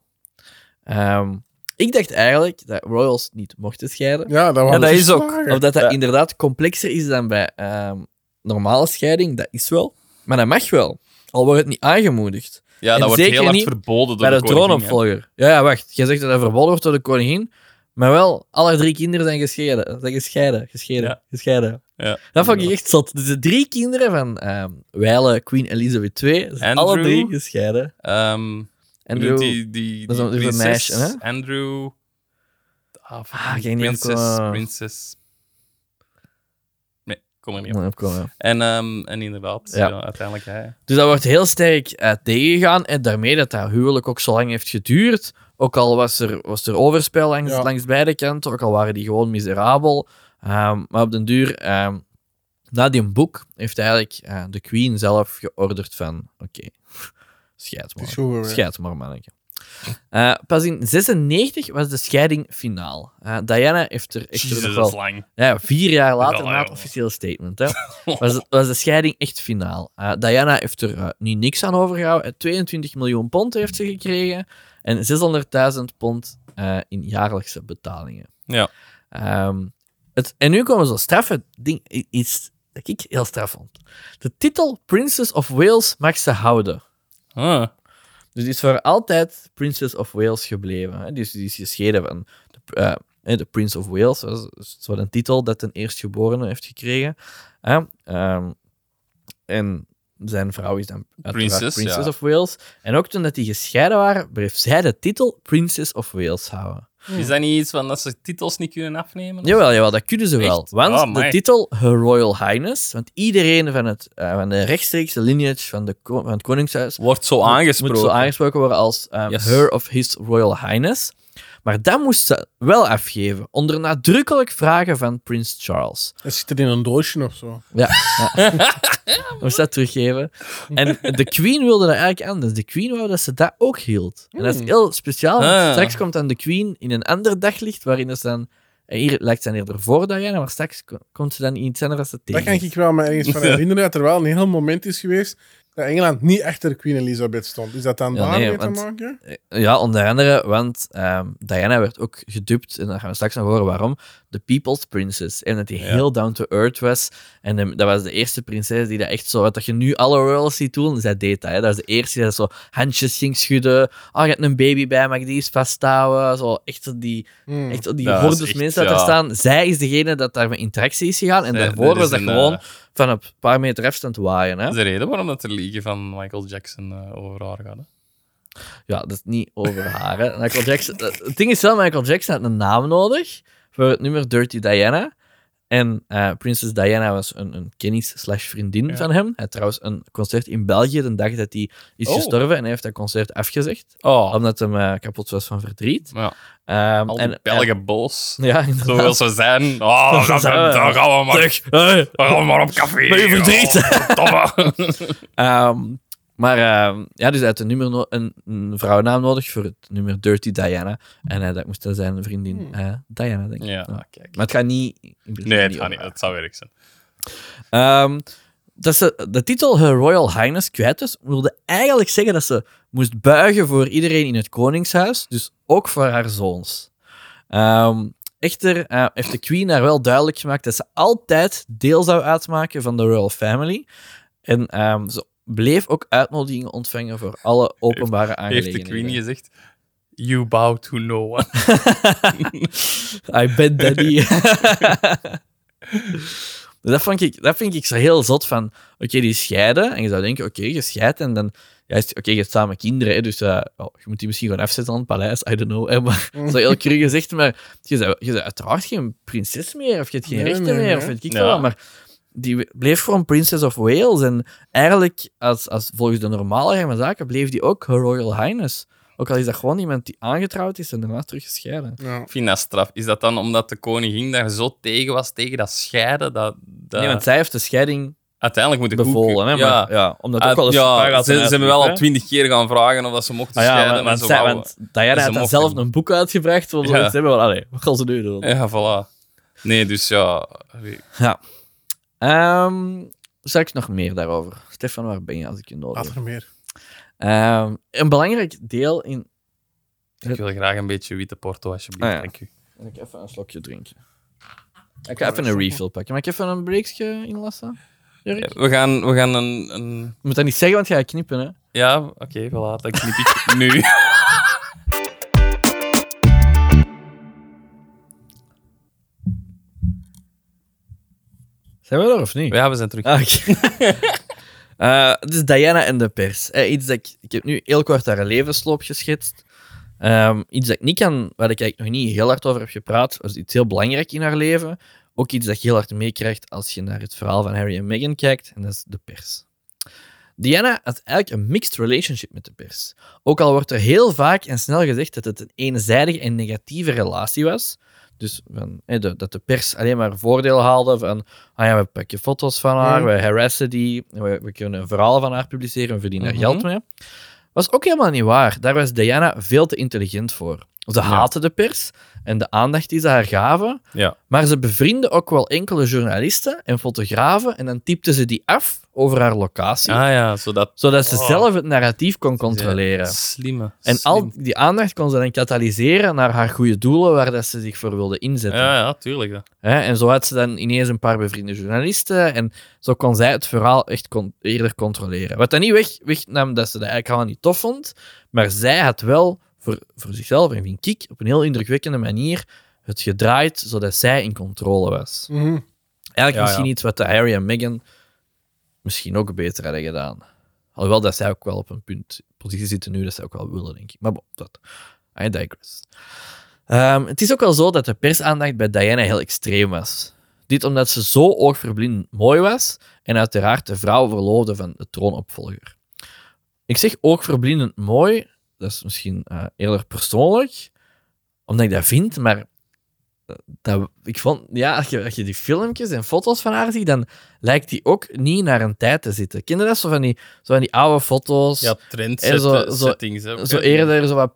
Speaker 3: Ehm, ik dacht eigenlijk dat royals niet mochten scheiden.
Speaker 2: Ja, dat,
Speaker 1: Ja, dat is ook.
Speaker 3: Of dat dat
Speaker 1: Ja.
Speaker 3: inderdaad complexer is dan bij ehm, normale scheiding. Dat is wel. Maar dat mag wel. Al wordt het niet aangemoedigd.
Speaker 1: Ja, dat wordt
Speaker 3: zeker
Speaker 1: heel hard
Speaker 3: niet
Speaker 1: verboden door
Speaker 3: Bij de,
Speaker 1: de koningin, hè.
Speaker 3: troonopvolger. Ja, ja, wacht. Jij zegt dat hij verboden wordt door de koningin. Maar wel, alle drie kinderen zijn gescheiden. Zijn gescheiden. Gescheiden.
Speaker 1: Ja.
Speaker 3: gescheiden.
Speaker 1: Ja,
Speaker 3: Dat vond ik
Speaker 1: inderdaad.
Speaker 3: echt zot. Dus de drie kinderen van ehm wijle Queen Elizabeth II zijn alle
Speaker 1: Andrew.
Speaker 3: drie gescheiden.
Speaker 1: Ehm,
Speaker 3: En
Speaker 1: bedoel,
Speaker 3: die...
Speaker 1: die, die,
Speaker 3: dat is
Speaker 1: die
Speaker 3: een- dat is een
Speaker 1: prinses,
Speaker 3: meisje,
Speaker 1: Andrew. Ah,
Speaker 3: ik denk niet
Speaker 1: princess,
Speaker 3: ook, eh.
Speaker 1: princess. Nee, kom er niet op.
Speaker 3: moet opkomen, ja.
Speaker 1: En, ehm, en inderdaad,
Speaker 3: Ja.
Speaker 1: ja. uiteindelijk hij.
Speaker 3: Dus dat wordt heel sterk eh, tegengegaan. En daarmee dat dat huwelijk ook zo lang heeft geduurd. Ook al was er, was er overspel langs,
Speaker 2: Ja.
Speaker 3: langs beide kanten. Ook al waren die gewoon miserabel. Ehm, maar op den duur, ehm, na die boek, heeft eigenlijk eh, de queen zelf georderd van... Oké, *laughs* scheid
Speaker 2: Het is
Speaker 3: maar.
Speaker 2: goed, hoor.
Speaker 3: Scheid maar, manneke. Eh, pas in 96 was de scheiding finaal. Eh, Diana heeft er echt
Speaker 1: Jezus,
Speaker 3: nog
Speaker 1: dat
Speaker 3: wel
Speaker 1: is lang.
Speaker 3: ja, vier jaar later
Speaker 1: Ja,
Speaker 3: na het
Speaker 1: ja.
Speaker 3: officiële statement hè, was, was de scheiding echt finaal. Eh, Diana heeft er eh, nu niks aan overgehouden. Eh, 22 miljoen pond heeft ze gekregen en 600.000 pond eh, in jaarlijkse betalingen.
Speaker 1: Ja.
Speaker 3: Ehm, het, en nu komen zo'n straffe ding, i- iets dat ik heel straf vond. De titel Princess of Wales mag ze houden.
Speaker 1: Ah,
Speaker 3: Dus die is voor altijd Princess of Wales gebleven. Hè? Dus die is gescheiden van de, eh, hè, de Prince of Wales. Dat is- dat is wat een titel dat een eerstgeborene heeft gekregen. hè. Ehm, en zijn vrouw is dan uiteraard
Speaker 1: Princess,
Speaker 3: Princess
Speaker 1: ja.
Speaker 3: of Wales. En ook toen dat die gescheiden waren, bleef zij de titel Princess of Wales houden.
Speaker 1: Is dat niet iets van dat ze titels niet kunnen afnemen?
Speaker 3: Jawel, jawel, dat kunnen ze wel.
Speaker 1: Echt?
Speaker 3: Want
Speaker 1: Oh,
Speaker 3: de
Speaker 1: my.
Speaker 3: titel Her Royal Highness, want iedereen van, het, eh, van de rechtstreekse lineage van, de, ko- van het Koningshuis
Speaker 1: Wordt zo aangesproken.
Speaker 3: moet zo aangesproken worden als ehm,
Speaker 1: Yes.
Speaker 3: Her of His Royal Highness. Maar dat moest ze wel afgeven, onder nadrukkelijk vragen van Prins Charles.
Speaker 2: Dat zit er in een doosje of zo.
Speaker 3: Ja, ja. *laughs* moest dat teruggeven. En de Queen wilde dat eigenlijk anders. De Queen wou dat ze dat ook hield. En dat is heel speciaal, want
Speaker 1: Hmm. Ah.
Speaker 3: straks komt dan de Queen in een ander daglicht, waarin ze dan... en Hier lijkt ze dan eerder voor Diana, maar straks ko- komt ze dan in iets anders als ze tegen.
Speaker 2: Daar kan ik wel me ergens
Speaker 1: *laughs*
Speaker 2: van herinneren dat er wel een heel moment is geweest dat Engeland niet achter Queen Elizabeth stond. Is dat dan
Speaker 3: Ja,
Speaker 2: daarmee
Speaker 3: nee,
Speaker 2: te
Speaker 3: want-
Speaker 2: maken?
Speaker 3: Ja, onder andere, want ehm, Diana werd ook gedupt, en daar gaan we straks nog horen waarom, de People's Princess. En dat die heel down to earth was. En ehm, dat was de eerste prinses die dat echt zo, wat dat je nu alle royals ziet doen, zij deed dat. Hè. Dat was de eerste die dat zo handjes ging schudden. Oh, je hebt een baby bij, mag ik die eens vasthouden? Zo, echt zo die,
Speaker 2: Hmm.
Speaker 3: echt zo die
Speaker 1: Dat is
Speaker 3: hordes
Speaker 1: echt,
Speaker 3: mensen dat daar
Speaker 1: ja.
Speaker 3: staan. Zij is degene dat daar met interactie is gegaan. En
Speaker 1: Nee,
Speaker 3: daarvoor
Speaker 1: er
Speaker 3: was
Speaker 1: is
Speaker 3: dat
Speaker 1: een,
Speaker 3: gewoon
Speaker 1: eh,
Speaker 3: van een paar meter afstand waaien. Hè.
Speaker 1: Dat is de reden waarom dat er liegen van Michael Jackson eh, over haar gaat. hè.
Speaker 3: Ja, dat is niet over haar. Hè. Michael Jackson, eh, het ding is wel, Michael Jackson had een naam nodig voor het nummer Dirty Diana. En eh, Prinses Diana was een, een kennis slash vriendin
Speaker 1: Ja.
Speaker 3: van hem. Hij had trouwens een concert in België de dag dat hij is
Speaker 1: Oh.
Speaker 3: gestorven. En hij heeft dat concert afgezegd.
Speaker 1: Oh,
Speaker 3: Omdat hem eh, kapot was van verdriet.
Speaker 1: ja.
Speaker 3: Ehm,
Speaker 1: Al die
Speaker 3: en,
Speaker 1: Belgen boos.
Speaker 3: Ja,
Speaker 1: Zo wil
Speaker 3: inderdaad.
Speaker 1: ze zijn.
Speaker 3: *laughs*
Speaker 1: Oh, dan gaan, we, dan gaan we maar,
Speaker 3: Hey.
Speaker 1: dan gaan we maar op café.
Speaker 3: Ben je verdrietig?
Speaker 1: Oh,
Speaker 3: *laughs*
Speaker 1: verdomme.
Speaker 3: Ehm, maar ehm, ja, dus hij had een, nummer no- een, een vrouwennaam nodig voor het nummer Dirty Diana. En eh, dat moest dan zijn vriendin eh, Diana, denk ik.
Speaker 1: ja,
Speaker 3: Ja.
Speaker 1: kijk.
Speaker 3: Maar het gaat niet. in principe
Speaker 1: Nee, het
Speaker 3: niet
Speaker 1: gaat
Speaker 3: om eh,
Speaker 1: niet. Het zou werk zijn.
Speaker 3: haar. Ehm, dat ze de titel Her Royal Highness kwijt was, wilde eigenlijk zeggen dat ze moest buigen voor iedereen in het Koningshuis, dus ook voor haar zoons. Ehm, echter eh, heeft de Queen haar wel duidelijk gemaakt dat ze altijd deel zou uitmaken van de Royal Family. En ehm, ze bleef ook uitnodigingen ontvangen voor alle openbare
Speaker 1: Heeft
Speaker 3: aangelegenheden.
Speaker 1: de Queen gezegd: You bow to no one.
Speaker 3: *laughs* I bet daddy.
Speaker 2: *laughs*
Speaker 3: dat, vond ik, dat vind ik zo heel zot van... Oké, die scheiden. En je zou denken, oké, je scheidt en dan... Ja, is- oké, je hebt samen kinderen, hè, dus eh, oh, je moet die misschien gewoon afzetten aan het paleis. I don't know. Hè,
Speaker 2: *laughs*
Speaker 3: maar, zo heel cru gezegd, maar je bent je bent uiteraard geen prinses meer. Of je hebt geen
Speaker 2: Nee,
Speaker 3: rechten
Speaker 2: nee,
Speaker 3: meer.
Speaker 2: nee.
Speaker 3: Of weet ik
Speaker 1: Ja.
Speaker 3: veel wat. Maar die bleef gewoon Princess of Wales. En eigenlijk, als, als, volgens de normale gang van zaken, bleef die ook Her Royal Highness. Ook al is dat gewoon iemand die aangetrouwd is en daarna terug gescheiden.
Speaker 2: Ja.
Speaker 1: Ik vind dat straf. Is dat dan omdat de koningin daar zo tegen was, tegen dat scheiden? Dat, dat...
Speaker 3: Nee, want zij heeft de scheiding
Speaker 1: Uiteindelijk moet ik
Speaker 3: bevolen. Hè,
Speaker 1: ja.
Speaker 3: maar, ja, omdat ook
Speaker 1: Uit-
Speaker 3: wel eens een paar
Speaker 1: ja,
Speaker 3: had
Speaker 1: ze, ze
Speaker 3: een
Speaker 1: hebben wel al
Speaker 3: uitweg, hè.
Speaker 1: twintig keer gaan vragen of dat ze mochten
Speaker 3: Ah, ja,
Speaker 1: scheiden.
Speaker 3: want,
Speaker 1: maar
Speaker 3: want,
Speaker 1: ze
Speaker 3: zij-
Speaker 1: wouden-
Speaker 3: want Diana had dan
Speaker 1: mochten
Speaker 3: zelf
Speaker 1: niet.
Speaker 3: een boek uitgebracht. Om
Speaker 1: Ja.
Speaker 3: zoiets te hebben, maar allee, wat gaan ze nu doen?
Speaker 1: Ja, voilà. Nee, dus ja.
Speaker 3: Ja. Ehm, straks nog meer daarover. Stefan, waar ben je als ik je nodig
Speaker 2: Laat
Speaker 3: heb?
Speaker 2: er meer.
Speaker 3: Ehm, een belangrijk deel in...
Speaker 1: Ik wil graag een beetje witte porto, alsjeblieft.
Speaker 3: Ah, ja.
Speaker 1: Dank u.
Speaker 3: Ik even een slokje drinken. Ik ga even een refill pakken. Mag ik even een breaksje inlassen? Jurk?
Speaker 1: We gaan, we gaan een, een...
Speaker 3: Je moet dat niet zeggen, want je gaat knippen, hè?
Speaker 1: Ja, oké, voilà, dat knip ik
Speaker 3: *laughs*
Speaker 1: nu.
Speaker 3: Zijn we er of niet?
Speaker 1: Ja, we zijn terug.
Speaker 3: Ah, oké. *laughs* Eh, dus Diana en de pers. Eh, iets dat ik, ik heb nu heel kort haar levensloop geschetst. Ehm, iets dat ik niet kan, waar ik eigenlijk nog niet heel hard over heb gepraat, was iets heel belangrijk in haar leven. Ook iets dat je heel hard meekrijgt als je naar het verhaal van Harry en Meghan kijkt, en dat is de pers. Diana had eigenlijk een mixed relationship met de pers. Ook al wordt er heel vaak en snel gezegd dat het een eenzijdige en negatieve relatie was. Dus van, eh, de- dat de pers alleen maar voordeel haalde van ah ja, we pakken foto's van haar,
Speaker 2: Mhm.
Speaker 3: we harassen die, we, we kunnen een verhaal van haar publiceren, we verdienen er
Speaker 1: Mhm.
Speaker 3: geld mee. Was ook helemaal niet waar. Daar was Diana veel te intelligent voor. Ze haatte de pers en de aandacht die ze haar gaven.
Speaker 1: Ja.
Speaker 3: Maar ze bevriendde ook wel enkele journalisten en fotografen en dan typte ze die af over haar locatie.
Speaker 1: Ah ja, zodat...
Speaker 3: Zodat ze
Speaker 1: Oh.
Speaker 3: zelf het narratief kon controleren.
Speaker 1: Slimme.
Speaker 3: En al
Speaker 1: slim.
Speaker 3: die aandacht kon ze dan katalyseren naar haar goede doelen waar dat ze zich voor wilde inzetten.
Speaker 1: Ja, ja, tuurlijk. Ja.
Speaker 3: Hè, en zo had ze dan ineens een paar bevriende journalisten. En zo kon zij het verhaal echt kon, eerder controleren. Wat dan niet weg, wegnam dat ze dat eigenlijk helemaal niet tof vond. Maar zij had wel voor, voor zichzelf en vind ik op een heel indrukwekkende manier het gedraaid zodat zij in controle was.
Speaker 2: Mhm.
Speaker 3: Eigenlijk
Speaker 1: Ja,
Speaker 3: misschien
Speaker 1: ja.
Speaker 3: iets wat de Harry en Meghan misschien ook beter hadden gedaan. Alhoewel dat zij ook wel op een punt positie zitten nu dat zij ook wel willen, denk ik. Maar bon, dat. I digress. Ehm, het is ook wel zo dat de persaandacht bij Diana heel extreem was. Dit omdat ze zo oogverblindend mooi was en uiteraard de vrouw verloofde van de troonopvolger. Ik zeg oogverblindend mooi, dat is misschien eh eerder persoonlijk, omdat ik dat vind, maar eh, dat, ik vond, ja, als je, als je die filmpjes en foto's van haar ziet, dan lijkt die ook niet naar een tijd te zitten. Kinderen, dat? Zo van die, zo van die oude foto's.
Speaker 1: Ja,
Speaker 3: En zo- zo-
Speaker 1: trendsettings. hè.
Speaker 3: zo eerder zo wat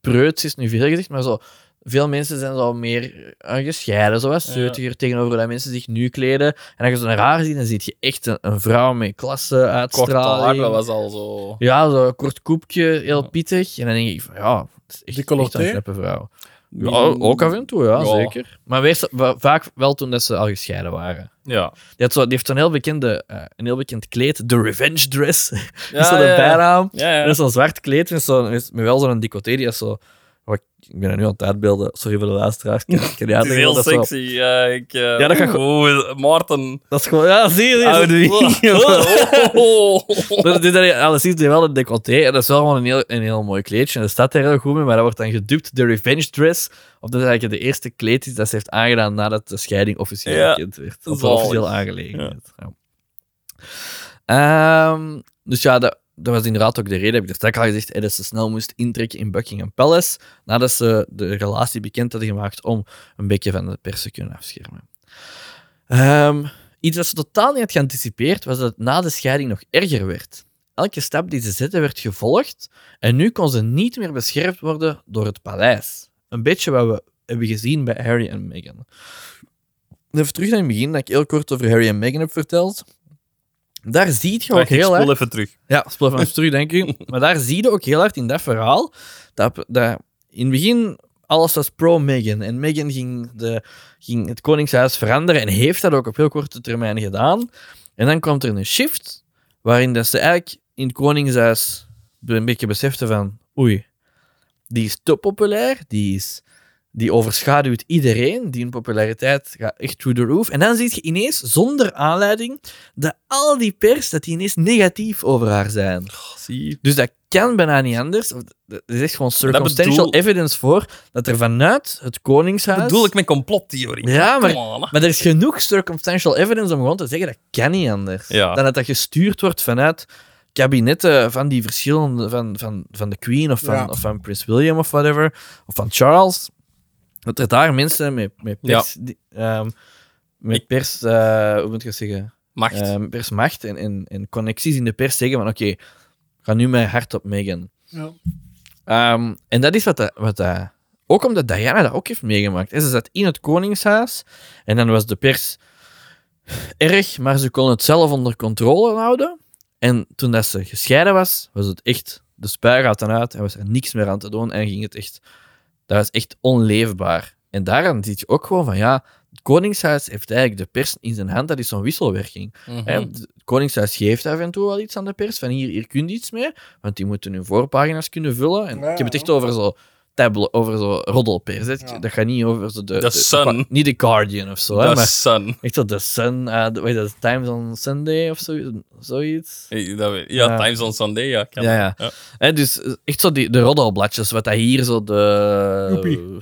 Speaker 3: preuts is nu veel gezegd, maar zo. Veel mensen zijn zo meer eh, gescheiden, zo wat
Speaker 1: Ja.
Speaker 3: zeutiger tegenover dat mensen zich nu kleden. En als je zo naar haar ziet, dan zie je echt een, een vrouw met klasse,
Speaker 1: Kort haar, dat
Speaker 3: uitstraling.
Speaker 1: was al zo...
Speaker 3: Ja, zo'n kort koepje, heel pittig. En dan denk ik van, ja, het is echt, echt een
Speaker 2: Decolleté?
Speaker 3: knappe vrouw. Ja, ook af en toe, ja,
Speaker 1: Ja.
Speaker 3: zeker. Maar wees, wa- vaak wel toen dat ze al gescheiden waren.
Speaker 1: Ja.
Speaker 3: Die, had zo, die heeft een heel, bekende, eh, een heel bekend kleed, de Revenge Dress. *laughs* dat is zo
Speaker 1: Ja,
Speaker 3: de
Speaker 1: ja, ja.
Speaker 3: bijnaam.
Speaker 1: Ja, ja.
Speaker 3: Dat is zo'n zwart kleed met, zo, met wel zo'n decoté. Die is zo... wat ik- ik ben dat nu aan het uitbeelden. Sorry voor de luisteraars. Ik kan niet
Speaker 1: Het is
Speaker 3: uitleggen
Speaker 1: heel
Speaker 3: wat dat zo-
Speaker 1: sexy. Ja, ik, eh,
Speaker 3: Ja, dat gaat
Speaker 1: oh, Maarten.
Speaker 3: Dat is gewoon... Ja, zie je?
Speaker 1: Oude
Speaker 3: zie je.
Speaker 1: *laughs* Oh.
Speaker 3: *laughs* Dat doet hij alles is wel een decolleté. En dat is wel gewoon een heel, een heel mooi kleedje. En dat staat er heel goed mee, maar dat wordt dan gedupt de revenge dress. Of dat is eigenlijk de eerste kleed is dat ze heeft aangedaan nadat de scheiding officieel
Speaker 1: Ja,
Speaker 3: bekend werd. Of
Speaker 1: zalig.
Speaker 3: officieel aangelegenheid. Ja. Ehm, dus ja, dat, dat was inderdaad ook de reden, heb ik er straks al gezegd, eh, dat ze snel moest intrekken in Buckingham Palace, nadat ze de relatie bekend hadden gemaakt om een beetje van de pers te kunnen afschermen. Ehm, iets dat ze totaal niet had geanticipeerd, was dat het na de scheiding nog erger werd. Elke stap die ze zette werd gevolgd en nu kon ze niet meer beschermd worden door het paleis. Een beetje wat we hebben gezien bij Harry en Meghan. Even terug naar het begin, dat ik heel kort over Harry en Meghan heb verteld. Daar zie je ook
Speaker 1: Wacht, ik
Speaker 3: heel erg...
Speaker 1: spoel even terug.
Speaker 3: Ja, speel van even terug, denk ik. Maar daar zie je ook heel hard in dat verhaal dat, dat in het begin alles was pro-Meghan. En Meghan ging, de, ging het Koningshuis veranderen en heeft dat ook op heel korte termijn gedaan. En dan komt er een shift waarin dat ze eigenlijk in het Koningshuis een beetje besefte van oei, die is te populair, die, is, die overschaduwt iedereen, die in populariteit gaat echt through the roof. En dan zie je ineens, zonder aanleiding, dat al die pers, dat die ineens negatief over haar zijn.
Speaker 1: Zie.
Speaker 3: Dus dat kan bijna niet anders. Of d- d- Er is echt gewoon circumstantial
Speaker 1: bedoel-
Speaker 3: evidence voor dat er vanuit het
Speaker 1: Dat
Speaker 3: Koningshuis.
Speaker 1: bedoel ik met complottheorie.
Speaker 3: Ja, maar-
Speaker 1: Come on, hè.
Speaker 3: Maar er is genoeg circumstantial evidence om gewoon te zeggen dat kan niet anders.
Speaker 1: Ja.
Speaker 3: Dan dat dat gestuurd wordt vanuit kabinetten van die verschillende, van, van, van de Queen of van,
Speaker 2: Ja.
Speaker 3: of van Prins William of whatever, of van Charles. Dat er daar mensen met, met pers, die- ehm, met pers eh, hoe moet ik dat zeggen?
Speaker 1: Macht.
Speaker 3: eh, persmacht en, en, en connecties in de pers zeggen van oké, ga nu mijn hart op Meghan.
Speaker 2: Ja.
Speaker 3: Ehm, en dat is wat, dat, wat dat, ook omdat Diana dat ook heeft meegemaakt. En Ze zat in het koningshuis en dan was de pers erg, maar ze kon het zelf onder controle houden. En toen dat ze gescheiden was, was het echt de spuigaat en uit en was er niks meer aan te doen en ging het echt, dat was echt onleefbaar. En daaraan zie je ook gewoon van ja, het Koningshuis heeft eigenlijk de pers in zijn hand. Dat is zo'n wisselwerking. Hè,
Speaker 1: Mhm.
Speaker 3: Het Koningshuis geeft af en toe wel iets aan de pers. Van hier, hier kun je iets mee. Want die moeten hun voorpagina's kunnen vullen. En
Speaker 2: Ja.
Speaker 3: ik heb het echt over zo, tablo, over zo roddelpers. hè.
Speaker 2: Ja.
Speaker 3: Dat gaat niet over zo de,
Speaker 1: The
Speaker 3: de-
Speaker 1: Sun.
Speaker 3: niet de Guardian of zo. hè,
Speaker 1: The
Speaker 3: maar
Speaker 1: Sun.
Speaker 3: echt zo de Sun. eh, de- weet je dat, Times on Sunday of zo, zoiets.
Speaker 1: Hey, dat weet- Ja,
Speaker 3: Ja.
Speaker 1: Times on Sunday, ja. kan.
Speaker 3: Ja, ja.
Speaker 1: Ja.
Speaker 3: Hè, dus eh, echt zo die, de roddelbladjes. Wat dat hier zo de...
Speaker 2: Joepie.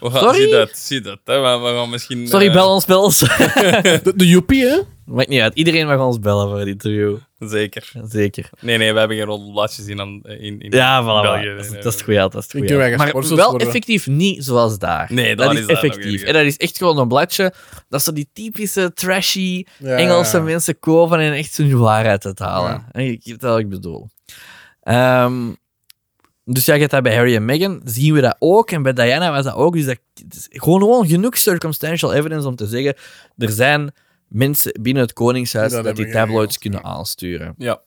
Speaker 1: We gaan,
Speaker 3: Sorry?
Speaker 1: Zie dat, zie dat. Hè. We, we gaan misschien...
Speaker 3: Sorry,
Speaker 1: eh,
Speaker 3: bel ons, bel ons. *laughs*
Speaker 2: De, de joepie, hè?
Speaker 3: Maakt niet uit. Iedereen mag ons bellen voor het interview.
Speaker 1: Zeker.
Speaker 3: Zeker.
Speaker 1: Nee, nee, we hebben geen rode blaadjes in... aan- in, in...
Speaker 3: Ja, voilà.
Speaker 1: België,
Speaker 3: dat, is,
Speaker 1: nee,
Speaker 3: dat is het goeie, dat is het
Speaker 2: Ik
Speaker 3: goeie.
Speaker 2: heb eigen
Speaker 3: Maar
Speaker 2: sponsors
Speaker 3: wel
Speaker 2: worden.
Speaker 3: effectief niet zoals daar.
Speaker 1: Nee,
Speaker 3: dat,
Speaker 1: daar
Speaker 3: is
Speaker 1: is dat nog
Speaker 3: effectief.
Speaker 1: erger.
Speaker 3: En dat is echt gewoon een bladje dat ze die typische trashy
Speaker 2: Ja.
Speaker 3: Engelse mensen kopen en echt hun waarheid uit halen.
Speaker 2: Ja.
Speaker 3: En Ik weet wat ik bedoel. Ehm, dus jij gaat dat bij Harry en Meghan, zien we dat ook. En bij Diana was dat ook. Dus dat, het is gewoon, gewoon genoeg circumstantial evidence om te zeggen: er zijn mensen binnen het Koningshuis
Speaker 2: Die dat
Speaker 3: dat die
Speaker 2: hebben
Speaker 3: tabloids
Speaker 2: geregeld,
Speaker 3: kunnen aansturen.
Speaker 1: Ja.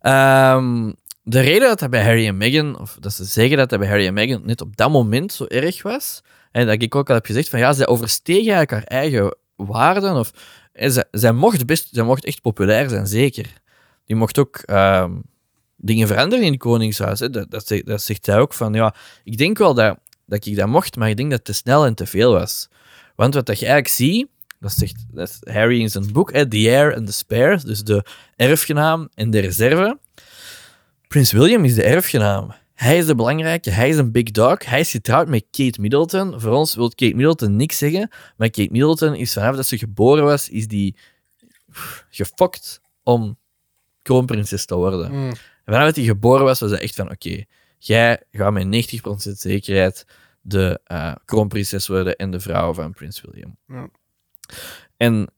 Speaker 3: Ehm, de reden dat dat bij Harry en Meghan, of dat ze zeggen dat dat bij Harry en Meghan net op dat moment zo erg was, en dat ik ook al heb gezegd van ja, zij oversteeg eigenlijk haar eigen waarden. Of, en zij, zij mocht best, zij mocht echt populair zijn, zeker. Die mocht ook ehm, dingen veranderen in het Koningshuis. Hè. Dat, dat, zegt- dat zegt hij ook van ja, ik denk wel dat, dat ik dat mocht, maar ik denk dat het te snel en te veel was. Want wat dat je eigenlijk ziet, dat zegt dat is Harry in zijn boek, hè, The Heir and the Spare, dus de erfgenaam en de reserve. Prins William is de erfgenaam. Hij is de belangrijke, hij is een big dog. Hij is getrouwd met Kate Middleton. Voor ons wil Kate Middleton niks zeggen, maar Kate Middleton is vanaf dat ze geboren was, is die pff, gefokt om kroonprinses te worden.
Speaker 2: Mm.
Speaker 3: En vanaf dat hij geboren was, was hij echt van: oké, jij gaat met 90% zekerheid de eh, kroonprinses worden en de vrouw van Prins William.
Speaker 2: Ja.
Speaker 3: En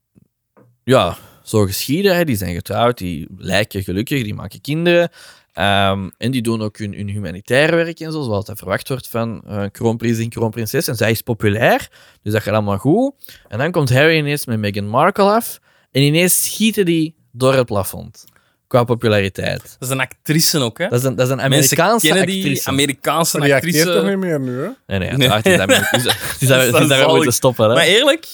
Speaker 3: ja, zo geschieden, hè, die zijn getrouwd, die lijken gelukkig, die maken kinderen. ehm, en die doen ook hun, hun humanitair werk en zo, zoals dat verwacht wordt van eh kroonprins en kroonprinses. En zij is populair, dus dat gaat allemaal goed. En dan komt Harry ineens met Meghan Markle af. En ineens schieten die door het plafond. Qua populariteit.
Speaker 1: Dat is een actrice ook, hè?
Speaker 3: Dat is een, dat is een
Speaker 1: Mensen
Speaker 3: Amerikaanse
Speaker 1: kennen die
Speaker 3: actrice.
Speaker 1: Amerikaanse
Speaker 2: Maar die acteert toch
Speaker 1: actrice.
Speaker 2: niet meer nu, hè?
Speaker 3: nee, nee,
Speaker 1: Nee.
Speaker 3: uiteraard is dat Ameri- is dat-
Speaker 1: *laughs*
Speaker 3: is dat-
Speaker 1: Dat
Speaker 3: is
Speaker 1: is
Speaker 3: dat we
Speaker 1: zalig.
Speaker 3: moeten stoppen. Hè?
Speaker 1: Maar eerlijk,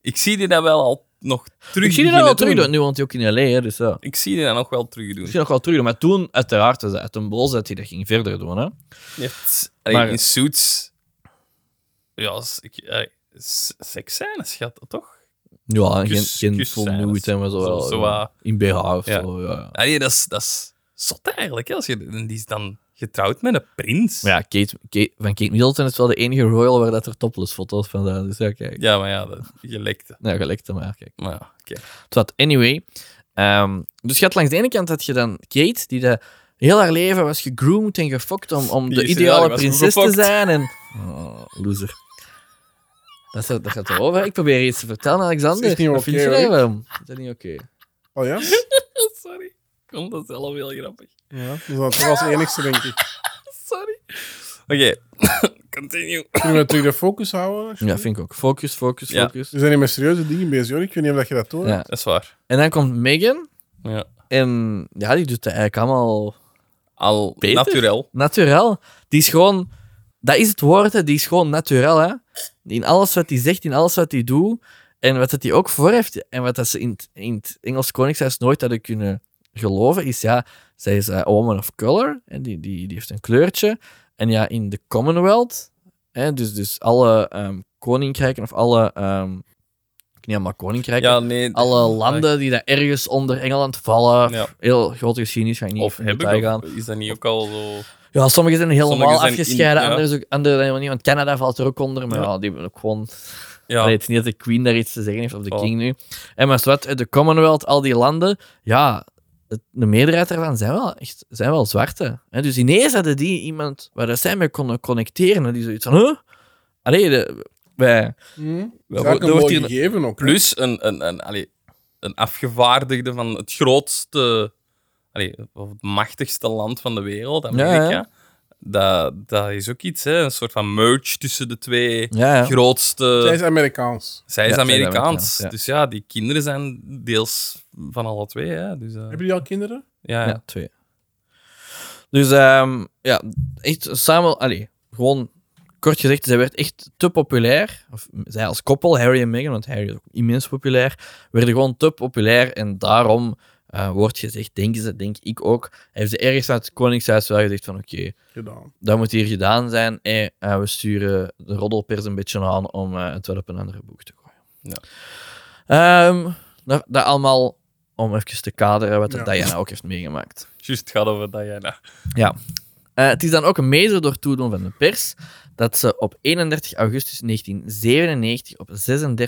Speaker 1: ik zie die dat wel al nog terug
Speaker 3: ik zie die dat wel
Speaker 1: beginnen
Speaker 3: terug
Speaker 1: doen.
Speaker 3: doen. Nu woont hij ook in L.A., hè, dus ja.
Speaker 1: Ik zie die dat nog wel terug doen.
Speaker 3: Misschien nog wel terug doen. Maar toen, uiteraard, was het uit een bol dat hij dat ging verder doen. Hè?
Speaker 1: Je hebt- allee,
Speaker 3: Maar-
Speaker 1: in Suits... Ja, als ik, allee, s- seksscènes gaat dat toch?
Speaker 3: Ja,
Speaker 1: Kus-
Speaker 3: geen, geen
Speaker 1: kus
Speaker 3: full
Speaker 1: zijn,
Speaker 3: nude
Speaker 1: dat
Speaker 3: en zo.
Speaker 1: zo-
Speaker 3: wel,
Speaker 1: zo
Speaker 3: ja.
Speaker 1: wat-
Speaker 3: In BH of
Speaker 1: Ja.
Speaker 3: zo, ja, ja.
Speaker 1: Allee, dat is, dat is zot eigenlijk. Hè? Als je, en die is dan getrouwd met een prins.
Speaker 3: Maar ja, Kate, Kate- van Kate Middleton is wel de enige royal waar dat er topless foto's van zijn. Dus ja, kijk.
Speaker 1: Ja, maar ja, dat, je lekte.
Speaker 3: Nou, gelijk te maar, kijk.
Speaker 1: Maar ja, oké. *laughs*
Speaker 3: Wat, anyway. Ehm, dus je had langs de ene kant dat je dan Kate, die de, heel haar leven was gegroomd en gefokt om, om
Speaker 1: Die
Speaker 3: de
Speaker 1: is- ja,
Speaker 3: ideale
Speaker 1: die was
Speaker 3: prinses te
Speaker 1: gefokt.
Speaker 3: zijn. En... *laughs* Oh, loser. Dat, gaat- dat gaat erover. Ik probeer je iets te vertellen, Alexander.
Speaker 2: Dat is niet
Speaker 3: Wat
Speaker 2: oké,
Speaker 3: vind je
Speaker 2: hoor.
Speaker 3: daarvan? Is dat niet oké?
Speaker 2: Oh ja?
Speaker 1: Sorry. Ik vond dat zelf heel grappig.
Speaker 2: Ja. Dus Dat is dan toch als enigste, denk ik.
Speaker 1: Sorry. Oké, *laughs* continue.
Speaker 2: Kunnen we terug de focus houden?
Speaker 3: Ja,
Speaker 2: alsjeblieft?
Speaker 3: vind ik ook. Focus, focus,
Speaker 1: Ja.
Speaker 3: focus.
Speaker 2: We zijn hier met serieuze dingen bezig, hoor. Ik weet niet of dat je dat hoort.
Speaker 3: Ja.
Speaker 1: Dat is waar.
Speaker 3: En dan komt Megan.
Speaker 1: Ja.
Speaker 3: En ja, die doet het eigenlijk allemaal
Speaker 1: Al
Speaker 3: Beter?
Speaker 1: naturel.
Speaker 3: Naturel. Die is gewoon... Dat is het woord, hè. die is gewoon naturel. Hè. In alles wat hij zegt, in alles wat hij doet. En wat dat hij ook voor heeft. En wat dat ze in, het- in het Engels Koningshuis nooit hadden kunnen geloven, is ja, zij is eh, a woman of color. En die, die, die heeft een kleurtje. En ja, in de Commonwealth, hè, dus, dus alle ehm, koninkrijken of alle... ehm, niet allemaal koninkrijken.
Speaker 1: Ja, nee.
Speaker 3: Alle landen die daar ergens onder Engeland vallen.
Speaker 1: Ja.
Speaker 3: Heel grote geschiedenis, ga ik niet
Speaker 1: Of
Speaker 3: in detail
Speaker 1: hebben,
Speaker 3: gaan.
Speaker 1: of is dat niet ook al zo...
Speaker 3: Ja, sommigen zijn helemaal
Speaker 1: Sommigen zijn in-
Speaker 3: afgescheiden,
Speaker 1: ja.
Speaker 3: anderen, ook, anderen helemaal niet. Want Canada valt er ook onder, maar ja.
Speaker 1: Ja.
Speaker 3: die hebben ook gewoon...
Speaker 1: Ja,
Speaker 3: Ik weet niet dat de Queen daar iets te zeggen heeft, of de
Speaker 1: Oh.
Speaker 3: King nu. En maar wat, de Commonwealth, al die landen, ja, het- de meerderheid daarvan zijn wel, echt, zijn wel zwarte. Hè? Dus ineens hadden die iemand waar dat zij mee konden connecteren, en die zoiets van, huh? Allee, de, wij...
Speaker 2: Hm?
Speaker 1: Ja,
Speaker 2: Dat
Speaker 1: er
Speaker 2: een
Speaker 1: wordt
Speaker 2: mooi
Speaker 1: hier-
Speaker 2: gegeven ook. hè.
Speaker 1: plus een, een, een, allee, een afgevaardigde van het grootste, allee, of het machtigste land van de wereld, Amerika.
Speaker 3: Ja,
Speaker 1: dat, dat is ook iets, hè? een soort van merge tussen de twee
Speaker 3: Ja, ja.
Speaker 1: grootste.
Speaker 2: Zij is Amerikaans.
Speaker 1: Zij is
Speaker 3: Ja, zij is Amerikaans,
Speaker 1: Amerikaans.
Speaker 3: ja.
Speaker 1: Dus ja, die kinderen zijn deels van alle twee. Hè? Dus, eh,
Speaker 2: Hebben jullie al kinderen?
Speaker 1: ja,
Speaker 3: Ja, twee. Dus ehm, ja, echt samen, allee, gewoon kort gezegd, zij werd echt te populair. Of zij als koppel, Harry en Meghan, want Harry is ook immens populair. Werden gewoon te populair en daarom eh, wordt gezegd, denken ze, denk ik ook, heeft ze ergens aan het Koningshuis wel gezegd van oké,
Speaker 2: gedaan.
Speaker 3: dat moet hier gedaan zijn. En eh, we sturen de roddelpers een beetje aan om eh, het wel op een andere boek te gooien.
Speaker 1: Ja.
Speaker 3: Ehm, dat, dat allemaal om even te kaderen wat
Speaker 2: Ja.
Speaker 3: dat Diana ook heeft meegemaakt.
Speaker 1: Juist, het gaat over Diana.
Speaker 3: Eh, het is dan ook mede door toedoen van de pers dat ze op 31 augustus 1997 op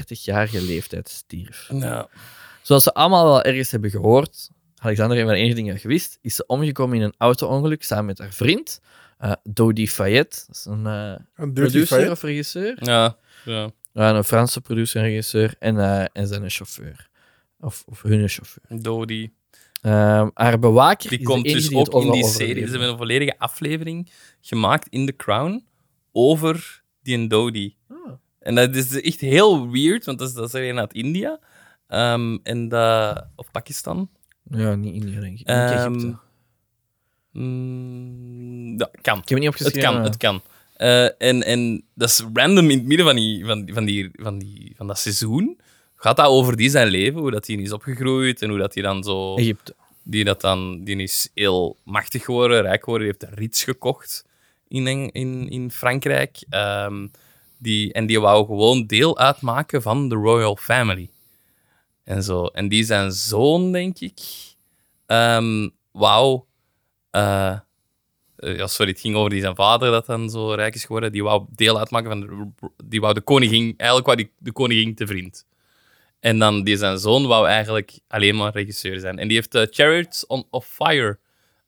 Speaker 3: 36-jarige leeftijd stierf.
Speaker 1: Ja.
Speaker 3: Zoals ze allemaal wel ergens hebben gehoord, Alexander heeft van de enige dingen dat je wist, is ze omgekomen in een auto-ongeluk samen met haar vriend, eh Dodi Fayette. Dat is een eh,
Speaker 2: Een dirty
Speaker 3: producer
Speaker 2: fight.
Speaker 3: of regisseur.
Speaker 1: Ja. ja.
Speaker 3: Ja, een Franse producer en regisseur en, eh en zijn chauffeur. Of, of hun chauffeur.
Speaker 1: Dodie.
Speaker 3: Ehm, haar bewaker
Speaker 1: Die
Speaker 3: is
Speaker 1: komt
Speaker 3: de enige
Speaker 1: dus
Speaker 3: die het
Speaker 1: ook in die
Speaker 3: overal
Speaker 1: serie. Ze
Speaker 3: overleefde.
Speaker 1: hebben een volledige aflevering gemaakt in The Crown over die en Dodie.
Speaker 3: Ah.
Speaker 1: En dat is echt heel weird, want dat is, dat is er een uit India. Ehm, en dat, of Pakistan.
Speaker 3: Ja, niet India, denk ik. Niet
Speaker 1: Ehm,
Speaker 3: Egypte.
Speaker 1: Mm, dat kan.
Speaker 3: Ik heb het niet
Speaker 1: Het
Speaker 3: opgeschreven.
Speaker 1: kan, het kan. Eh, en, en dat is random in het midden van, die, van, die- van, die, van, die, van dat seizoen. Gaat dat over die zijn leven, hoe dat hij is opgegroeid en hoe dat hij dan zo...
Speaker 3: eh, Egypte.
Speaker 1: Die, dat dan, die is heel machtig geworden, rijk geworden. Die heeft een rits gekocht in, Eng- in, in Frankrijk. Ehm, die, en die wou gewoon deel uitmaken van de royal family. En, zo. en die zijn zoon, denk ik, ehm, wou... eh, eh, ja, sorry, het ging over die zijn vader dat dan zo rijk is geworden. Die wou deel uitmaken van de... Die wou de koningin... Eigenlijk wou die de koningin te vriend. En dan die zijn zoon wou eigenlijk alleen maar regisseur zijn. En die heeft eh, Chariots on, of Fire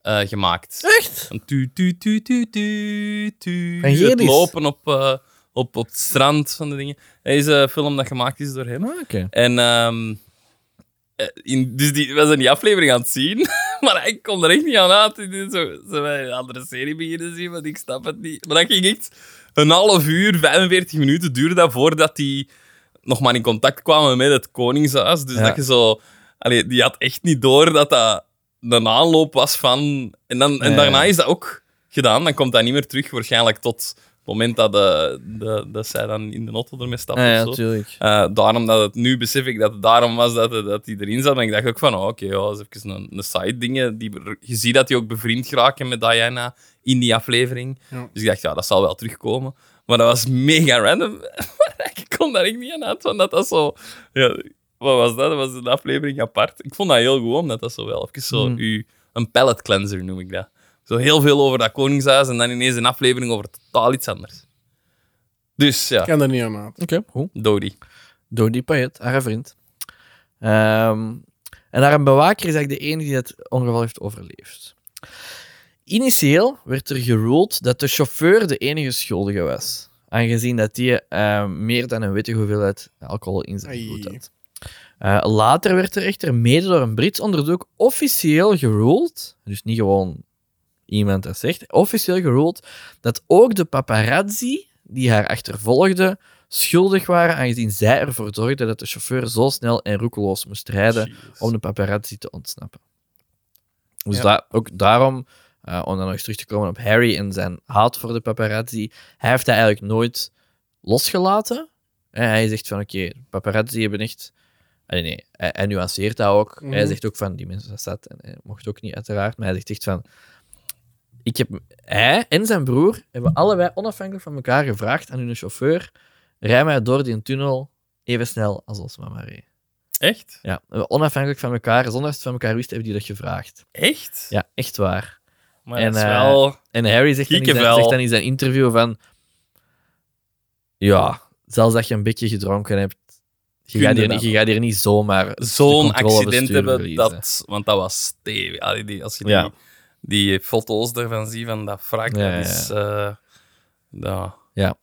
Speaker 1: eh, gemaakt.
Speaker 3: Echt?
Speaker 1: Een tu, tu, tu, tu, tu, tu. Dus
Speaker 3: En hier
Speaker 1: Het
Speaker 3: is-
Speaker 1: lopen op, eh, op, op het strand van de dingen. Dat is een film dat gemaakt is door hem.
Speaker 3: Ah, oké.
Speaker 1: En ehm, eh, in, dus die, we zijn die aflevering aan het zien, *laughs* maar ik kon er echt niet aan uit. Ik deed Zo, ze wij een andere serie beginnen zien, want ik snap het niet. Maar dat ging echt een half uur, 45 minuten duurde dat voordat die nog maar in contact kwamen met het koningshuis. Dus
Speaker 3: Ja.
Speaker 1: dat je zo... Allee, die had echt niet door dat dat een aanloop was van... En, dan, en
Speaker 3: Nee.
Speaker 1: daarna is dat ook gedaan. Dan komt dat niet meer terug, waarschijnlijk tot het moment dat, de, de, dat zij dan in de auto ermee stapt
Speaker 3: Ah,
Speaker 1: of
Speaker 3: ja,
Speaker 1: zo.
Speaker 3: natuurlijk.
Speaker 1: Eh, daarom dat het nu besef ik dat het daarom was dat, het- dat hij erin zat. En ik dacht ook van, oh, oké, ja, dat is even een, een side dingen. Die, je ziet dat hij ook bevriend geraken met Diana in die aflevering.
Speaker 2: Ja.
Speaker 1: Dus ik dacht, ja, dat zal wel terugkomen. Maar dat was mega random. *laughs* Maar ik kon daar echt niet aan uit, want dat dat zo... Ja, wat was dat? Dat was een aflevering apart. Ik vond dat heel goed, omdat dat zo wel even zo...
Speaker 3: Mm.
Speaker 1: u- een palette cleanser noem ik dat. Zo heel veel over dat koningshuis en dan ineens een aflevering over totaal iets anders. Dus ja,
Speaker 2: Ik kan er niet aan uit.
Speaker 3: Oké, goed.
Speaker 1: Dodie.
Speaker 3: Dodie Payet, haar vriend. Ehm, en haar bewaker is eigenlijk de enige die het ongeval heeft overleefd. Initieel werd er geruled dat de chauffeur de enige schuldige was. Aangezien dat die ehm, meer dan een witte hoeveelheid alcohol in zijn
Speaker 2: Ai.
Speaker 3: bloed had. Eh, later werd er echter mede door een Brits onderzoek officieel geruled, dus niet gewoon iemand dat zegt, officieel geruled dat ook de paparazzi die haar achtervolgden schuldig waren, aangezien zij ervoor zorgden dat de chauffeur zo snel en roekeloos moest rijden
Speaker 1: Jezus.
Speaker 3: om de paparazzi te ontsnappen. Dus
Speaker 1: Dus- Ja.
Speaker 3: da- ook daarom, eh, om dan nog eens terug te komen op Harry en zijn haat voor de paparazzi, hij heeft dat eigenlijk nooit losgelaten. En hij zegt van, oké, paparazzi hebben echt... Allee, nee, hij, hij nuanceert dat ook.
Speaker 2: Mhm.
Speaker 3: Hij zegt ook van, die mensen dat staat, en hij mocht ook niet uiteraard, maar hij zegt echt van... Ik heb, hij en zijn broer hebben allebei onafhankelijk van elkaar gevraagd aan hun chauffeur, rij mij door die tunnel even snel als ons mama reed.
Speaker 1: Echt?
Speaker 3: Ja, onafhankelijk van elkaar, zonder dat ze het van elkaar wisten, hebben die dat gevraagd.
Speaker 1: Echt?
Speaker 3: Ja, echt waar.
Speaker 1: Maar
Speaker 3: En,
Speaker 1: dat is
Speaker 3: eh,
Speaker 1: wel...
Speaker 3: En Harry zegt dan, in zijn,
Speaker 1: Kiekevel.
Speaker 3: zegt dan in zijn interview van... Ja, zelfs dat je een beetje gedronken hebt, je,
Speaker 1: Kun
Speaker 3: gaat
Speaker 1: je
Speaker 3: hier,
Speaker 1: dat
Speaker 3: niet- je gaat hier niet zomaar de
Speaker 1: Zo'n
Speaker 3: controle over
Speaker 1: accident
Speaker 3: stuur
Speaker 1: hebben,
Speaker 3: verliezen.
Speaker 1: dat, want dat was stevig. Allee, die- Als je die,
Speaker 3: Ja.
Speaker 1: die foto's ervan ziet, van dat wrak,
Speaker 3: Ja, ja,
Speaker 1: dat is... eh, ja.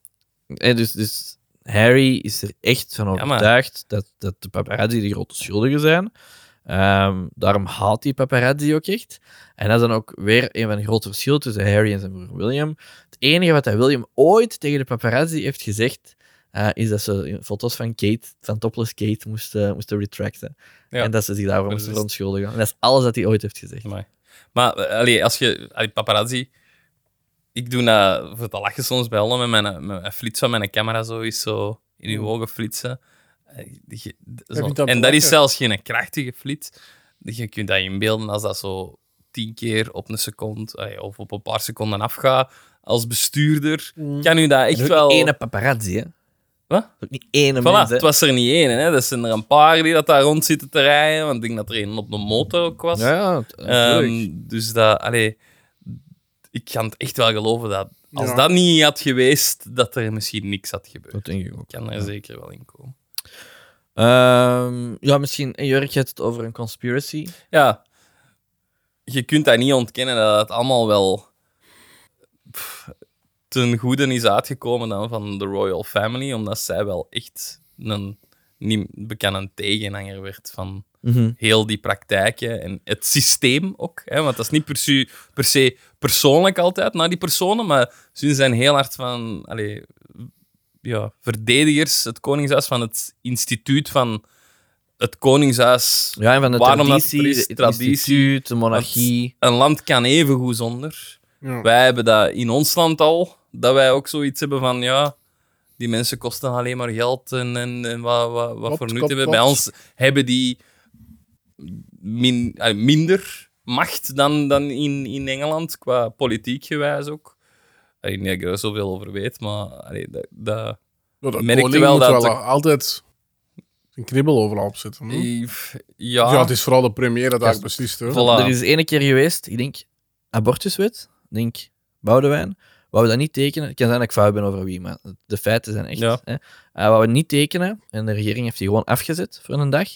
Speaker 3: En dus, dus Harry is er echt van
Speaker 1: maar-
Speaker 3: overtuigd dat, dat de paparazzi de grote schuldigen zijn. Ehm, daarom haat die paparazzi ook echt. En dat is dan ook weer een van de grote verschillen tussen Harry en zijn broer William. Het enige wat dat William ooit tegen de paparazzi heeft gezegd, eh, is dat ze foto's van Kate, van topless Kate, moesten, moesten retracten.
Speaker 1: Ja.
Speaker 3: En dat ze zich daarvoor
Speaker 1: Dat
Speaker 3: moesten
Speaker 1: is-
Speaker 3: verontschuldigen. En dat is alles dat hij ooit heeft gezegd.
Speaker 1: Amai. Maar eh, allee, als je... Allee, paparazzi... ik doe dat voor te lachen soms bij Holle met mijn, eh, met mijn flits van mijn camera zo is zo in uw ogen flitsen. Eh, die ge- d-
Speaker 2: Mm. je
Speaker 1: zo-
Speaker 2: dat te
Speaker 1: en dat is
Speaker 2: lachen?
Speaker 1: zelfs geen krachtige flits. Je kunt dat inbeelden als dat zo tien keer op een seconde eh, of op een paar seconden afgaat. Als bestuurder
Speaker 2: Mm.
Speaker 1: kan u dat echt
Speaker 3: Echt
Speaker 1: wel...
Speaker 3: wel. Ene paparazzi, hè?
Speaker 1: Wat?
Speaker 3: Ook niet ene
Speaker 1: Voilà,
Speaker 3: mens, hè?
Speaker 1: het was er niet één. Hè. Dat zijn er een paar die dat daar rond zitten te rijden. Want ik denk dat er één op de motor ook was.
Speaker 3: Ja, ja, t-
Speaker 1: Ehm,
Speaker 3: natuurlijk.
Speaker 1: dus dat, allee, ik kan het echt wel geloven dat als
Speaker 2: Ja.
Speaker 1: dat niet had geweest, dat er misschien niks had gebeurd.
Speaker 3: Dat denk ik ook.
Speaker 1: Ik kan er zeker wel in komen.
Speaker 3: Ehm, ja, misschien, eh, Jurk, je had het over een conspiracy.
Speaker 1: Ja, je kunt dat niet ontkennen dat het allemaal wel pff, ten goede is uitgekomen dan van de royal family, omdat zij wel echt een niet bekende tegenhanger werd van heel die praktijken en het systeem ook. Hè, want dat is niet per se, per se persoonlijk altijd naar die personen, maar ze zijn heel hard van allee, ja, verdedigers, het Koningshuis, van het instituut van het Koningshuis.
Speaker 3: Ja, en van de
Speaker 1: Waarom dat
Speaker 3: traditie,
Speaker 1: er is,
Speaker 3: het
Speaker 1: traditie,
Speaker 3: instituut, de monarchie.
Speaker 1: Een land kan evengoed zonder.
Speaker 2: Ja.
Speaker 1: Wij hebben dat in ons land al, dat wij ook zoiets hebben van ja. Die mensen kosten alleen maar geld en, en, en wat, wat, wat
Speaker 2: Klopt,
Speaker 1: voor nut
Speaker 2: klopt,
Speaker 1: hebben.
Speaker 2: klopt.
Speaker 1: Bij ons hebben die min, eh, minder macht dan, dan in, in Engeland, qua politiek gewijs ook. Eh, Ik denk dat ik er zoveel over weet, maar allee, dat, dat,
Speaker 2: Ja, dat
Speaker 1: merkte
Speaker 2: koning
Speaker 1: wel
Speaker 2: moet
Speaker 1: dat
Speaker 2: wel
Speaker 1: de-
Speaker 2: altijd een knibbel overal op zitten. hm?
Speaker 1: Eh,
Speaker 2: Ja.
Speaker 1: ja,
Speaker 2: het is vooral de première dat
Speaker 3: Ja,
Speaker 2: ik precies. Hoor.
Speaker 1: Voilà.
Speaker 3: Er is ene keer geweest, ik denk, abortuswet. Ik denk, Boudewijn. Wou we dat niet tekenen? Het kan zijn dat ik fout ben over wie, maar de feiten zijn echt.
Speaker 1: Ja.
Speaker 3: Hè? Eh, wou we niet tekenen en de regering heeft die gewoon afgezet voor een dag.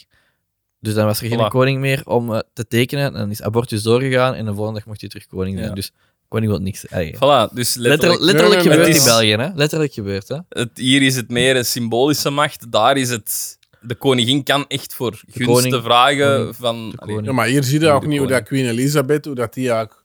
Speaker 3: Dus dan was er geen
Speaker 1: Voilà.
Speaker 3: koning meer om eh, te tekenen. En dan is abortus doorgegaan en de volgende dag mocht hij terug koning zijn.
Speaker 1: Ja.
Speaker 3: Dus koning wil niks. Allee,
Speaker 1: voilà, dus
Speaker 3: Letterlijk,
Speaker 1: letterlijk,
Speaker 3: letterlijk
Speaker 2: Nee, nee,
Speaker 3: gebeurt
Speaker 1: nee.
Speaker 3: in België, hè? Letterlijk gebeurt, hè?
Speaker 1: het, hier is het meer een symbolische macht, daar is het... De koningin kan echt voor gunsten
Speaker 3: koning-
Speaker 1: vragen
Speaker 3: koning-
Speaker 1: van... allee,
Speaker 3: koning.
Speaker 2: Ja, maar hier zie je
Speaker 1: Ja,
Speaker 2: ook
Speaker 1: de
Speaker 2: niet hoe dat
Speaker 1: koning.
Speaker 2: Queen Elizabeth, hoe dat die eigenlijk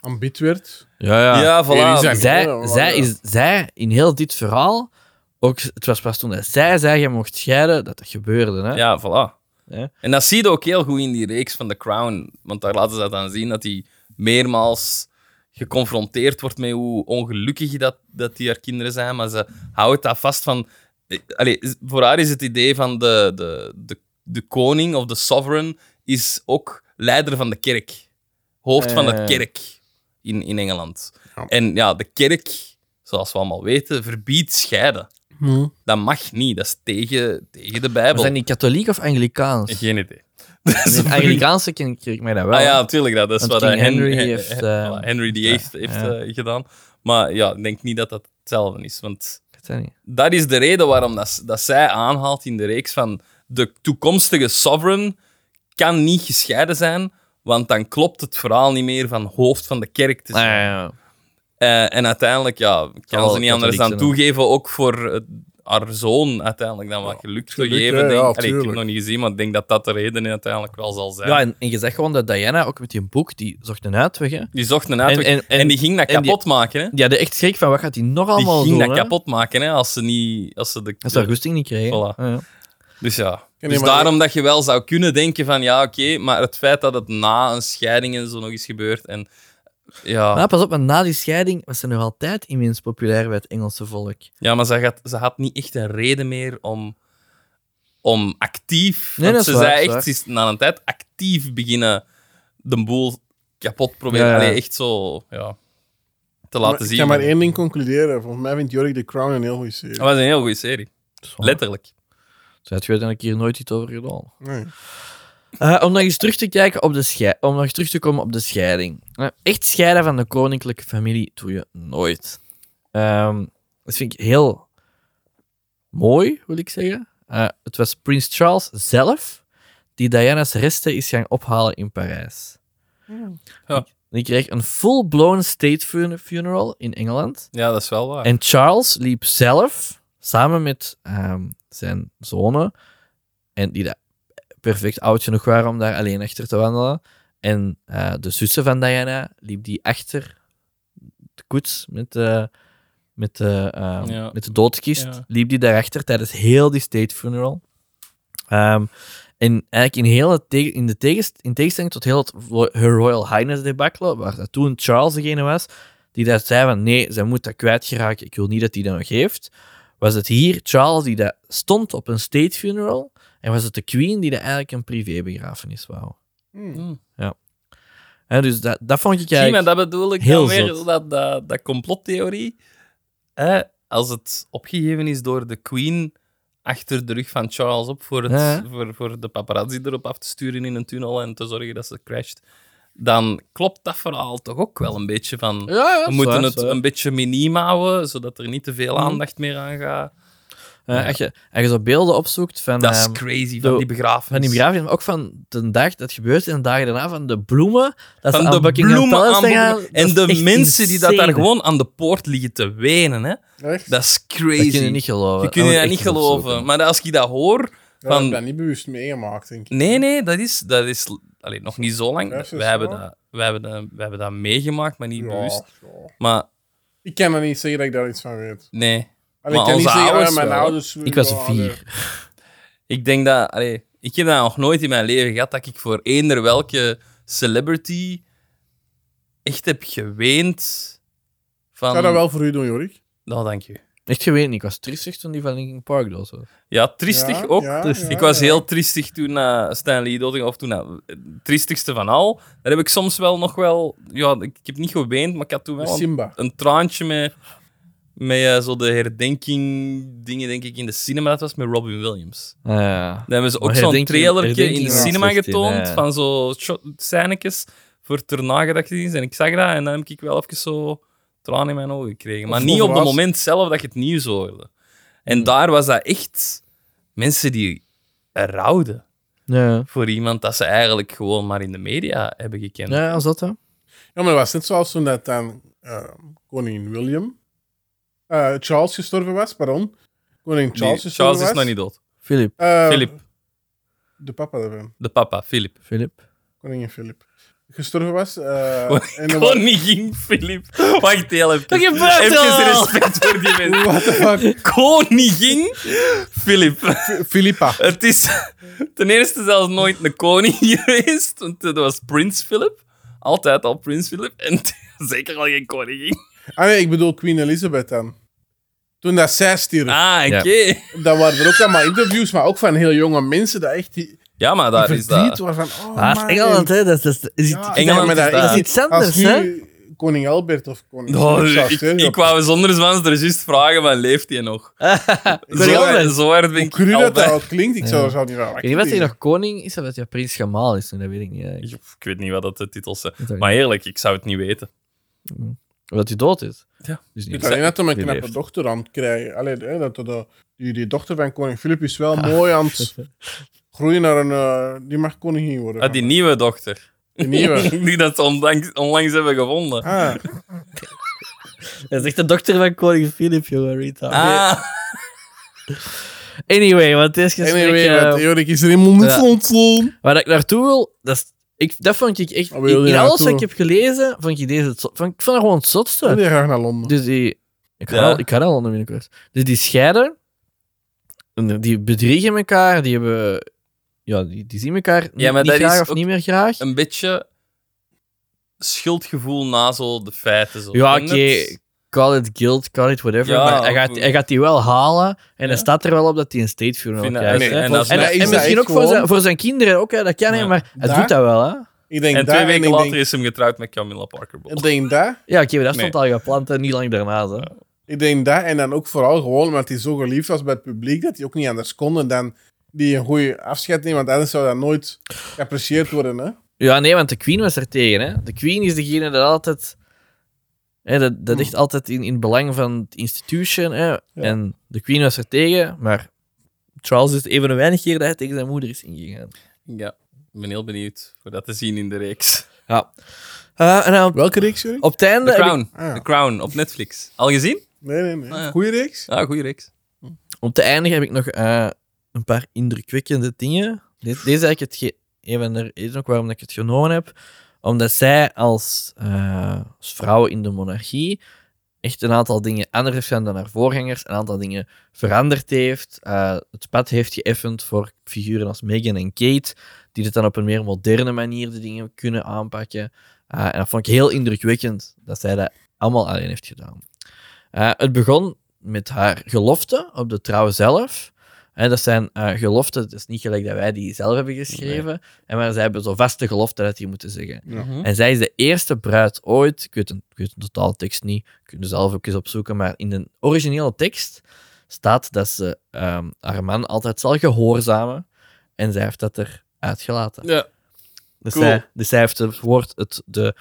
Speaker 2: aanbid werd.
Speaker 1: Ja,
Speaker 2: Hier is
Speaker 1: voilà.
Speaker 2: dat-
Speaker 3: Zij,
Speaker 2: Ja, maar-
Speaker 3: zij, is, zij, in heel dit verhaal, ook, het was pas toen dat zij zei je mocht scheiden, dat dat gebeurde. Hè?
Speaker 1: Ja, voilà.
Speaker 3: Ja.
Speaker 1: En dat zie je ook heel goed in die reeks van The Crown. Want daar laten ze dat aan zien, dat hij meermaals geconfronteerd wordt met hoe ongelukkig dat, dat die haar kinderen zijn. Maar ze houdt dat vast van... eh, Allee, is- voor haar is het idee van de, de, de, de koning of de sovereign is ook leider van de kerk. Hoofd van
Speaker 3: Eh.
Speaker 1: de kerk in, in Engeland.
Speaker 2: Ja.
Speaker 1: En ja, de kerk, zoals we allemaal weten, verbiedt scheiden. Dat mag niet. Dat is tegen, tegen de
Speaker 3: Maar
Speaker 1: Bijbel.
Speaker 3: zijn die katholiek of anglicaans?
Speaker 1: *laughs* Geen idee. Dus
Speaker 3: In Anglicaanse ken ik- ken ik mij dat wel.
Speaker 1: Ah ja, natuurlijk. Dat is
Speaker 3: Want
Speaker 1: wat
Speaker 3: King
Speaker 1: Hen-
Speaker 3: Henry
Speaker 1: Hen-
Speaker 3: heeft,
Speaker 1: Hen-
Speaker 3: eh,
Speaker 1: voilà, Henry VIII heeft
Speaker 3: ja.
Speaker 1: eh, gedaan. Maar ja, ik denk niet dat dat hetzelfde is. Want
Speaker 3: Ik weet dat niet.
Speaker 1: dat is de reden waarom dat, dat zij aanhaalt in de reeks van de toekomstige sovereign kan niet gescheiden zijn, want dan klopt het verhaal niet meer van hoofd van de kerk te
Speaker 3: Ah,
Speaker 1: zijn.
Speaker 3: ja, ja.
Speaker 1: Eh, en uiteindelijk ja, kan
Speaker 3: wel
Speaker 1: ze niet anders dan
Speaker 3: katholiek zijn, hè.
Speaker 1: toegeven, ook voor eh, haar zoon uiteindelijk dan wat gelukt te
Speaker 2: gelukt,
Speaker 1: geven.
Speaker 2: hè,
Speaker 1: denk
Speaker 2: ja,
Speaker 1: ik. Allee, ik heb het
Speaker 2: tuurlijk.
Speaker 1: nog niet gezien, maar ik denk dat dat de reden uiteindelijk wel zal zijn.
Speaker 3: Ja, en, en je zegt gewoon dat Diana, ook met die boek, die zocht een uitweg. Hè?
Speaker 1: Die zocht een uitweg. En,
Speaker 3: En- en- en-
Speaker 1: die ging dat
Speaker 3: en die-
Speaker 1: kapot maken. Hè?
Speaker 3: Die hadden echt schrik van, wat gaat die nog
Speaker 1: Die
Speaker 3: allemaal
Speaker 1: ging
Speaker 3: doen?
Speaker 1: dat
Speaker 3: hè?
Speaker 1: kapot maken hè? Als, ze niet, als ze de.
Speaker 3: Als ze haar goesting niet kregen.
Speaker 1: Voilà.
Speaker 3: Ah, ja.
Speaker 1: Dus ja.
Speaker 2: je
Speaker 1: Dus
Speaker 2: maar-
Speaker 1: daarom dat je wel zou kunnen denken: van ja, oké, maar het feit dat het na een scheiding en zo nog eens gebeurt. En ja,
Speaker 3: Maar pas op, want na die scheiding was ze nog altijd immens populair bij het Engelse volk.
Speaker 1: ja maar ze had, ze had niet echt een reden meer om, om actief.
Speaker 3: Nee,
Speaker 1: want
Speaker 3: dat is
Speaker 1: ze
Speaker 3: waar, dat
Speaker 1: zei
Speaker 3: is
Speaker 1: echt,
Speaker 3: waar.
Speaker 1: ze is na een tijd actief beginnen de boel kapot proberen.
Speaker 3: Ja, ja.
Speaker 1: Allee, echt zo ja, te laten
Speaker 2: Maar
Speaker 1: zien.
Speaker 2: Ik kan maar één ding concluderen. Volgens mij vindt Jorik de Crown een heel goede serie.
Speaker 1: Dat was een heel goede serie.
Speaker 3: Oh.
Speaker 1: Letterlijk.
Speaker 3: Ze had je uiteindelijk hier nooit iets over gedaan.
Speaker 2: Nee.
Speaker 3: Eh, om nog eens terug te kijken op de schei- om nog eens terug te komen op de scheiding. Eh, echt scheiden van de koninklijke familie doe je nooit. Ehm, dat vind ik heel mooi, wil ik zeggen. Eh, het was Prins Charles zelf die Diana's resten is gaan ophalen in Parijs.
Speaker 1: Ja.
Speaker 3: Die kreeg een full-blown state fun- funeral in Engeland.
Speaker 1: Ja, dat is wel waar.
Speaker 3: En Charles liep zelf, samen met ehm, zijn zonen, en die daar perfect oud genoeg waren om daar alleen achter te wandelen. En eh, de zussen van Diana liep die achter de koets met de, met de, ehm,
Speaker 1: Ja.
Speaker 3: met de doodskist.
Speaker 1: Ja.
Speaker 3: Liep die daarachter tijdens heel die state funeral. Ehm, en eigenlijk in, heel het tege- in, de tegenst- in tegenstelling tot heel het Ro- Her Royal Highness debacle, waar dat toen Charles degene was, die dat zei van nee, zij moet dat kwijtgeraken, ik wil niet dat die dat nog heeft, was het hier Charles die dat stond op een state funeral en was het de Queen die dat eigenlijk een privébegrafenis wou.
Speaker 2: Hmm.
Speaker 3: Hè, dus dat, dat vond ik
Speaker 1: Zie, maar
Speaker 3: eigenlijk...
Speaker 1: dat bedoel ik
Speaker 3: heel
Speaker 1: dan weer,
Speaker 3: zot.
Speaker 1: dat, dat, dat complottheorie. Hè, als het opgegeven is door de Queen achter de rug van Charles op voor, het,
Speaker 3: Ja.
Speaker 1: voor, voor de paparazzi erop af te sturen in een tunnel en te zorgen dat ze crasht, dan klopt dat verhaal toch ook wel een beetje van...
Speaker 3: Ja, ja,
Speaker 1: We
Speaker 3: is
Speaker 1: moeten
Speaker 3: waar,
Speaker 1: het
Speaker 3: is waar. Mm.
Speaker 1: een beetje miniem houden, zodat er niet te veel aandacht meer aan gaat.
Speaker 3: Ja, Eh, als, je, als je zo beelden opzoekt van,
Speaker 1: Dat is
Speaker 3: ehm,
Speaker 1: crazy, van
Speaker 3: de-
Speaker 1: die begrafenis.
Speaker 3: van die begrafenis, maar ook van de dag dat gebeurt en de dagen daarna, van de bloemen, dat ze
Speaker 1: van
Speaker 3: aan
Speaker 1: de
Speaker 3: Buckingham
Speaker 1: bloemen
Speaker 3: Palace
Speaker 1: aan
Speaker 3: zijn
Speaker 1: Buckingham-
Speaker 3: gaan, dat
Speaker 1: En
Speaker 3: is
Speaker 1: de
Speaker 3: echt
Speaker 1: mensen die dat
Speaker 3: insane.
Speaker 1: daar gewoon aan de poort liggen te wenen, hè.
Speaker 2: Echt?
Speaker 1: Dat is crazy.
Speaker 3: Dat kun je niet geloven.
Speaker 1: Je kunt
Speaker 3: moet
Speaker 1: je dat
Speaker 3: echt
Speaker 1: niet
Speaker 3: eens
Speaker 1: geloven.
Speaker 3: opzoeken.
Speaker 1: Maar als je dat hoor...
Speaker 2: Ja, Ik
Speaker 1: Van,
Speaker 2: heb dat niet bewust meegemaakt, denk ik.
Speaker 1: nee, nee, dat is, dat is allee, nog niet zo
Speaker 2: Ja,
Speaker 1: lang.
Speaker 2: is dat
Speaker 1: We hebben,
Speaker 2: zo?
Speaker 1: dat, we, hebben dat, we hebben dat meegemaakt, maar niet
Speaker 2: Ja,
Speaker 1: bewust.
Speaker 2: ja.
Speaker 1: Maar
Speaker 2: Ik kan er niet zeggen dat ik daar iets van weet.
Speaker 1: nee,
Speaker 2: Allee, ik
Speaker 1: Maar
Speaker 2: kan niet
Speaker 1: onze
Speaker 2: zeggen,
Speaker 1: ouders
Speaker 2: ah, mijn
Speaker 1: wel.
Speaker 2: ouders...
Speaker 3: Ik was
Speaker 2: ja,
Speaker 3: vier.
Speaker 1: ik denk dat... allee, ik heb dat nog nooit in mijn leven gehad, dat ik voor eender welke celebrity echt heb geweend van...
Speaker 2: Ik zou dat wel voor u doen, Jorik.
Speaker 1: Nou, dank je.
Speaker 3: Echt geweten, ik was tristig toen die van Linkin Park dood was.
Speaker 1: Ja, triestig
Speaker 2: Ja,
Speaker 1: ook.
Speaker 2: ja,
Speaker 3: Tristig.
Speaker 2: ja,
Speaker 1: ik was
Speaker 2: ja.
Speaker 1: heel triestig toen uh, Stanley doodging, of toen eh, het triestigste van al. Daar heb ik soms wel nog wel... Ja, ik, ik heb niet geweend, maar ik had toen wel een
Speaker 2: Simba.
Speaker 1: een traantje met, met eh, zo de herdenking dingen, denk ik, in de cinema. Dat was met Robin Williams.
Speaker 3: ja.
Speaker 1: Daar hebben ze ook
Speaker 3: Maar
Speaker 1: zo'n
Speaker 3: herdenking-
Speaker 1: trailertje in
Speaker 3: herdenking
Speaker 1: de
Speaker 2: was
Speaker 1: cinema
Speaker 3: echt in,
Speaker 1: getoond,
Speaker 3: ja.
Speaker 1: van zo shot- scènetjes voor ter nagedachtenis. En ik zag dat en dan heb ik wel even zo tranen in mijn ogen gekregen. Maar
Speaker 2: Of
Speaker 1: niet
Speaker 2: voor
Speaker 1: op het
Speaker 2: was-
Speaker 1: moment zelf dat je het nieuws hoorde. En daar was dat echt mensen die rouwden
Speaker 3: Ja.
Speaker 1: voor iemand dat ze eigenlijk gewoon maar in de media hebben gekend.
Speaker 3: ja, als dat hè?
Speaker 2: Ja, maar dat was net zoals toen dat dan eh, koningin William... eh, Charles gestorven was, pardon. Koning
Speaker 1: Die-
Speaker 2: Charles
Speaker 1: Charles,
Speaker 2: gestorven was.
Speaker 1: is nog niet dood.
Speaker 3: Philip.
Speaker 2: Eh,
Speaker 1: Philip,
Speaker 2: De papa daarvan.
Speaker 1: de papa, Philip.
Speaker 3: Philip.
Speaker 2: Koningin Philip. Gestorven was.
Speaker 1: *laughs*
Speaker 2: eh, en dan wa-
Speaker 1: Koningin Filip. Wacht heel even.
Speaker 3: je buiten
Speaker 1: Even
Speaker 3: al.
Speaker 1: respect voor die
Speaker 2: *laughs*
Speaker 1: mensen.
Speaker 2: What the fuck?
Speaker 1: Koningin Filip.
Speaker 2: F- Philippa.
Speaker 1: Het is ten eerste zelfs nooit een koning *laughs* geweest. Want dat was Prins Philip. Altijd al Prins Philip. En *laughs* zeker al geen koningin.
Speaker 2: Ah nee, ik bedoel Queen Elizabeth dan. Toen dat zij stierf.
Speaker 1: Ah, oké.
Speaker 2: Dan waren er ook allemaal interviews, maar ook van heel jonge mensen. Dat echt die,
Speaker 1: Ja, maar daar is
Speaker 2: verdriet
Speaker 1: *laughs* dat.
Speaker 2: was van... Oh,
Speaker 3: Ah, dat
Speaker 2: man,
Speaker 3: is Engeland, hè? Dat is, dat is,
Speaker 2: Ja,
Speaker 3: iets-
Speaker 1: Engeland
Speaker 2: maar
Speaker 1: is dat.
Speaker 2: dat
Speaker 1: Dat
Speaker 3: is iets
Speaker 2: als
Speaker 3: anders,
Speaker 2: nu
Speaker 3: hè?
Speaker 2: Koning Albert of koning...
Speaker 1: Oh,
Speaker 2: Philip zou
Speaker 1: ik,
Speaker 2: sterven,
Speaker 1: ik wou zonder zwans er juist vragen, maar leeft hij nog?
Speaker 3: Koning
Speaker 1: Zo,
Speaker 3: Albert.
Speaker 1: zo hard ben
Speaker 2: Hoe
Speaker 1: ik
Speaker 2: cru dat dat
Speaker 1: altijd-
Speaker 2: al klinkt, ik zou er zo niet van
Speaker 3: Ik weet niet wat hij nog koning is of dat hij prins gemaal is. Nee, Dat weet ik niet. eigenlijk.
Speaker 1: Ik weet niet wat dat de titels zijn.
Speaker 3: Dat weet ik
Speaker 1: Maar eerlijk, ik zou het niet weten.
Speaker 3: niet. Omdat hij dood is.
Speaker 1: Ja.
Speaker 3: Dus
Speaker 2: Ik
Speaker 3: niet.
Speaker 2: alleen dat hij een
Speaker 3: Die
Speaker 2: knappe
Speaker 3: leeft.
Speaker 2: dochter aan het krijgen. Allee, hè, dat, dat- die, die dochter van koning Filip is wel mooi aan het groeien naar een... eh, die mag koningin worden.
Speaker 1: Ah, die nieuwe dochter.
Speaker 2: Die
Speaker 1: *laughs*
Speaker 2: nieuwe.
Speaker 1: Die dat ze onlangs, onlangs hebben gevonden. Ah,
Speaker 2: Ah,
Speaker 3: Dat is echt de dokter van koning Philip, jongen. Rita. Ah. Anyway, want deze gesprek...
Speaker 2: anyway,
Speaker 3: eh,
Speaker 2: want Jorik is er helemaal niet
Speaker 3: ja.
Speaker 2: van ontzoen.
Speaker 3: Waar ik naartoe wil, dat, is- ik, dat vond ik echt...
Speaker 2: Waar wil je
Speaker 3: in alles wat
Speaker 2: naartoe?
Speaker 3: ik heb gelezen, vond ik deze het zot- vond, ik vond dat gewoon het
Speaker 2: Ik
Speaker 3: zotste.
Speaker 2: wil graag naar Londen.
Speaker 3: Dus die... Ik ga
Speaker 1: Ja.
Speaker 3: al ik ga al onder binnenkort. Dus die scheiden, en die bedriegen elkaar, die hebben... Ja, die, die zien elkaar
Speaker 1: Ja, maar
Speaker 3: niet
Speaker 1: dat is
Speaker 3: graag of
Speaker 1: ook
Speaker 3: niet meer graag.
Speaker 1: Een beetje schuldgevoel na zo de feiten. Zo.
Speaker 3: Ja, oké.
Speaker 1: Ken je het?
Speaker 3: Call it guilt, call it whatever.
Speaker 1: Ja,
Speaker 3: maar hij
Speaker 1: ook
Speaker 3: gaat,
Speaker 1: goed.
Speaker 3: hij gaat die wel halen. En
Speaker 1: Ja.
Speaker 3: hij staat er wel op dat hij een state funeral
Speaker 1: Vind dat-
Speaker 3: krijgt.
Speaker 1: nee,
Speaker 3: hè.
Speaker 1: en
Speaker 3: en
Speaker 1: dat is-
Speaker 3: en,
Speaker 1: maar is dat
Speaker 3: misschien
Speaker 2: echt
Speaker 3: ook voor
Speaker 2: gewoon-
Speaker 3: zijn, voor zijn kinderen, ook, hè, dat kan
Speaker 1: Ja.
Speaker 3: hij, maar hij
Speaker 2: Daar-
Speaker 3: doet dat wel. Hè?
Speaker 2: Ik denk
Speaker 1: En
Speaker 2: dat
Speaker 1: twee
Speaker 2: en
Speaker 1: weken
Speaker 2: ik
Speaker 1: later
Speaker 2: denk,
Speaker 1: is hem getrouwd met Camilla Parker Bowles.
Speaker 2: ik denk dat.
Speaker 3: Ja, oké, maar dat
Speaker 1: Nee.
Speaker 3: stond al gepland, hè, niet lang daarna. Hè.
Speaker 2: Ik denk dat. En dan ook vooral gewoon omdat hij zo geliefd was bij het publiek, dat hij ook niet anders kon en dan die een goede afscheid nemen, want anders zou dat nooit geapprecieerd worden. Hè?
Speaker 3: Ja, nee, want de Queen was er tegen. Hè. De Queen is degene dat altijd. Hè, dat, dat ligt altijd in, in het belang van het institution. Hè. En de Queen was er tegen, maar Charles is een van de weinige keer dat hij tegen zijn moeder is ingegaan.
Speaker 1: Ja, ik ben heel benieuwd voor dat te zien in de reeks.
Speaker 3: Ja. Eh, en dan op,
Speaker 2: Welke reeks, Jury?
Speaker 3: op het einde.
Speaker 1: The
Speaker 3: heb ik-
Speaker 1: Crown.
Speaker 2: Ah, ja.
Speaker 1: The Crown op Netflix. Al gezien?
Speaker 2: Nee, nee, nee.
Speaker 1: Ah, ja.
Speaker 2: Goeie reeks?
Speaker 1: Ja, goede reeks.
Speaker 3: Om te eindigen heb ik nog eh, een paar indrukwekkende dingen. Dit- Deze is eigenlijk het ge- een van de redenen ook waarom ik het genomen heb. Omdat zij als, eh, als vrouw in de monarchie echt een aantal dingen anders heeft gedaan dan haar voorgangers. Een aantal dingen veranderd heeft. eh, het pad heeft geëffend voor figuren als Meghan en Kate. Die het dan op een meer moderne manier de dingen kunnen aanpakken. Eh, en dat vond ik heel indrukwekkend dat zij dat allemaal alleen heeft gedaan. Eh, het begon met haar gelofte op de trouw zelf. Eh, dat zijn eh, geloften, het is niet gelijk dat wij die zelf hebben geschreven. En maar zij hebben zo vaste geloften dat die moeten zeggen. En zij is de eerste bruid ooit, ik weet, een, ik weet de totale tekst niet, kun je zelf ook eens opzoeken, maar in de originele tekst staat dat ze ehm, haar man altijd zal gehoorzamen en zij heeft dat er uitgelaten.
Speaker 2: Ja.
Speaker 3: Dus,
Speaker 1: Cool.
Speaker 3: zij, dus zij heeft het woord, het, de,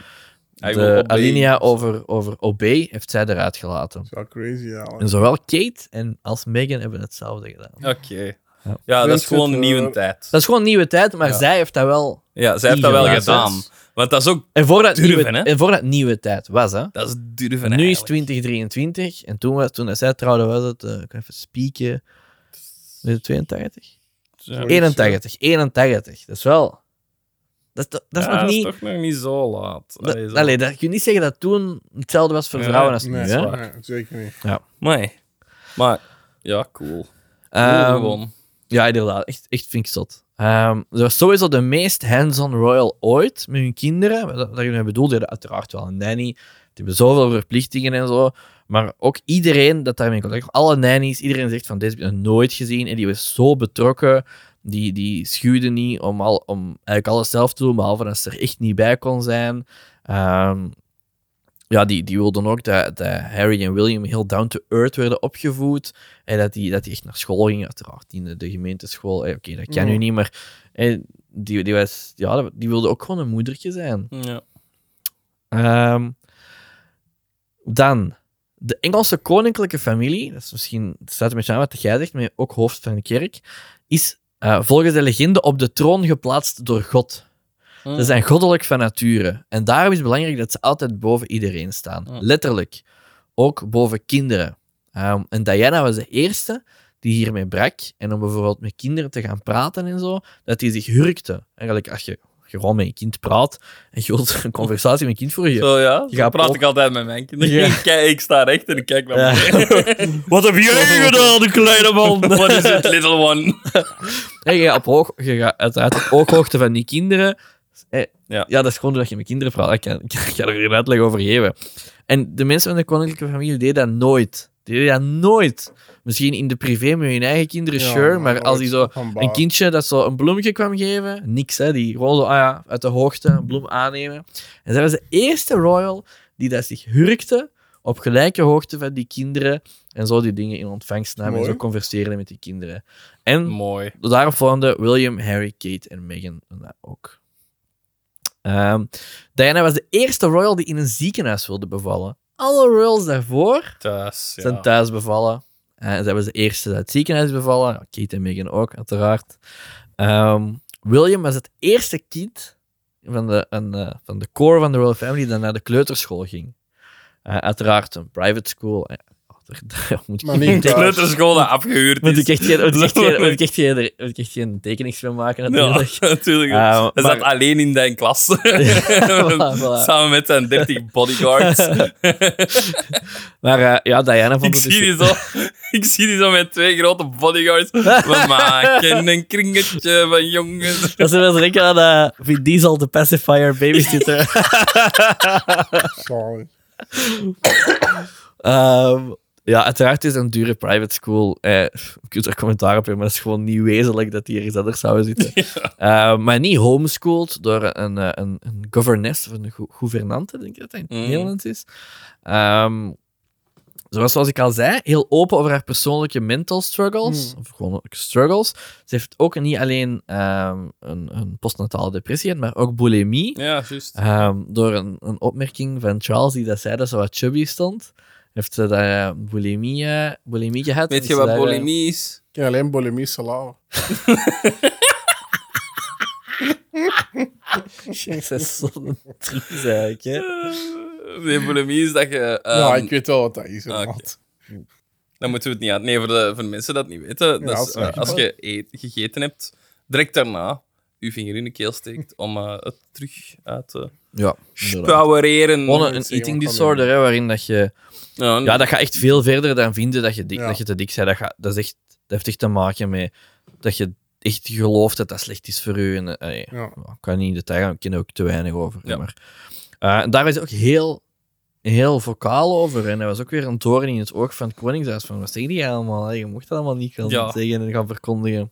Speaker 1: I will
Speaker 3: de
Speaker 1: obey.
Speaker 3: alinea over, over obey, heeft zij eruit gelaten.
Speaker 2: is wel crazy, ja.
Speaker 3: En zowel Kate en als Megan hebben hetzelfde gedaan.
Speaker 1: Oké.
Speaker 3: Ja.
Speaker 1: Ja, dat is
Speaker 2: Vindt
Speaker 1: gewoon
Speaker 2: het,
Speaker 1: een nieuwe
Speaker 2: eh,
Speaker 1: tijd.
Speaker 3: Dat is gewoon nieuwe tijd, maar
Speaker 1: Ja.
Speaker 3: zij heeft dat wel.
Speaker 1: Ja, zij heeft dat wel
Speaker 3: ingelaten.
Speaker 1: gedaan. Want dat is ook
Speaker 3: En voordat,
Speaker 1: Durven,
Speaker 3: nieuwe,
Speaker 1: hè?
Speaker 3: en voordat nieuwe tijd was, hè?
Speaker 1: dat is durven.
Speaker 3: nu is
Speaker 1: eigenlijk.
Speaker 3: 2023 en toen, was, toen dat zij trouwde was het, eh, ik ga even spieken, was het 82?
Speaker 1: Ja.
Speaker 3: 81, 81. Dat is wel... Dat, dat, dat is
Speaker 1: Ja,
Speaker 3: nog niet...
Speaker 1: toch nog niet zo laat.
Speaker 3: dat-
Speaker 1: Allee, zo.
Speaker 3: allee, dat kun je niet zeggen dat toen hetzelfde was voor
Speaker 1: Nee,
Speaker 3: vrouwen als nu.
Speaker 2: Nee,
Speaker 3: hè?
Speaker 2: nee, zeker niet.
Speaker 1: Amai. Maar, ja, cool.
Speaker 3: Ehm,
Speaker 1: cool gewoon.
Speaker 3: ja, inderdaad. Echt, echt vind ik zot. Ehm, ze was sowieso de meest hands-on royal ooit met hun kinderen. Wat dat jullie bedoeld hebben, uiteraard wel een nanny. Die hebben zoveel verplichtingen en zo. Maar ook iedereen dat daarmee in contact kwam, alle nannies, iedereen zegt van deze heb ik nog nooit gezien. En die was zo betrokken. Die, die schuwde niet om, al, om eigenlijk alles zelf te doen, behalve als ze er echt niet bij kon zijn. Ehm, ja, die, die wilden ook dat, dat Harry en William heel down to earth werden opgevoed. En dat die, dat die echt naar school gingen, uiteraard. Die in de, de gemeenteschool. Eh, Oké, dat kan nu
Speaker 2: Mhm.
Speaker 3: niet, maar eh, die, die, was, ja, die wilde ook gewoon een moedertje zijn.
Speaker 1: Ja.
Speaker 3: Ehm, dan, de Engelse koninklijke familie, dat is misschien, dat staat een beetje aan wat jij zegt, maar ook hoofd van de kerk, is eh, volgens de legende op de troon geplaatst door God.
Speaker 1: Hm.
Speaker 3: Ze zijn goddelijk van nature. En daarom is het belangrijk dat ze altijd boven iedereen staan.
Speaker 1: Ja.
Speaker 3: Letterlijk. Ook boven kinderen. Ehm, en Diana was de eerste die hiermee brak. En om bijvoorbeeld met kinderen te gaan praten en zo, dat die zich hurkte. Eigenlijk, als je gewoon met je kind praat en je wilt een conversatie met je kind voor je.
Speaker 1: Zo ja,
Speaker 3: Je
Speaker 1: zo
Speaker 3: gaat
Speaker 1: praat
Speaker 3: op-
Speaker 1: ik altijd met mijn kinderen.
Speaker 3: Ja.
Speaker 1: Ik, kijk, ik sta recht en ik kijk naar
Speaker 3: Ja.
Speaker 1: beneden.
Speaker 3: *laughs*
Speaker 1: Wat heb jij gedaan, kleine man? Wat is het, little one?
Speaker 3: En je gaat, op hoog, je gaat uiteraard op ooghoogte van die kinderen. Eh, ja.
Speaker 1: Ja.
Speaker 3: dat is gewoon doordat je met kinderen praat. Ik kan, ik kan er geen uitleg over geven. En de mensen van de koninklijke familie deden dat nooit. Die deden dat nooit. Misschien in de privé met hun eigen kinderen, sure. Maar, als die zo een kindje dat zo een bloemetje kwam geven, niks hè. Die gewoon zo, ah ja, uit de hoogte een bloem aannemen. En zij was de eerste royal die dat zich hurkte op gelijke hoogte van die kinderen. En zo die dingen in ontvangst namen en
Speaker 2: Mooi.
Speaker 3: zo converseerden met die kinderen. En
Speaker 1: Mooi.
Speaker 3: Daarop volgden William, Harry, Kate en Meghan dat ook. Ehm, Diana was de eerste royal die in een ziekenhuis wilde bevallen. Alle royals daarvoor
Speaker 1: Thuis, ja.
Speaker 3: zijn thuis bevallen. En zij was de eerste uit het ziekenhuis bevallen. Ja, Kate en Meghan ook, uiteraard. Ehm, William was het eerste kind van de, van, de, van de core van de royal family dat naar de kleuterschool ging. Eh, uiteraard een private school. Eh, daar, *laughs* daar moet ik
Speaker 2: Maar niet
Speaker 1: De
Speaker 2: thuis.
Speaker 1: kleuterschool dat afgehuurd
Speaker 3: moet
Speaker 1: is.
Speaker 3: ik echt geen, moet ik echt geen,
Speaker 1: Zo.
Speaker 3: moet ik echt geen, moet ik echt geen tekeningsfilm maken,
Speaker 1: Ja, *laughs*
Speaker 3: natuurlijk.
Speaker 1: natuurlijk.
Speaker 3: Eh,
Speaker 1: Hij
Speaker 3: maar-
Speaker 1: zat alleen in zijn
Speaker 3: *laughs*
Speaker 1: klas.
Speaker 3: voilà, voilà.
Speaker 1: Samen met zijn 30 bodyguards.
Speaker 3: Maar eh, ja, Diana vond
Speaker 1: ik,
Speaker 3: het
Speaker 1: zie
Speaker 3: dus-
Speaker 1: die zo, *laughs* ik zie die zo met twee grote
Speaker 3: *laughs*
Speaker 1: bodyguards. We maken een kringetje van jongens.
Speaker 3: Dat ze wel eens denken aan eh, Vin Diesel, de pacifier, babysitter. Ehm ja, uiteraard is het een dure private school. Eh, ik kunt er commentaar op hebben, maar het is gewoon niet wezenlijk dat die ergens anders zouden zitten. Ehm, maar niet homeschooled door een, eh, een, een governess of een gou- gouvernante, denk ik dat dat in het
Speaker 1: Mm.
Speaker 3: Nederlands is. Ehm, ze was, zoals ik al zei, heel open over haar persoonlijke mental struggles. Of gewoon ook struggles. Ze heeft ook niet alleen ehm, een, een postnatale depressie, gehad, maar ook bulimie.
Speaker 1: Ja, juist.
Speaker 3: Ehm, door een, een opmerking van Charles die dat zei dat ze wat chubby stond, heeft ze daar eh, bulimie, eh, bulimie gehad.
Speaker 1: Weet
Speaker 3: en
Speaker 1: je
Speaker 3: ze
Speaker 1: wat
Speaker 3: daar, eh,
Speaker 1: bulimie is?
Speaker 2: Ik ken alleen bulimie salade.
Speaker 3: *laughs* Jezus, dat is zo'n triest eigenlijk, hè.
Speaker 1: Nee, bulimie is dat je... ehm,
Speaker 2: ja, ik weet wel wat dat is.
Speaker 1: oké.
Speaker 2: inderdaad.
Speaker 1: Dan moeten we het niet aan. Nee, voor de, voor de mensen dat niet weten.
Speaker 2: Ja,
Speaker 1: dus,
Speaker 2: als-
Speaker 1: eh, als, je eet- gegeten hebt, direct daarna je vinger in de keel steekt om eh, het terug uit te
Speaker 3: Ja, inderdaad.
Speaker 1: spouwereren.
Speaker 3: Gewoon een, een
Speaker 2: moet zeggen,
Speaker 3: eating
Speaker 2: want dan-
Speaker 3: disorder, hè, waarin dat je...
Speaker 1: Ja,
Speaker 3: Ja, dat gaat echt veel verder dan vinden dat je, dik,
Speaker 2: Ja.
Speaker 3: dat je te dik bent. Dat, gaat- dat, is echt, dat heeft echt te maken met dat je echt gelooft dat dat slecht is voor u. En, eh, allee,
Speaker 2: Ja.
Speaker 3: ja, ik kan niet in detail gaan, ik ken er ook te weinig over.
Speaker 1: Ja.
Speaker 3: Maar, eh, en daar is ook heel heel vocaal over. En hij was ook weer een toren in het oog van het Koningshuis. Van, wat zeg je allemaal? hè? Je mocht dat allemaal niet gaan
Speaker 1: Ja.
Speaker 3: zeggen en gaan verkondigen.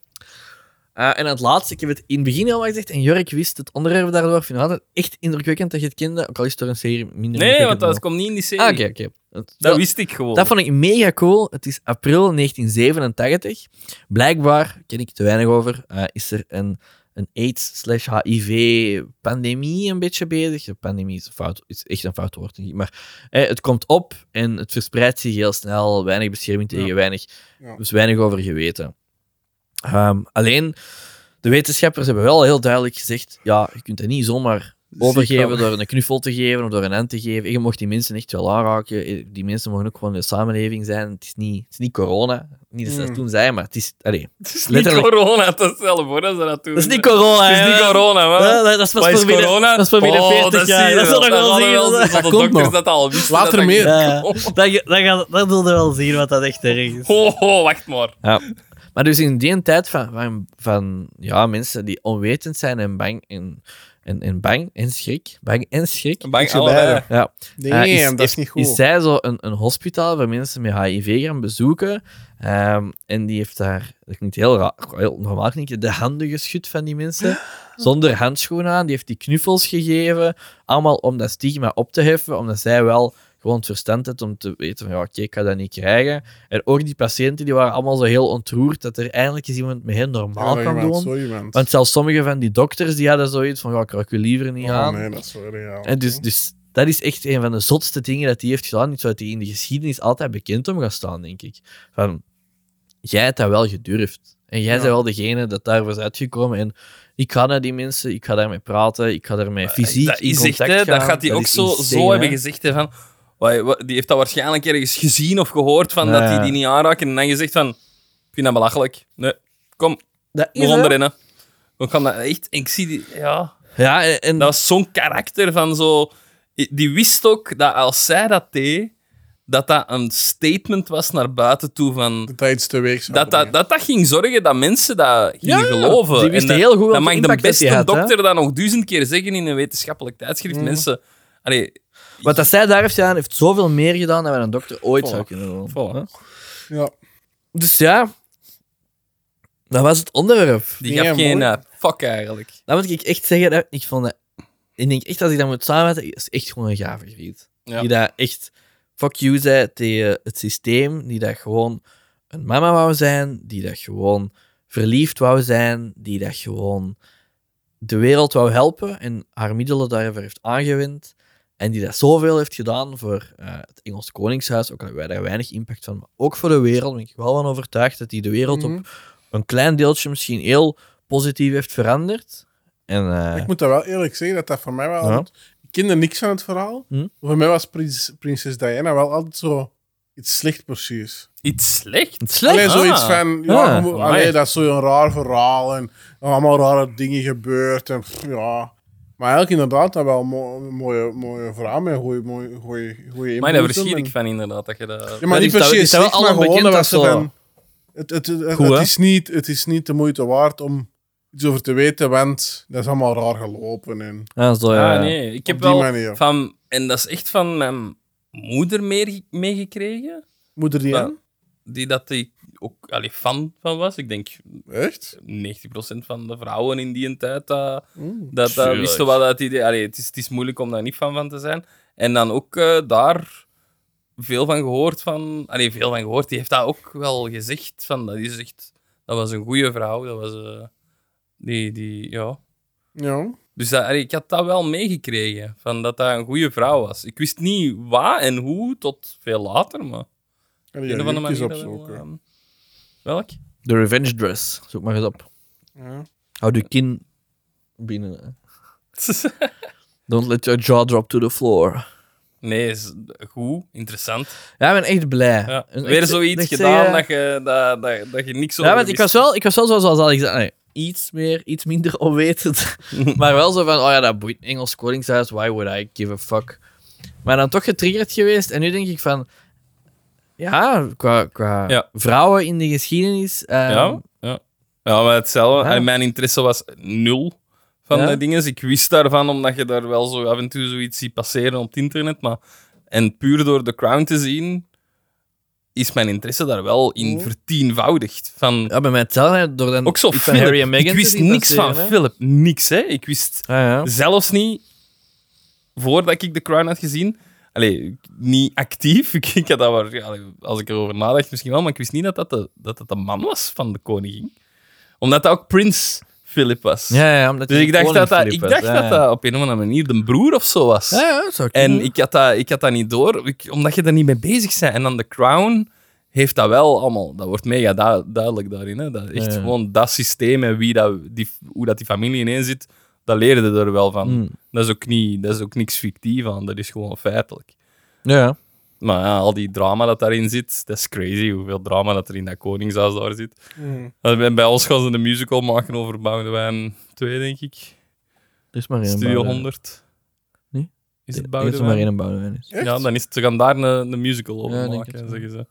Speaker 3: Eh, en het laatste, ik heb het in het begin al wat gezegd. En Jurk wist het onderwerp daardoor. Ik vind het altijd echt indrukwekkend dat je het kende. Ook al is het door een serie minder
Speaker 1: Nee, want
Speaker 3: indrukwekkend
Speaker 1: dat
Speaker 3: dan.
Speaker 1: komt niet in die serie.
Speaker 3: Ah, oké, oké. Het-
Speaker 1: Dat wist ik gewoon.
Speaker 3: dat vond ik mega cool. Het is april 1987. Blijkbaar, ken ik te weinig over, eh, is er een, een AIDS-HIV-pandemie een beetje bezig. De pandemie is, een fout, is echt een fout woord, denk ik. Maar eh, het komt op en het verspreidt zich heel snel. Weinig bescherming tegen
Speaker 2: Ja.
Speaker 3: weinig.
Speaker 2: Ja.
Speaker 3: Dus weinig over geweten. Ehm, alleen, de wetenschappers hebben wel heel duidelijk gezegd: ja, je kunt dat niet zomaar overgeven door een knuffel te geven of door een hand te geven. Je mocht die mensen echt wel aanraken. Eh, Die mensen mogen ook gewoon in de samenleving zijn. Het is niet, het is niet corona. Niet dat ze dat
Speaker 2: Mm.
Speaker 3: toen zeiden, maar het is... Allee,
Speaker 1: *laughs* Het is niet
Speaker 3: Letterlijk.
Speaker 1: corona, dat is zelf hoor, dat ze dat doen.
Speaker 3: dat is niet corona,
Speaker 1: Het is niet
Speaker 3: hè.
Speaker 1: corona, man.
Speaker 3: Ja, dat- dat is pas
Speaker 1: Wat Ah. is
Speaker 3: voor binnen-
Speaker 1: corona?
Speaker 3: Dat is voor binnen
Speaker 1: Oh,
Speaker 3: 40
Speaker 1: dat
Speaker 3: jaar.
Speaker 1: zie je
Speaker 3: Dat zullen we wel zien.
Speaker 1: Dat,
Speaker 3: dat-
Speaker 1: dat,
Speaker 2: dat
Speaker 1: de
Speaker 2: komt
Speaker 1: dokters
Speaker 2: nog.
Speaker 1: dat al wisten.
Speaker 2: Later
Speaker 1: dat Oh, dat
Speaker 2: meer.
Speaker 1: niet *laughs*
Speaker 3: Ja.
Speaker 1: kon.
Speaker 3: Dat, je- dat, gaat- dat wil je wel zien, wat dat echt erg is.
Speaker 1: Ho, ho, oh, wacht maar.
Speaker 3: Ja. Maar dus in die tijd van, van, van ja, mensen die onwetend zijn en bang en, en, en bang en schrik. Bang en schrik.
Speaker 1: Bang
Speaker 2: je
Speaker 1: allebei.
Speaker 2: bij.
Speaker 3: Ja.
Speaker 2: Nee,
Speaker 3: Eh, is-
Speaker 2: dat is niet goed.
Speaker 3: Is zij zo een, een hospitaal waar mensen met HIV gaan bezoeken? Ehm, en die heeft daar, dat klinkt heel, raar, heel normaal klinkt, de handen geschud van die
Speaker 2: *gasps*
Speaker 3: mensen. Zonder handschoenen aan. Die heeft die knuffels gegeven. Allemaal om dat stigma op te heffen. Omdat zij wel gewoon het verstand had om te weten van ja, oké, ik ga dat niet krijgen. En ook die patiënten die waren allemaal zo heel ontroerd dat er eindelijk eens iemand met hen normaal
Speaker 2: Sorry,
Speaker 3: kan
Speaker 2: man,
Speaker 3: doen.
Speaker 2: Sorry, man.
Speaker 3: Want zelfs sommige van die dokters die hadden zoiets van ja, ik raak u liever niet
Speaker 2: Oh,
Speaker 3: aan.
Speaker 2: nee, dat is wel real.
Speaker 3: En dus, dus dat is echt een van de zotste dingen dat hij heeft gedaan. Iets wat hij in de geschiedenis altijd bekend om gaat staan, denk ik. Van, jij hebt dat wel gedurfd. En jij
Speaker 2: Ja.
Speaker 3: bent wel degene dat daar was uitgekomen. En ik ga naar die mensen, ik ga daarmee praten, ik ga daarmee fysiek
Speaker 1: dat
Speaker 3: in
Speaker 1: is echt,
Speaker 3: contact
Speaker 1: hè,
Speaker 3: gaan.
Speaker 1: dat gaat hij ook
Speaker 3: is
Speaker 1: zo,
Speaker 3: insane,
Speaker 1: zo
Speaker 3: hè.
Speaker 1: hebben gezegd. Hè, van, "Wai, wa- die heeft dat waarschijnlijk ergens gezien of gehoord van
Speaker 3: Ja,
Speaker 1: dat hij
Speaker 3: ja.
Speaker 1: die niet aanraakt. En dan gezegd van, ik vind dat belachelijk. Nee, kom,
Speaker 3: Dat is
Speaker 1: we gaan
Speaker 3: hè.
Speaker 1: erin. hè." We gaan dat echt... En ik zie die... Ja.
Speaker 3: Ja, en, en
Speaker 1: Dat was zo'n karakter van zo... Die wist ook dat als zij dat deed, dat dat een statement was naar buiten toe van...
Speaker 2: Dat hij iets teweeg zou
Speaker 1: Dat dat,
Speaker 2: brengen.
Speaker 1: dat dat ging zorgen dat mensen dat gingen
Speaker 3: Oh, Ja,
Speaker 1: geloven.
Speaker 3: die wisten
Speaker 1: dat,
Speaker 3: heel goed welke
Speaker 1: dat mag de
Speaker 3: impact dat
Speaker 1: beste
Speaker 3: die had, hè?
Speaker 1: dokter dat nog duizend keer zeggen in een wetenschappelijk tijdschrift.
Speaker 2: Mm.
Speaker 1: Mensen... Allee,
Speaker 3: wat dat zij daar heeft gedaan, heeft zoveel meer gedaan dan wat een dokter ooit
Speaker 1: Voilà.
Speaker 3: zou kunnen doen.
Speaker 1: Voilà.
Speaker 3: Hè?
Speaker 2: Ja.
Speaker 3: Dus ja, dat was het onderwerp.
Speaker 1: die
Speaker 2: Ja,
Speaker 1: gaf
Speaker 2: mooi.
Speaker 1: geen eh, fuck eigenlijk.
Speaker 3: Dat moet ik echt zeggen. Dat, ik vond dat, ik denk echt als ik dat moet samenvatten, is echt gewoon een gave griet.
Speaker 1: Ja.
Speaker 3: Die dat echt fuck you zei tegen het systeem, die dat gewoon een mama wou zijn, die dat gewoon verliefd wou zijn, die dat gewoon de wereld wou helpen en haar middelen daarvoor heeft aangewend. En die dat zoveel heeft gedaan voor eh, het Engels Koningshuis, ook al hebben wij daar weinig impact van, maar ook voor de wereld. Ben ik wel van overtuigd dat die de wereld op
Speaker 2: Mhm.
Speaker 3: een klein deeltje misschien heel positief heeft veranderd. En eh,
Speaker 2: Ik moet dat wel eerlijk zeggen, dat dat voor mij wel...
Speaker 3: Ja.
Speaker 2: altijd- Ik kende niks van het verhaal.
Speaker 3: Hm?
Speaker 2: Voor mij was prins, prinses Diana wel altijd zo iets slecht precies.
Speaker 1: Iets slecht.
Speaker 3: het is slecht.
Speaker 2: Alleen
Speaker 1: Ah.
Speaker 2: zoiets van... Ja,
Speaker 3: Ah,
Speaker 2: mo-
Speaker 1: amai.
Speaker 2: allee, dat is zo'n raar verhaal en allemaal rare dingen gebeurd en pff, ja... Maar eigenlijk inderdaad dat wel een mo- een mooie, mooie verhaal met goede goeie, goeie, goeie
Speaker 1: Maar daar
Speaker 2: invloed
Speaker 1: verschiet
Speaker 2: en-
Speaker 1: ik van inderdaad. Dat je dat...
Speaker 2: Ja, maar
Speaker 3: Dat
Speaker 2: niet
Speaker 3: is- dat-
Speaker 2: per se
Speaker 3: is dat wel
Speaker 2: slecht, maar
Speaker 3: allen
Speaker 2: gewoon
Speaker 3: bekend
Speaker 2: dat
Speaker 3: als
Speaker 2: ze
Speaker 3: zo-
Speaker 2: dan... Het, het, het, het-
Speaker 3: Goed,
Speaker 2: het
Speaker 3: hè?
Speaker 2: is niet, het is niet de moeite waard om iets over te weten, want dat is allemaal raar gelopen. En
Speaker 3: Ja, zo, eh, ja.
Speaker 1: Ah, nee. Ik heb
Speaker 2: op die
Speaker 1: wel
Speaker 2: manier.
Speaker 1: van... En dat is echt van mijn moeder meege- meegekregen.
Speaker 2: Moeder die
Speaker 1: Ja.
Speaker 2: aan?
Speaker 1: Die dat ik ook allee, fan van was. Ik denk 90%
Speaker 2: Echt?
Speaker 1: van de vrouwen in die tijd... dat
Speaker 2: Mm.
Speaker 1: Dat, dat
Speaker 3: Tuurlijk.
Speaker 1: wisten wel dat idee. Allee, het, is, het is moeilijk om daar niet van van te zijn. En dan ook eh, daar veel van gehoord van. Allee, veel van gehoord. Die heeft dat ook wel gezegd. Van, dat, is echt, dat was een goede vrouw. Dat was. eh, die, die, ja.
Speaker 2: Ja.
Speaker 1: Dus dat, allee, ik had dat wel meegekregen. Van dat dat een goede vrouw was. Ik wist niet waar en hoe tot veel later. Maar op
Speaker 2: En
Speaker 1: de
Speaker 2: die
Speaker 1: een of andere
Speaker 2: jurkjes
Speaker 1: manier. wel,
Speaker 2: opzoeken.
Speaker 1: ehm, welk? *laughs*
Speaker 3: De Revenge Dress. Zoek maar eens op.
Speaker 2: Ja.
Speaker 3: Houd je kin binnen. hè. Don't let your jaw drop to the floor.
Speaker 1: nee, is goed. Interessant.
Speaker 3: Ja, ik ben echt blij.
Speaker 1: Ja,
Speaker 3: En
Speaker 1: weer
Speaker 3: echt-
Speaker 1: zoiets
Speaker 3: echt
Speaker 1: gedaan
Speaker 3: zeggen-
Speaker 1: dat je, dat, dat, dat je niks over
Speaker 3: eh, Ja, want ik
Speaker 1: wist.
Speaker 3: was wel, ik was wel zoals al gezegd, nee, iets meer, iets minder *laughs*
Speaker 1: *laughs*
Speaker 3: onwetend. maar wel zo van, oh ja, dat boeit Engels Koningshuis, why would I give a fuck? Maar dan toch getriggerd geweest. En nu denk ik van, ja, qua, qua
Speaker 1: Ja.
Speaker 3: vrouwen in de geschiedenis. eh,
Speaker 1: Ja, ja. ja, maar hetzelfde.
Speaker 3: Ja.
Speaker 1: En mijn interesse was nul van Dus
Speaker 3: Ja.
Speaker 1: de dingen. Ik wist daarvan, omdat je daar wel zo af en toe zoiets ziet passeren op het internet. Maar En puur door The Crown te zien, is mijn interesse daar wel in vertienvoudigd. Van,
Speaker 3: Oh. Ja, bij mij hetzelfde. Door dan
Speaker 1: ook zo
Speaker 3: iets van
Speaker 1: Philip.
Speaker 3: Harry en Meghan
Speaker 1: ik
Speaker 3: te
Speaker 1: wist
Speaker 3: zien
Speaker 1: niks van
Speaker 3: passeren, hè.
Speaker 1: Philip. Niks, hè. Ik wist
Speaker 3: Ah, ja.
Speaker 1: zelfs niet, voordat ik The Crown had gezien... Allee, niet actief. *laughs* Ik, ik had dat waar, ja, als ik erover nadacht, misschien wel. Maar ik wist niet dat dat de, dat dat de man was van de koningin. Omdat dat ook prins Philip was.
Speaker 3: Ja, ja, omdat
Speaker 1: Dus
Speaker 3: hij
Speaker 1: ik dacht,
Speaker 3: koning
Speaker 1: dat dat,
Speaker 3: Philip
Speaker 1: ik
Speaker 3: was.
Speaker 1: dacht
Speaker 3: Ja,
Speaker 1: dat
Speaker 3: ja.
Speaker 1: dat op een of andere manier de broer of zo was.
Speaker 3: Ja, ja, zou
Speaker 1: En
Speaker 3: kunnen.
Speaker 1: ik had, dat, ik had dat niet door, ik- omdat je er niet mee bezig bent. En dan The Crown heeft dat wel allemaal. Dat wordt mega du- duidelijk daarin. Hè? Dat echt
Speaker 3: Ja.
Speaker 1: gewoon dat systeem en wie dat, die, hoe dat die familie ineen zit, dat leerde er wel van.
Speaker 3: Hmm.
Speaker 1: Dat, is ook niet, dat is ook niks fictief aan, dat is gewoon feitelijk.
Speaker 3: Ja.
Speaker 1: Maar ja, al die drama dat daarin zit, dat is crazy hoeveel drama dat er in dat Koningshuis daar zit. En bij ons gaan ze een musical maken over Boudewijn 2, denk ik.
Speaker 3: Er is maar één
Speaker 1: Studio
Speaker 3: Boudewijn.
Speaker 1: 100.
Speaker 3: Nee?
Speaker 1: Is het
Speaker 3: Er is er maar
Speaker 1: Boudewijn?
Speaker 3: één Boudewijn. dus. is.
Speaker 2: Echt?
Speaker 1: Ja, dan is het, ze gaan daar een, een musical over
Speaker 3: Ja, denk
Speaker 1: maken,
Speaker 3: het wel.
Speaker 1: zeggen ze.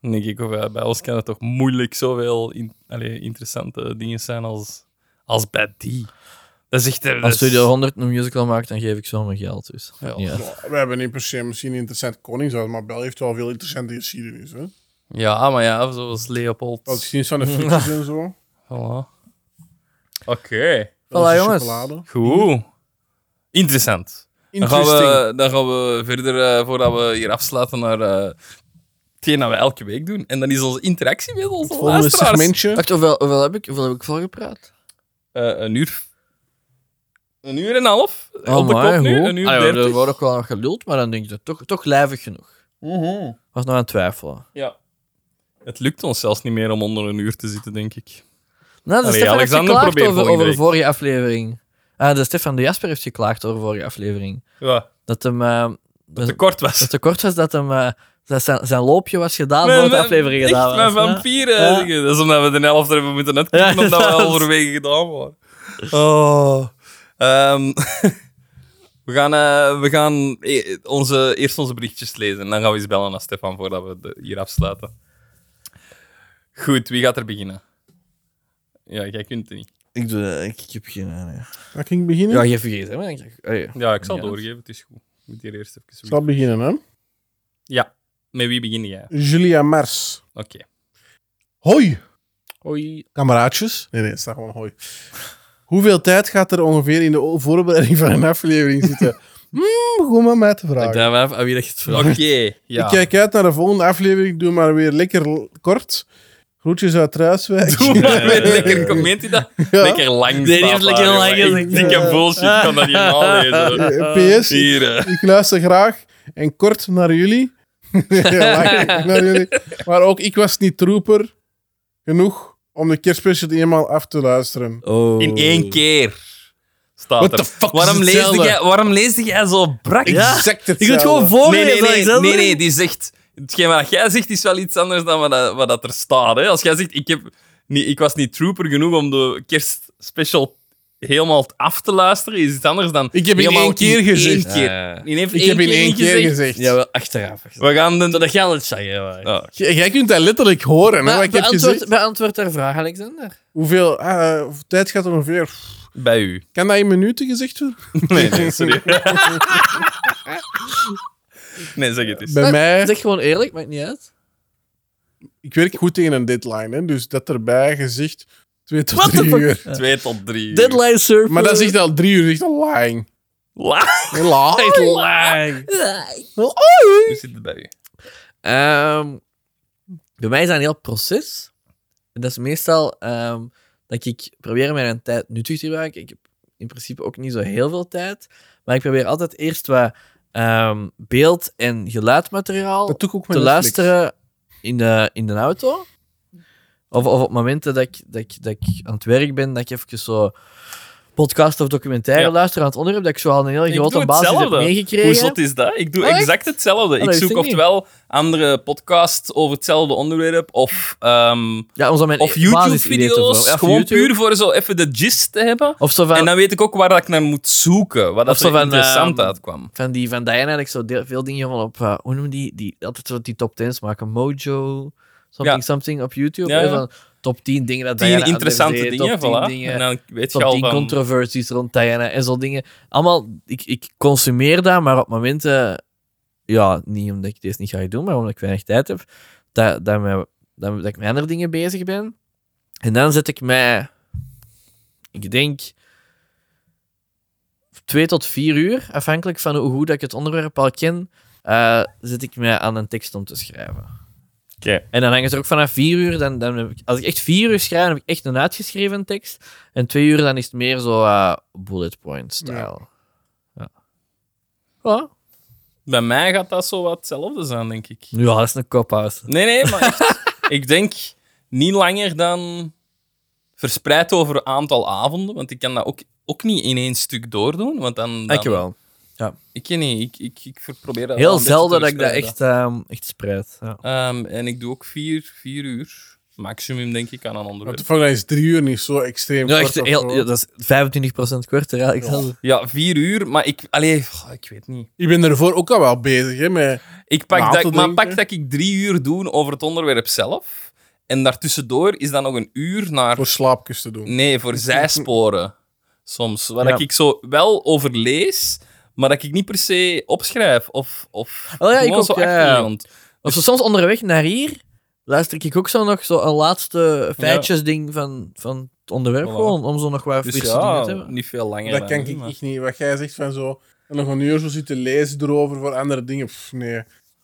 Speaker 1: Dan denk ik, of, ja, bij ons kan het toch moeilijk zoveel in, allee, interessante dingen zijn als, als bij die. Dat is echt... eh, dat
Speaker 3: Als
Speaker 1: is-
Speaker 3: Studio 100 een musical maakt, dan geef ik zo mijn geld. Dus.
Speaker 1: Ja.
Speaker 3: Ja.
Speaker 2: We hebben niet per se misschien een interessant koningshuis, maar Bel heeft wel veel interessante geschiedenis. Hè?
Speaker 1: Ja, maar ja, zoals Leopold.
Speaker 2: Ook
Speaker 1: *laughs*
Speaker 2: geschiedenis van de ficties en zo.
Speaker 1: Voilà. Oké,
Speaker 2: Belgische
Speaker 3: jongens.
Speaker 2: chocolade.
Speaker 1: goed. Interessant. Dan gaan,
Speaker 2: Interesting.
Speaker 1: we, eh, dan gaan we verder, eh, voordat we hier afsluiten, naar eh hetgeen dat we elke week doen. En dat is onze interactie met onze
Speaker 2: Volgende
Speaker 1: luisteraars.
Speaker 2: segmentje.
Speaker 3: Wacht, hoeveel, hoeveel, heb ik, hoeveel heb ik volgepraat?
Speaker 1: Eh, een uur. Een uur en een half. op de
Speaker 3: Amai,
Speaker 1: kop nu.
Speaker 3: goed.
Speaker 1: Een uur
Speaker 3: Ah, ja,
Speaker 1: dertig.
Speaker 3: er wordt ook wel nog geluld, maar dan denk je toch, toch lijvig genoeg.
Speaker 1: Mhm.
Speaker 3: Was nog aan het twijfelen. Nou,
Speaker 1: Ja. Het lukt ons zelfs niet meer om onder een uur te zitten, denk ik.
Speaker 3: Nou, de
Speaker 1: Allee,
Speaker 3: Stefan heeft
Speaker 1: Alexander,
Speaker 3: geklaagd
Speaker 1: probeer
Speaker 3: over,
Speaker 1: volgende
Speaker 3: over
Speaker 1: week.
Speaker 3: vorige aflevering. Ah, de Stefan de Jasper heeft geklaagd over vorige aflevering.
Speaker 1: Ja,
Speaker 3: Dat hem eh, dat,
Speaker 1: te kort was.
Speaker 3: dat te kort was dat, hem, eh, dat zijn, zijn loopje was gedaan
Speaker 1: Mijn-
Speaker 3: voordat de
Speaker 1: mijn-
Speaker 3: aflevering
Speaker 1: echt,
Speaker 3: gedaan
Speaker 1: mijn
Speaker 3: was. hè?
Speaker 1: vampieren.
Speaker 3: Ja.
Speaker 1: dingen. Dat is omdat we de helft er hebben moeten uitknippen,
Speaker 3: Ja,
Speaker 1: omdat
Speaker 3: *laughs*
Speaker 1: we
Speaker 3: inderdaad.
Speaker 1: halverwege gedaan waren. Oh. Ehm, *laughs* we gaan, eh, we gaan e- onze, eerst onze berichtjes lezen en dan gaan we eens bellen naar Stefan voordat we de- hier afsluiten. Goed, wie gaat er beginnen? Ja, jij kunt het niet.
Speaker 3: Ik, doe, dat, ik, ik heb geen... idee.
Speaker 2: Dan ging ik beginnen.
Speaker 3: Ja, geef vergeten. Maar ik, oh, ja.
Speaker 1: Ja, ik zal
Speaker 3: Ja.
Speaker 1: doorgeven, het is goed. Ik moet hier eerst even...
Speaker 2: Ik zal beginnen, hè.
Speaker 1: Ja, met wie begin jij?
Speaker 2: Julia Mars.
Speaker 1: Oké.
Speaker 2: Hoi!
Speaker 3: Hoi.
Speaker 2: kameraadjes. Nee, nee, het staat gewoon hoi. Hoeveel tijd gaat er ongeveer in de o- voorbereiding van een aflevering
Speaker 1: *laughs*
Speaker 2: zitten? Hmm, goed maar mij te
Speaker 3: Ik
Speaker 2: vragen.
Speaker 3: dacht maar af aan wie dat je het vraagt.
Speaker 1: Oké, Eh, ja.
Speaker 2: Ik eh, kijk uit naar de volgende aflevering. Doe maar weer lekker l- kort. Groetjes uit
Speaker 1: *laughs*
Speaker 2: Ruiswijk. *laughs*
Speaker 1: Doe maar weer lekker, comment je dat?
Speaker 2: Ja.
Speaker 1: Lekker lang.
Speaker 3: die heeft
Speaker 1: staat
Speaker 3: lekker
Speaker 1: daar,
Speaker 3: lang
Speaker 1: jongen.
Speaker 3: gezegd.
Speaker 1: Ik dikke bullshit kan *laughs* dat niet nalezen.
Speaker 2: Eh, PS,
Speaker 1: Hier, eh.
Speaker 2: ik luister graag en kort naar jullie. *laughs* Lang naar jullie. Maar ook ik was niet trooper genoeg om de kerstspecial eenmaal af te luisteren.
Speaker 3: Oh.
Speaker 1: in één keer. Staat
Speaker 2: What
Speaker 1: er.
Speaker 2: the fuck
Speaker 1: waarom,
Speaker 2: is
Speaker 1: leesde
Speaker 2: hetzelfde?
Speaker 1: jij, waarom leesde jij zo brak?
Speaker 2: Exact
Speaker 3: Ik wil het
Speaker 2: hetzelfde.
Speaker 3: gewoon
Speaker 1: Nee,
Speaker 3: voorlezen,
Speaker 1: nee, nee, nee,
Speaker 3: Alexander.
Speaker 1: nee, die zegt... Hetgeen wat jij zegt is wel iets anders dan wat, dat- wat dat er staat. Hè? Als jij zegt, ik, heb niet, ik was niet trooper genoeg om de kerstspecial helemaal af te luisteren, is iets anders dan...
Speaker 2: Ik heb in
Speaker 1: helemaal
Speaker 2: één keer
Speaker 1: in
Speaker 2: gezegd.
Speaker 1: één keer.
Speaker 3: Ja, ja.
Speaker 1: In één,
Speaker 2: Ik heb in één keer gezegd.
Speaker 3: Ja, wel achteraf.
Speaker 1: We gaan de...
Speaker 3: Dat jij al het zeggen. maar.
Speaker 1: Ah,
Speaker 2: J- Jij kunt dat letterlijk horen. Hè, wat ik heb gezegd.
Speaker 3: beantwoord, beantwoord haar vraag, Alexander.
Speaker 2: Hoeveel ah, eh, tijd gaat er ongeveer?
Speaker 1: bij u.
Speaker 2: Kan dat in minuten
Speaker 3: *laughs*
Speaker 2: gezegd worden?
Speaker 1: Nee, nee, sorry. *laughs* nee, zeg het eens.
Speaker 2: *laughs* Bij mij,
Speaker 3: Zeg gewoon eerlijk, maakt niet uit.
Speaker 2: ik werk goed tegen een deadline, hè, dus dat erbij gezegd twee tot
Speaker 3: What the
Speaker 2: drie
Speaker 3: fuck?
Speaker 2: uur.
Speaker 1: Twee tot drie. uur.
Speaker 3: Deadline surfer.
Speaker 2: Maar dat
Speaker 3: *laughs*
Speaker 2: is echt al drie uur, echt al lang.
Speaker 1: Laat.
Speaker 2: Lang.
Speaker 1: Laag. Hoe zit het bij u?
Speaker 3: Ehm, bij mij is dat een heel proces. En dat is meestal ehm, dat ik probeer mijn tijd nuttig te maken. Ik heb in principe ook niet zo heel veel tijd. Maar ik probeer altijd eerst wat ehm, beeld- en geluidmateriaal
Speaker 2: Dat doe ik ook met
Speaker 3: te
Speaker 2: Netflix.
Speaker 3: luisteren in de, in de auto. Of, of op momenten dat ik, dat, ik, dat ik aan het werk ben, dat ik even zo podcast of documentaire
Speaker 1: Ja.
Speaker 3: luister aan het onderwerp, dat ik zo al een hele
Speaker 1: Ik
Speaker 3: grote
Speaker 1: doe
Speaker 3: basis heb
Speaker 1: hetzelfde. Hoe
Speaker 3: meegekregen.
Speaker 1: zot is dat? Ik doe
Speaker 3: Oh, echt?
Speaker 1: exact hetzelfde.
Speaker 3: dat
Speaker 1: Ik
Speaker 3: wist
Speaker 1: zoek
Speaker 3: ik niet.
Speaker 1: oftewel andere podcasts over hetzelfde onderwerp of, ehm,
Speaker 3: Ja, om zo mijn e-
Speaker 1: of
Speaker 3: basisidee te vormen.
Speaker 1: YouTube-video's.
Speaker 3: Ja, of
Speaker 1: gewoon
Speaker 3: YouTube.
Speaker 1: puur voor zo even de gist te hebben.
Speaker 3: Of zo
Speaker 1: en
Speaker 3: van,
Speaker 1: dan weet ik ook waar dat ik naar moet zoeken. Wat
Speaker 3: Of
Speaker 1: dat
Speaker 3: zo
Speaker 1: er
Speaker 3: van,
Speaker 1: interessant
Speaker 3: ehm,
Speaker 1: uitkwam.
Speaker 3: van die van Diana had ik zo deel- veel dingen van op, eh, hoe noemen die, die altijd zo die top 10's maken, Mojo, something
Speaker 1: Ja.
Speaker 3: something op YouTube.
Speaker 1: Ja,
Speaker 3: hè,
Speaker 1: ja.
Speaker 3: Van top 10 dingen dat Diana
Speaker 1: Tien
Speaker 3: Adler
Speaker 1: interessante
Speaker 3: deed,
Speaker 1: dingen,
Speaker 3: top 10
Speaker 1: voilà.
Speaker 3: dingen,
Speaker 1: En dan weet je
Speaker 3: top
Speaker 1: al
Speaker 3: 10
Speaker 1: van...
Speaker 3: controversies rond Diana en zo dingen. Allemaal, ik, ik consumeer dat, maar op momenten ja, niet omdat ik deze niet ga doen, maar omdat ik weinig tijd heb, dat, dat, me- dat, dat ik met andere dingen bezig ben. En dan zet ik mij, ik denk, twee tot vier uur, afhankelijk van hoe goed dat ik het onderwerp al ken, eh, zet ik mij aan een tekst om te schrijven.
Speaker 1: Oké.
Speaker 3: En dan hangt het er ook vanaf vier uur. Dan, dan heb ik, als ik echt vier uur schrijf, dan heb ik echt een uitgeschreven tekst. En twee uur, dan is het meer zo eh, bullet point style. Ja. Ja. Ja.
Speaker 1: Bij mij gaat dat zo wat hetzelfde zijn, denk ik.
Speaker 3: dat is een cop-out.
Speaker 1: Nee, nee, maar echt, ik *laughs* denk niet langer dan verspreid over een aantal avonden, want ik kan dat ook, ook niet in één stuk doordoen, want dan... dan
Speaker 3: Dankjewel.
Speaker 1: Ik ken niet, ik, ik, ik probeer dat wel
Speaker 3: Heel
Speaker 1: een beetje
Speaker 3: zelden
Speaker 1: te
Speaker 3: dat ik dat
Speaker 1: verspreiden.
Speaker 3: echt, ehm, echt spreid. Ja.
Speaker 1: Ehm, en ik doe ook vier, vier uur, maximum denk ik, aan een
Speaker 2: Want
Speaker 1: onderwerp.
Speaker 2: de volgende is drie uur niet zo extreem
Speaker 3: Ja,
Speaker 2: kort
Speaker 3: echt
Speaker 2: of
Speaker 3: heel,
Speaker 2: zo.
Speaker 3: ja, dat is 25% korter. Ja, ik zal-
Speaker 1: Ja, vier uur, maar ik... Allee, goh, ik weet niet.
Speaker 2: Ik ben daarvoor ook al wel bezig, hè, met...
Speaker 1: Ik pak
Speaker 2: Na te
Speaker 1: dat, maar
Speaker 2: denken.
Speaker 1: pak dat ik drie uur doe over het onderwerp zelf, en daartussendoor is dan nog een uur naar...
Speaker 2: voor slaapjes te doen.
Speaker 1: Nee, voor zijsporen. Soms. Waar
Speaker 3: Ja.
Speaker 1: ik zo wel over lees, maar dat ik niet per se opschrijf. Of, of
Speaker 2: Ah,
Speaker 3: Oh ja, ik
Speaker 1: gewoon
Speaker 3: ook,
Speaker 1: zo
Speaker 3: ja,
Speaker 1: achter
Speaker 3: ja.
Speaker 1: iemand.
Speaker 3: Of zo, soms onderweg naar hier luister ik ook zo nog zo'n laatste feitjesding van, van het onderwerp.
Speaker 1: Voilà.
Speaker 3: Gewoon, om zo nog wat
Speaker 1: Dus
Speaker 3: frisse dingen
Speaker 1: ja,
Speaker 3: te hebben.
Speaker 1: niet veel langer.
Speaker 2: dat
Speaker 1: dan
Speaker 2: kan
Speaker 1: nu,
Speaker 2: ik
Speaker 1: maar-
Speaker 2: echt niet. Wat jij zegt van zo... En nog een uur zo zitten lezen erover voor andere dingen. Pff, nee,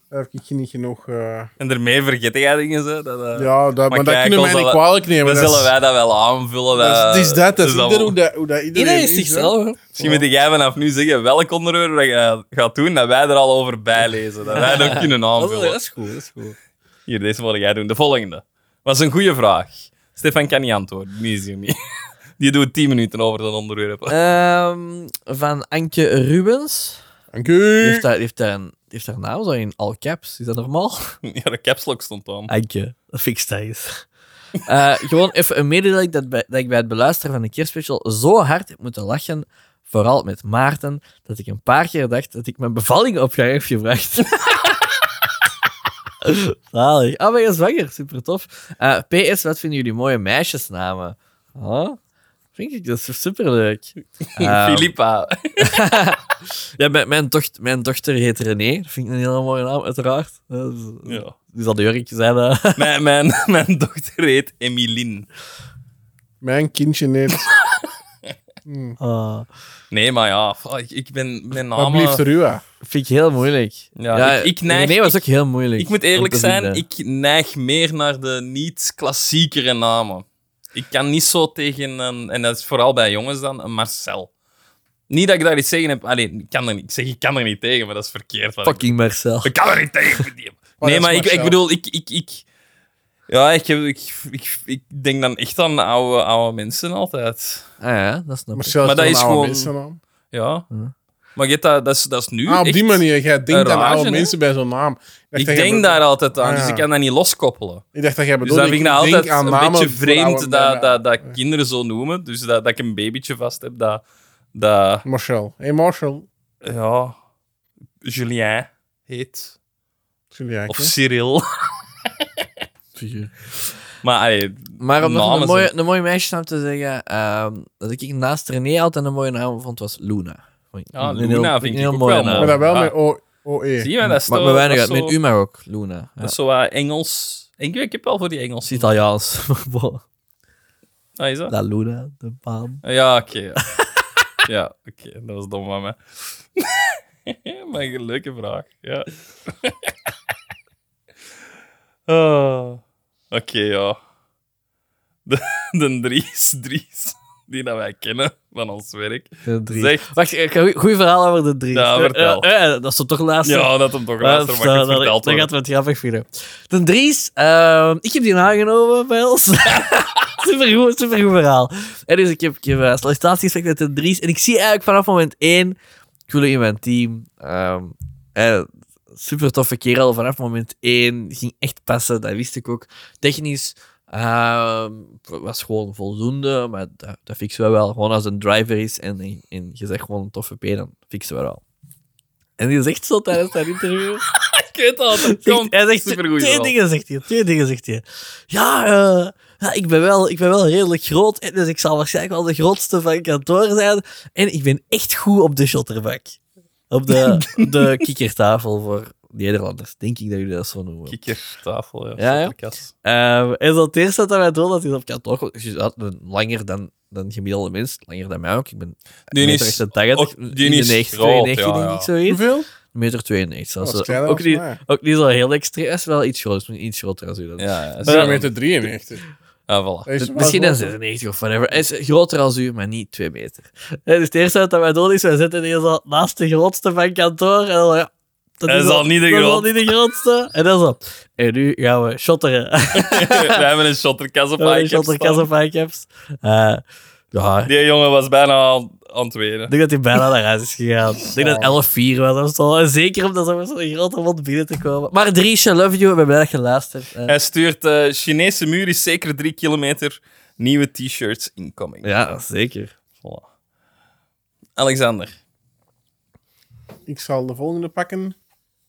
Speaker 2: daar heb ik niet genoeg... eh,
Speaker 1: En daarmee vergeet jij dingen. Zo, dat, eh,
Speaker 2: Ja, dat, maar dat
Speaker 1: kijk,
Speaker 2: kunnen
Speaker 1: ons
Speaker 2: wij niet
Speaker 1: al-
Speaker 2: kwalijk
Speaker 1: dan
Speaker 2: nemen. dat is-
Speaker 1: zullen wij dat wel aanvullen.
Speaker 2: dat is- Het is dat, dat is
Speaker 1: allemaal-
Speaker 2: ieder hoe dat, hoe dat iedereen
Speaker 3: Iedereen is
Speaker 2: hè.
Speaker 3: zichzelf. hoor.
Speaker 1: Misschien moet jij vanaf nu zeggen welk onderwerp dat je gaat doen, dat wij er al over bijlezen. Dat wij dat kunnen
Speaker 3: *laughs* Dat is, dat
Speaker 1: aanvullen.
Speaker 3: is goed, dat is goed.
Speaker 1: Hier, deze moet jij doen. De volgende. Was een goede vraag. Stefan kan niet antwoorden. Die is hier niet. *laughs* Die doet 10 minuten over dat onderwerp. *laughs*
Speaker 3: Ehm, van Anke Rubens.
Speaker 2: Dank
Speaker 3: Die
Speaker 2: u.
Speaker 3: heeft, daar, die heeft, daar een, die heeft haar naam zo in all caps. Is dat normaal?
Speaker 1: Ja, de caps lock stond aan.
Speaker 3: Anke, dat vind ik stijs. *laughs* Eh, gewoon even een mededeling dat, bij, dat ik bij het beluisteren van de kerstspecial zo hard heb moeten lachen, vooral met Maarten, dat ik een paar keer dacht dat ik mijn bevalling op gang heb gebracht. Zalig. Ah, ben je zwanger? Super tof. Eh, PS, wat vinden jullie mooie meisjesnamen? Huh? Vind ik, dat is superleuk. Ehm,
Speaker 1: Filippa.
Speaker 3: ja, mijn, mijn, toch- mijn dochter heet René. Dat vind ik een hele mooie naam, uiteraard. Dat is,
Speaker 1: Ja.
Speaker 3: die zal de jurkje zijn. eh.
Speaker 1: *laughs* Mijn, mijn, mijn dochter heet Emilien.
Speaker 2: Mijn kindje neemt...
Speaker 3: Ah.
Speaker 1: Nee, maar ja, fuck, ik, ik ben mijn
Speaker 2: Wat
Speaker 1: naam.
Speaker 2: blieft er u aan?
Speaker 3: Vind ik heel moeilijk.
Speaker 1: Ja, ik- ik neig-
Speaker 3: Nee, was ook heel moeilijk.
Speaker 1: Ik moet eerlijk
Speaker 3: om te
Speaker 1: zijn,
Speaker 3: vinden.
Speaker 1: ik neig meer naar de niet-klassiekere namen. Ik kan niet zo tegen een, en dat is vooral bij jongens dan, een Marcel. Niet dat ik daar iets tegen heb. Allee, ik, kan er niet, ik zeg ik kan er niet tegen, maar dat is verkeerd. wat ik
Speaker 3: Fucking Marcel.
Speaker 1: Ik kan er niet tegen met die.
Speaker 2: Maar
Speaker 1: nee,
Speaker 2: dat is
Speaker 1: maar ik, ik
Speaker 2: Marcel.
Speaker 1: bedoel, ik, ik, ik, ja, ik, heb, ik, ik, ik denk dan echt aan oude, oude mensen altijd.
Speaker 3: Ah ja, dat snap ik.
Speaker 2: Marcel nou
Speaker 1: Maar dat is
Speaker 2: een oude
Speaker 1: gewoon-
Speaker 2: mensennaam.
Speaker 1: Ja.
Speaker 3: Hm.
Speaker 1: Maar je hebt dat, dat, is, dat is nu
Speaker 2: Ah, op die
Speaker 1: echt-
Speaker 2: manier. Jij denkt
Speaker 1: een
Speaker 2: aan
Speaker 1: rage,
Speaker 2: oude
Speaker 1: hè?
Speaker 2: mensen bij zo'n naam. dacht
Speaker 1: Ik
Speaker 2: dat jij
Speaker 1: denk
Speaker 2: be-
Speaker 1: daar altijd aan,
Speaker 2: Ah,
Speaker 1: dus
Speaker 2: ja.
Speaker 1: ik kan dat niet loskoppelen.
Speaker 2: Ik dacht dat jij
Speaker 1: Dus
Speaker 2: bedoelde...
Speaker 1: dat vind ik nou
Speaker 2: denk
Speaker 1: altijd
Speaker 2: aan
Speaker 1: een
Speaker 2: namen
Speaker 1: beetje
Speaker 2: voor oude-
Speaker 1: vreemd
Speaker 2: bij-
Speaker 1: dat, dat, dat kinderen zo noemen. Dus dat, dat ik een babytje vast heb dat... dat
Speaker 2: Marcel. Hey Marcel.
Speaker 1: ja... Julien heet.
Speaker 2: Julia,
Speaker 1: Of
Speaker 2: hè?
Speaker 1: Cyril. *laughs* Maar allee,
Speaker 3: Maar om nog een
Speaker 1: namen
Speaker 3: mooie,
Speaker 1: zijn-
Speaker 3: een mooie meisjesnaam te zeggen, ehm, dat ik naast René altijd een mooie naam vond, was Luna. Vond ik
Speaker 1: Ja,
Speaker 3: een
Speaker 1: Luna vind ik ook wel mooi.
Speaker 2: Maar dat wel
Speaker 1: Ah.
Speaker 2: met O- E. OE.
Speaker 1: zie je, dat is
Speaker 3: Maar
Speaker 1: toch-
Speaker 3: met weinig
Speaker 1: dat
Speaker 3: uit.
Speaker 1: is
Speaker 3: Met
Speaker 1: zo-
Speaker 3: u maar ook, Luna. Ja.
Speaker 1: Dat is zo eh, Engels. Ik, ik heb wel voor die
Speaker 3: Het
Speaker 1: Engels.
Speaker 3: is Italiaans. *laughs* maar bon.
Speaker 1: Ah, is dat?
Speaker 3: dat Luna, de baan.
Speaker 1: Ja, oké. ja, Ja, oké. Dat was dom van mij. *laughs* maar een leuke vraag. Ja. *laughs* Ah, oké, ja. De, de Dries, Dries, die dat wij kennen van ons werk,
Speaker 3: De drie.
Speaker 1: zegt...
Speaker 3: Wacht, ik heb een goe- goeie verhaal over de drie.
Speaker 1: Ja,
Speaker 3: Eh,
Speaker 1: vertel.
Speaker 3: eh, eh, dat is toch laatste.
Speaker 1: Ja, dat hem toch
Speaker 3: Ja,
Speaker 1: luistert, maar ik het
Speaker 3: dat-
Speaker 1: verteld
Speaker 3: dat
Speaker 1: worden.
Speaker 3: gaat wat grappig vinden. De Dries, ehm, ik heb die aangenomen bij ons. *laughs* supergoed, supergoed verhaal. En dus ik heb, ik heb eh, sollicitatiegesprek met de Dries. En ik zie eigenlijk vanaf moment één, ik wil in mijn team. Ehm, eh, super toffe kerel vanaf moment één. Ging echt passen, dat wist ik ook. Technisch ehm, was gewoon voldoende, maar dat, dat fixen we wel. Gewoon als een driver is en, en, en je zegt gewoon een toffe P, dan fixen we wel. En die zegt zo tijdens dat interview.
Speaker 1: Ik weet al, dat
Speaker 3: Zegt-
Speaker 1: komt.
Speaker 3: hij zegt
Speaker 1: Supergoed
Speaker 3: twee
Speaker 1: verhaal.
Speaker 3: dingen, zegt hij. Twee dingen, zegt hij. Ja, eh, ja ik, ben wel, ik ben wel redelijk groot, en dus ik zal waarschijnlijk wel de grootste van kantoor zijn.
Speaker 1: *laughs*
Speaker 3: En ik ben echt goed op de shotterbak. Op de, op de kikkertafel voor, Nederlanders, denk ik dat jullie dat zo noemen.
Speaker 1: Kikkertafel, ja.
Speaker 3: Ja, ja.
Speaker 1: Slotterkast.
Speaker 3: Ehm, en zo het eerste dat wij doen, dat is op kantoor. komt. Dus je had een langer dan, dan gemiddelde mens, langer dan mij ook. Ik ben
Speaker 1: Die
Speaker 3: een
Speaker 1: is-
Speaker 3: meter 88,
Speaker 1: ook- die is
Speaker 3: 91,
Speaker 1: groot,
Speaker 3: 92,
Speaker 1: ja,
Speaker 3: denk
Speaker 1: ja.
Speaker 3: ik zoiets.
Speaker 2: Hoeveel? Oh,
Speaker 3: Een meter 92.
Speaker 2: Dat
Speaker 3: zelfs.
Speaker 2: was kleiner
Speaker 3: ook,
Speaker 2: dan
Speaker 3: niet,
Speaker 2: mij.
Speaker 3: ook niet zo heel extreem, is wel iets groter, maar iets groter als u dan.
Speaker 1: Ja, ja,
Speaker 2: Zero
Speaker 1: zo.
Speaker 2: meter 93.
Speaker 1: Ah, voilà.
Speaker 2: Dat is
Speaker 3: Dus
Speaker 2: wel
Speaker 3: misschien dan
Speaker 2: groter.
Speaker 3: 96 of whatever. Hij is groter als u, maar niet 2 meter. Hè, Dus het eerste wat wij doen is, wij zitten hier zo naast de grootste van kantoor. En dan, ja, dat
Speaker 1: Hij is al niet de
Speaker 3: dat is al
Speaker 1: grootste.
Speaker 3: niet de grootste. En dan zo. En nu gaan we
Speaker 1: *laughs*
Speaker 3: shotteren.
Speaker 1: We hebben een shotterkast op
Speaker 3: Een
Speaker 1: iCap
Speaker 3: shotterkas
Speaker 1: staan.
Speaker 3: op iCaps. Eh, ja, ik
Speaker 1: Die jongen was bijna aan, aan het wenen.
Speaker 3: denk dat hij bijna naar huis is gegaan. Ik denk dat 11-4 was of zo. En zeker omdat ze met zo'n grote mond binnen te komen. Maar Dries, I love you. We hebben dat geluisterd. Eh,
Speaker 1: Hij stuurt eh, Chinese muur is zeker drie kilometer nieuwe t-shirts incoming.
Speaker 3: ja, zeker.
Speaker 1: Voilà. Alexander.
Speaker 2: Ik zal de volgende pakken.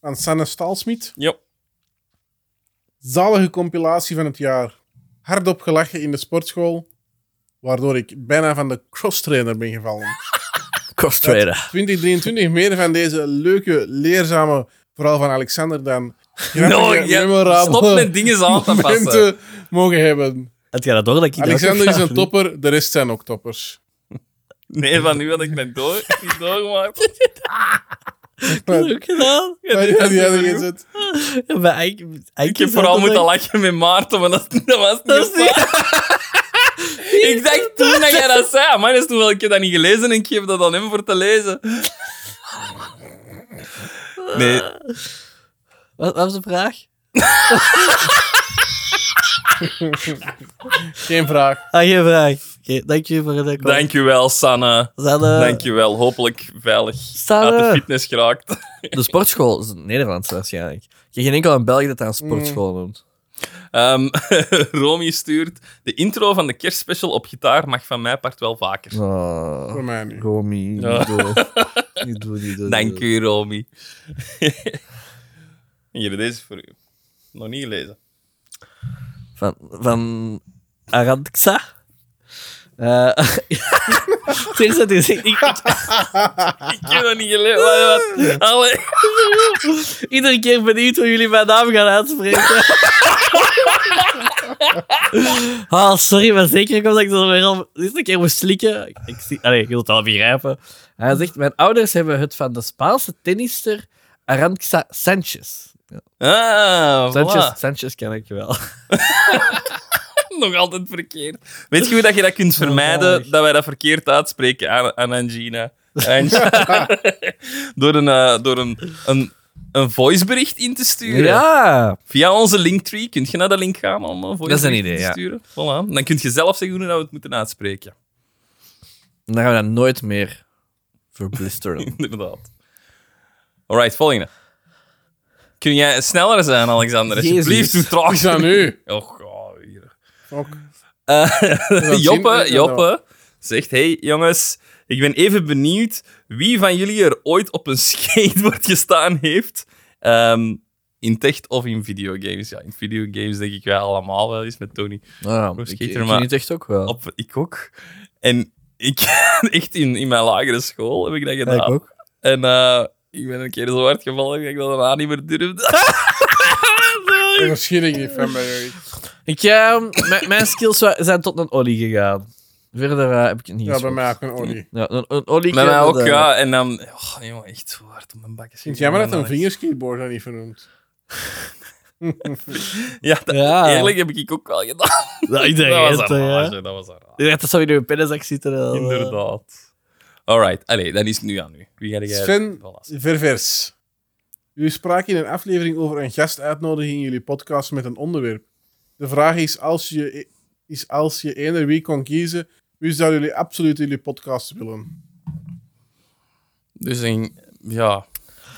Speaker 2: Van Sanne Stalsmit.
Speaker 1: Ja.
Speaker 2: Zalige compilatie van het jaar. Hardop gelachen in de sportschool. Waardoor ik bijna van de crosstrainer ben
Speaker 1: *laughs*
Speaker 2: gevallen.
Speaker 3: Cross trader.
Speaker 2: 2023 meer van deze leuke, leerzame, vooral van Alexander, dan
Speaker 1: No,
Speaker 2: grappige,
Speaker 1: ja,
Speaker 2: memorabele
Speaker 1: Stop met dingen aan te passen.
Speaker 2: momenten mogen hebben.
Speaker 3: Had jij dat door dat ik dat ook
Speaker 2: Alexander
Speaker 3: heb
Speaker 2: is een
Speaker 3: gedaan?
Speaker 2: topper, de rest zijn ook toppers.
Speaker 1: Nee, van nu had ik net door, niet
Speaker 3: *laughs*
Speaker 1: doorgemaakt.
Speaker 2: Maar- *laughs*
Speaker 3: Dat heb ik gedaan.
Speaker 2: maar
Speaker 1: dit
Speaker 2: die
Speaker 1: is
Speaker 2: hadden
Speaker 1: een
Speaker 2: gezet.
Speaker 3: Ja, maar eigenlijk- eigenlijk
Speaker 1: Ik heb
Speaker 3: is
Speaker 1: vooral
Speaker 3: dat
Speaker 1: moeten
Speaker 3: dan-
Speaker 1: lachen met Maarten, maar dat, dat was niet...
Speaker 3: Dat is niet-
Speaker 1: *laughs* ik dacht toen dat jij dat zei. Maar is toen wel, ik heb dat niet gelezen en ik geef dat aan hem voor te lezen. Nee,
Speaker 3: Wat wat was de vraag?
Speaker 2: Geen vraag.
Speaker 3: Ah, geen vraag. Oké, dank je voor het komen.
Speaker 1: dankjewel, Sanne.
Speaker 3: Zanne,
Speaker 1: Dankjewel. Hopelijk veilig
Speaker 3: Sanne.
Speaker 1: uit de fitness geraakt.
Speaker 3: Ah, De sportschool is Nederlands waarschijnlijk. Je hebt geen enkel in België dat aan sportschool noemt.
Speaker 1: Ehm, *laughs* Romy stuurt... De intro van de kerstspecial op gitaar mag van mijn part wel vaker.
Speaker 3: Oh,
Speaker 2: Voor mij nu.
Speaker 3: Romy, niet
Speaker 1: Ja.
Speaker 3: doen. *laughs* Niet doen, niet doen.
Speaker 1: Dank u, Romy. *laughs* Hier, deze is voor u. Nog niet gelezen.
Speaker 3: Van, van Aranxa. Eh *laughs* het eerste dat hij zegt, ik-
Speaker 1: Ik heb dat niet gelezen. Wat, wat? Allee.
Speaker 3: iedere keer benieuwd hoe jullie mijn naam gaan uitspreken. *laughs* Ah, sorry, maar zeker omdat ik dat weer al de eerste keer moest slikken. Ik, ik zie, allee, je wilt het wel begrijpen. Hij zegt, mijn ouders hebben het van de Spaanse tennister Aranxa Sanchez.
Speaker 1: Ah, voilà.
Speaker 3: Sanchez, Sanchez ken ik wel.
Speaker 1: Nog altijd verkeerd. Weet je hoe dat je dat kunt vermijden?
Speaker 3: echt.
Speaker 1: dat wij dat verkeerd uitspreken aan, aan Angina. Angina. *laughs* door een, eh, door een, een, een voicebericht in te sturen.
Speaker 3: Ja!
Speaker 1: Via onze linktree. Kun je naar de link gaan om eh, een voicebericht
Speaker 3: idee,
Speaker 1: in te
Speaker 3: ja.
Speaker 1: sturen? Voilà. Dan kun je zelf zeggen hoe we het moeten uitspreken. *laughs*
Speaker 3: En dan gaan we dat nooit meer
Speaker 1: *laughs*
Speaker 3: verblisteren.
Speaker 1: Inderdaad. Alright, volgende. Kun jij sneller zijn, Alexander?
Speaker 3: Jezus.
Speaker 1: Alsjeblieft, hoe traag
Speaker 2: Is
Speaker 1: *laughs*
Speaker 2: dat nu?
Speaker 1: Oh, god, hier.
Speaker 2: Ook.
Speaker 1: Eh, *laughs*
Speaker 2: zien?
Speaker 1: Joppe,
Speaker 2: Ja,
Speaker 1: Joppe zegt: Hey jongens, ik ben even benieuwd wie van jullie er ooit op een *laughs* skateboard gestaan heeft. Ehm, in tech of in videogames. Ja, in videogames denk ik wel allemaal wel eens met Tony.
Speaker 3: Nou,
Speaker 1: Goed,
Speaker 3: ik,
Speaker 1: schiet
Speaker 3: ik
Speaker 1: er maar
Speaker 3: niet echt ook wel.
Speaker 1: Op, ik ook. En ik, *laughs* echt in, in mijn lagere school heb ik dat
Speaker 3: Ja,
Speaker 1: gedaan.
Speaker 3: ik ook.
Speaker 1: En eh, ik ben een keer zo hard gevallen dat ik dat daarna niet meer
Speaker 3: *laughs*
Speaker 1: durfde.
Speaker 2: Een verschilling niet van bij jullie.
Speaker 3: Ik, ehm, mijn- mijn skills wa- zijn tot een ollie gegaan. Verder eh, heb ik het niet
Speaker 2: Ja, bij
Speaker 3: geschopt.
Speaker 2: mij ook een olie.
Speaker 3: Ja, een, een ollie
Speaker 1: Met mij
Speaker 3: kennen,
Speaker 1: ook,
Speaker 3: dat- eh.
Speaker 1: ja. En dan... Oh, jongen, echt zo hard op mijn bak.
Speaker 2: Ik vind het jammer dat een vingerskeyboard dat niet
Speaker 1: *laughs*
Speaker 2: vernoemd.
Speaker 1: Ja, dat-
Speaker 3: Ja.
Speaker 1: eerlijk heb ik ook wel
Speaker 3: *laughs*
Speaker 1: gedaan.
Speaker 3: Ja, ik denk
Speaker 1: dat
Speaker 3: het,
Speaker 1: was een
Speaker 3: Ah. hè.
Speaker 1: rage, dat was een rage.
Speaker 3: Ik dacht, dat zou je in je pennenzak zitten. eh,
Speaker 1: Inderdaad. Alright, allee, dan is het nu aan u. Wie ga jij...
Speaker 2: Sven
Speaker 1: Voilà.
Speaker 2: Ververs. U sprak in een aflevering over een gast uitnodigen in jullie podcast met een onderwerp. De vraag is: als je, is als je eender wie kon kiezen, wie zou jullie absoluut in jullie podcast willen?
Speaker 1: Dus een... Ja.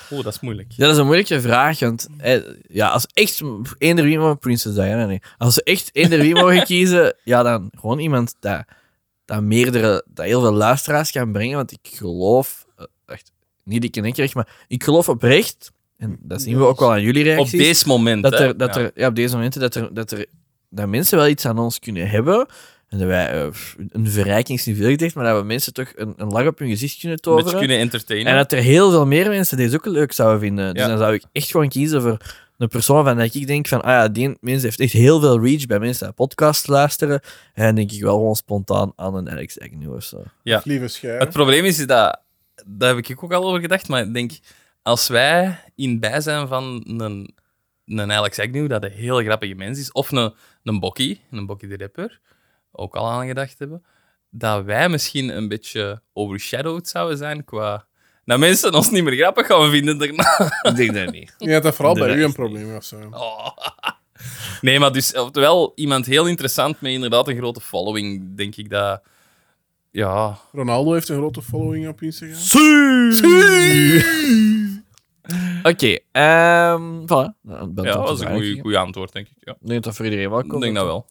Speaker 1: Oh, dat is moeilijk.
Speaker 3: Ja, dat is een moeilijke vraag, want eh, ja, als echt eender wie mogen... Princess Diana, nee. Als ze echt eender
Speaker 1: *laughs*
Speaker 3: wie mogen kiezen, ja, dan gewoon iemand dat, dat meerdere... Dat heel veel luisteraars kan brengen, want ik geloof... eh, Echt, niet ik in één keer, echt, maar ik geloof oprecht, en dat zien we ook wel aan jullie
Speaker 1: Op
Speaker 3: reacties...
Speaker 1: deze moment,
Speaker 3: dat
Speaker 1: hè.
Speaker 3: er, dat
Speaker 1: Ja.
Speaker 3: er ja, op deze momenten dat er, dat er dat mensen wel iets aan ons kunnen hebben En dat wij eh, pff, een verrijking is niet veel gezegd, maar dat we mensen toch een, een lach op hun gezicht kunnen
Speaker 1: Een beetje
Speaker 3: toveren.
Speaker 1: kunnen entertainen.
Speaker 3: En dat er heel veel meer mensen deze ook leuk zouden vinden. Dus
Speaker 1: Ja.
Speaker 3: dan zou ik echt gewoon kiezen voor een persoon van dat ik denk van, ah ja, die mens heeft echt heel veel reach bij mensen die podcast luisteren. En dan denk ik wel gewoon spontaan aan een Alex Agnew of zo.
Speaker 1: Ja.
Speaker 2: Lieve
Speaker 1: Het
Speaker 2: schuim.
Speaker 1: probleem is dat, daar heb ik ook al over gedacht, maar ik denk, als wij in bijzijn van een, een Alex Agnew, dat een heel grappige mens is, of een, een Bokkie, een Bokkie de rapper, ook al aan gedacht hebben, dat wij misschien een beetje overshadowed zouden zijn qua... Dat mensen ons niet meer grappig gaan vinden. daarna.
Speaker 3: ik denk dat niet.
Speaker 2: Je had dat vooral bij
Speaker 3: Inderdaad.
Speaker 2: u een probleem of zo.
Speaker 1: Oh. *laughs* Nee, maar dus, oftewel, iemand heel interessant met inderdaad een grote following, denk ik dat... Ja,
Speaker 2: Ronaldo heeft een grote following op Instagram.
Speaker 3: Oké, ehm voilà. Nou,
Speaker 1: ja dat
Speaker 3: tot
Speaker 1: was
Speaker 3: de
Speaker 1: een
Speaker 3: eigenlijk.
Speaker 1: goede antwoord, denk ik. Ja.
Speaker 3: Ik denk dat voor iedereen wel
Speaker 1: Ik
Speaker 3: komt.
Speaker 1: denk dat wel.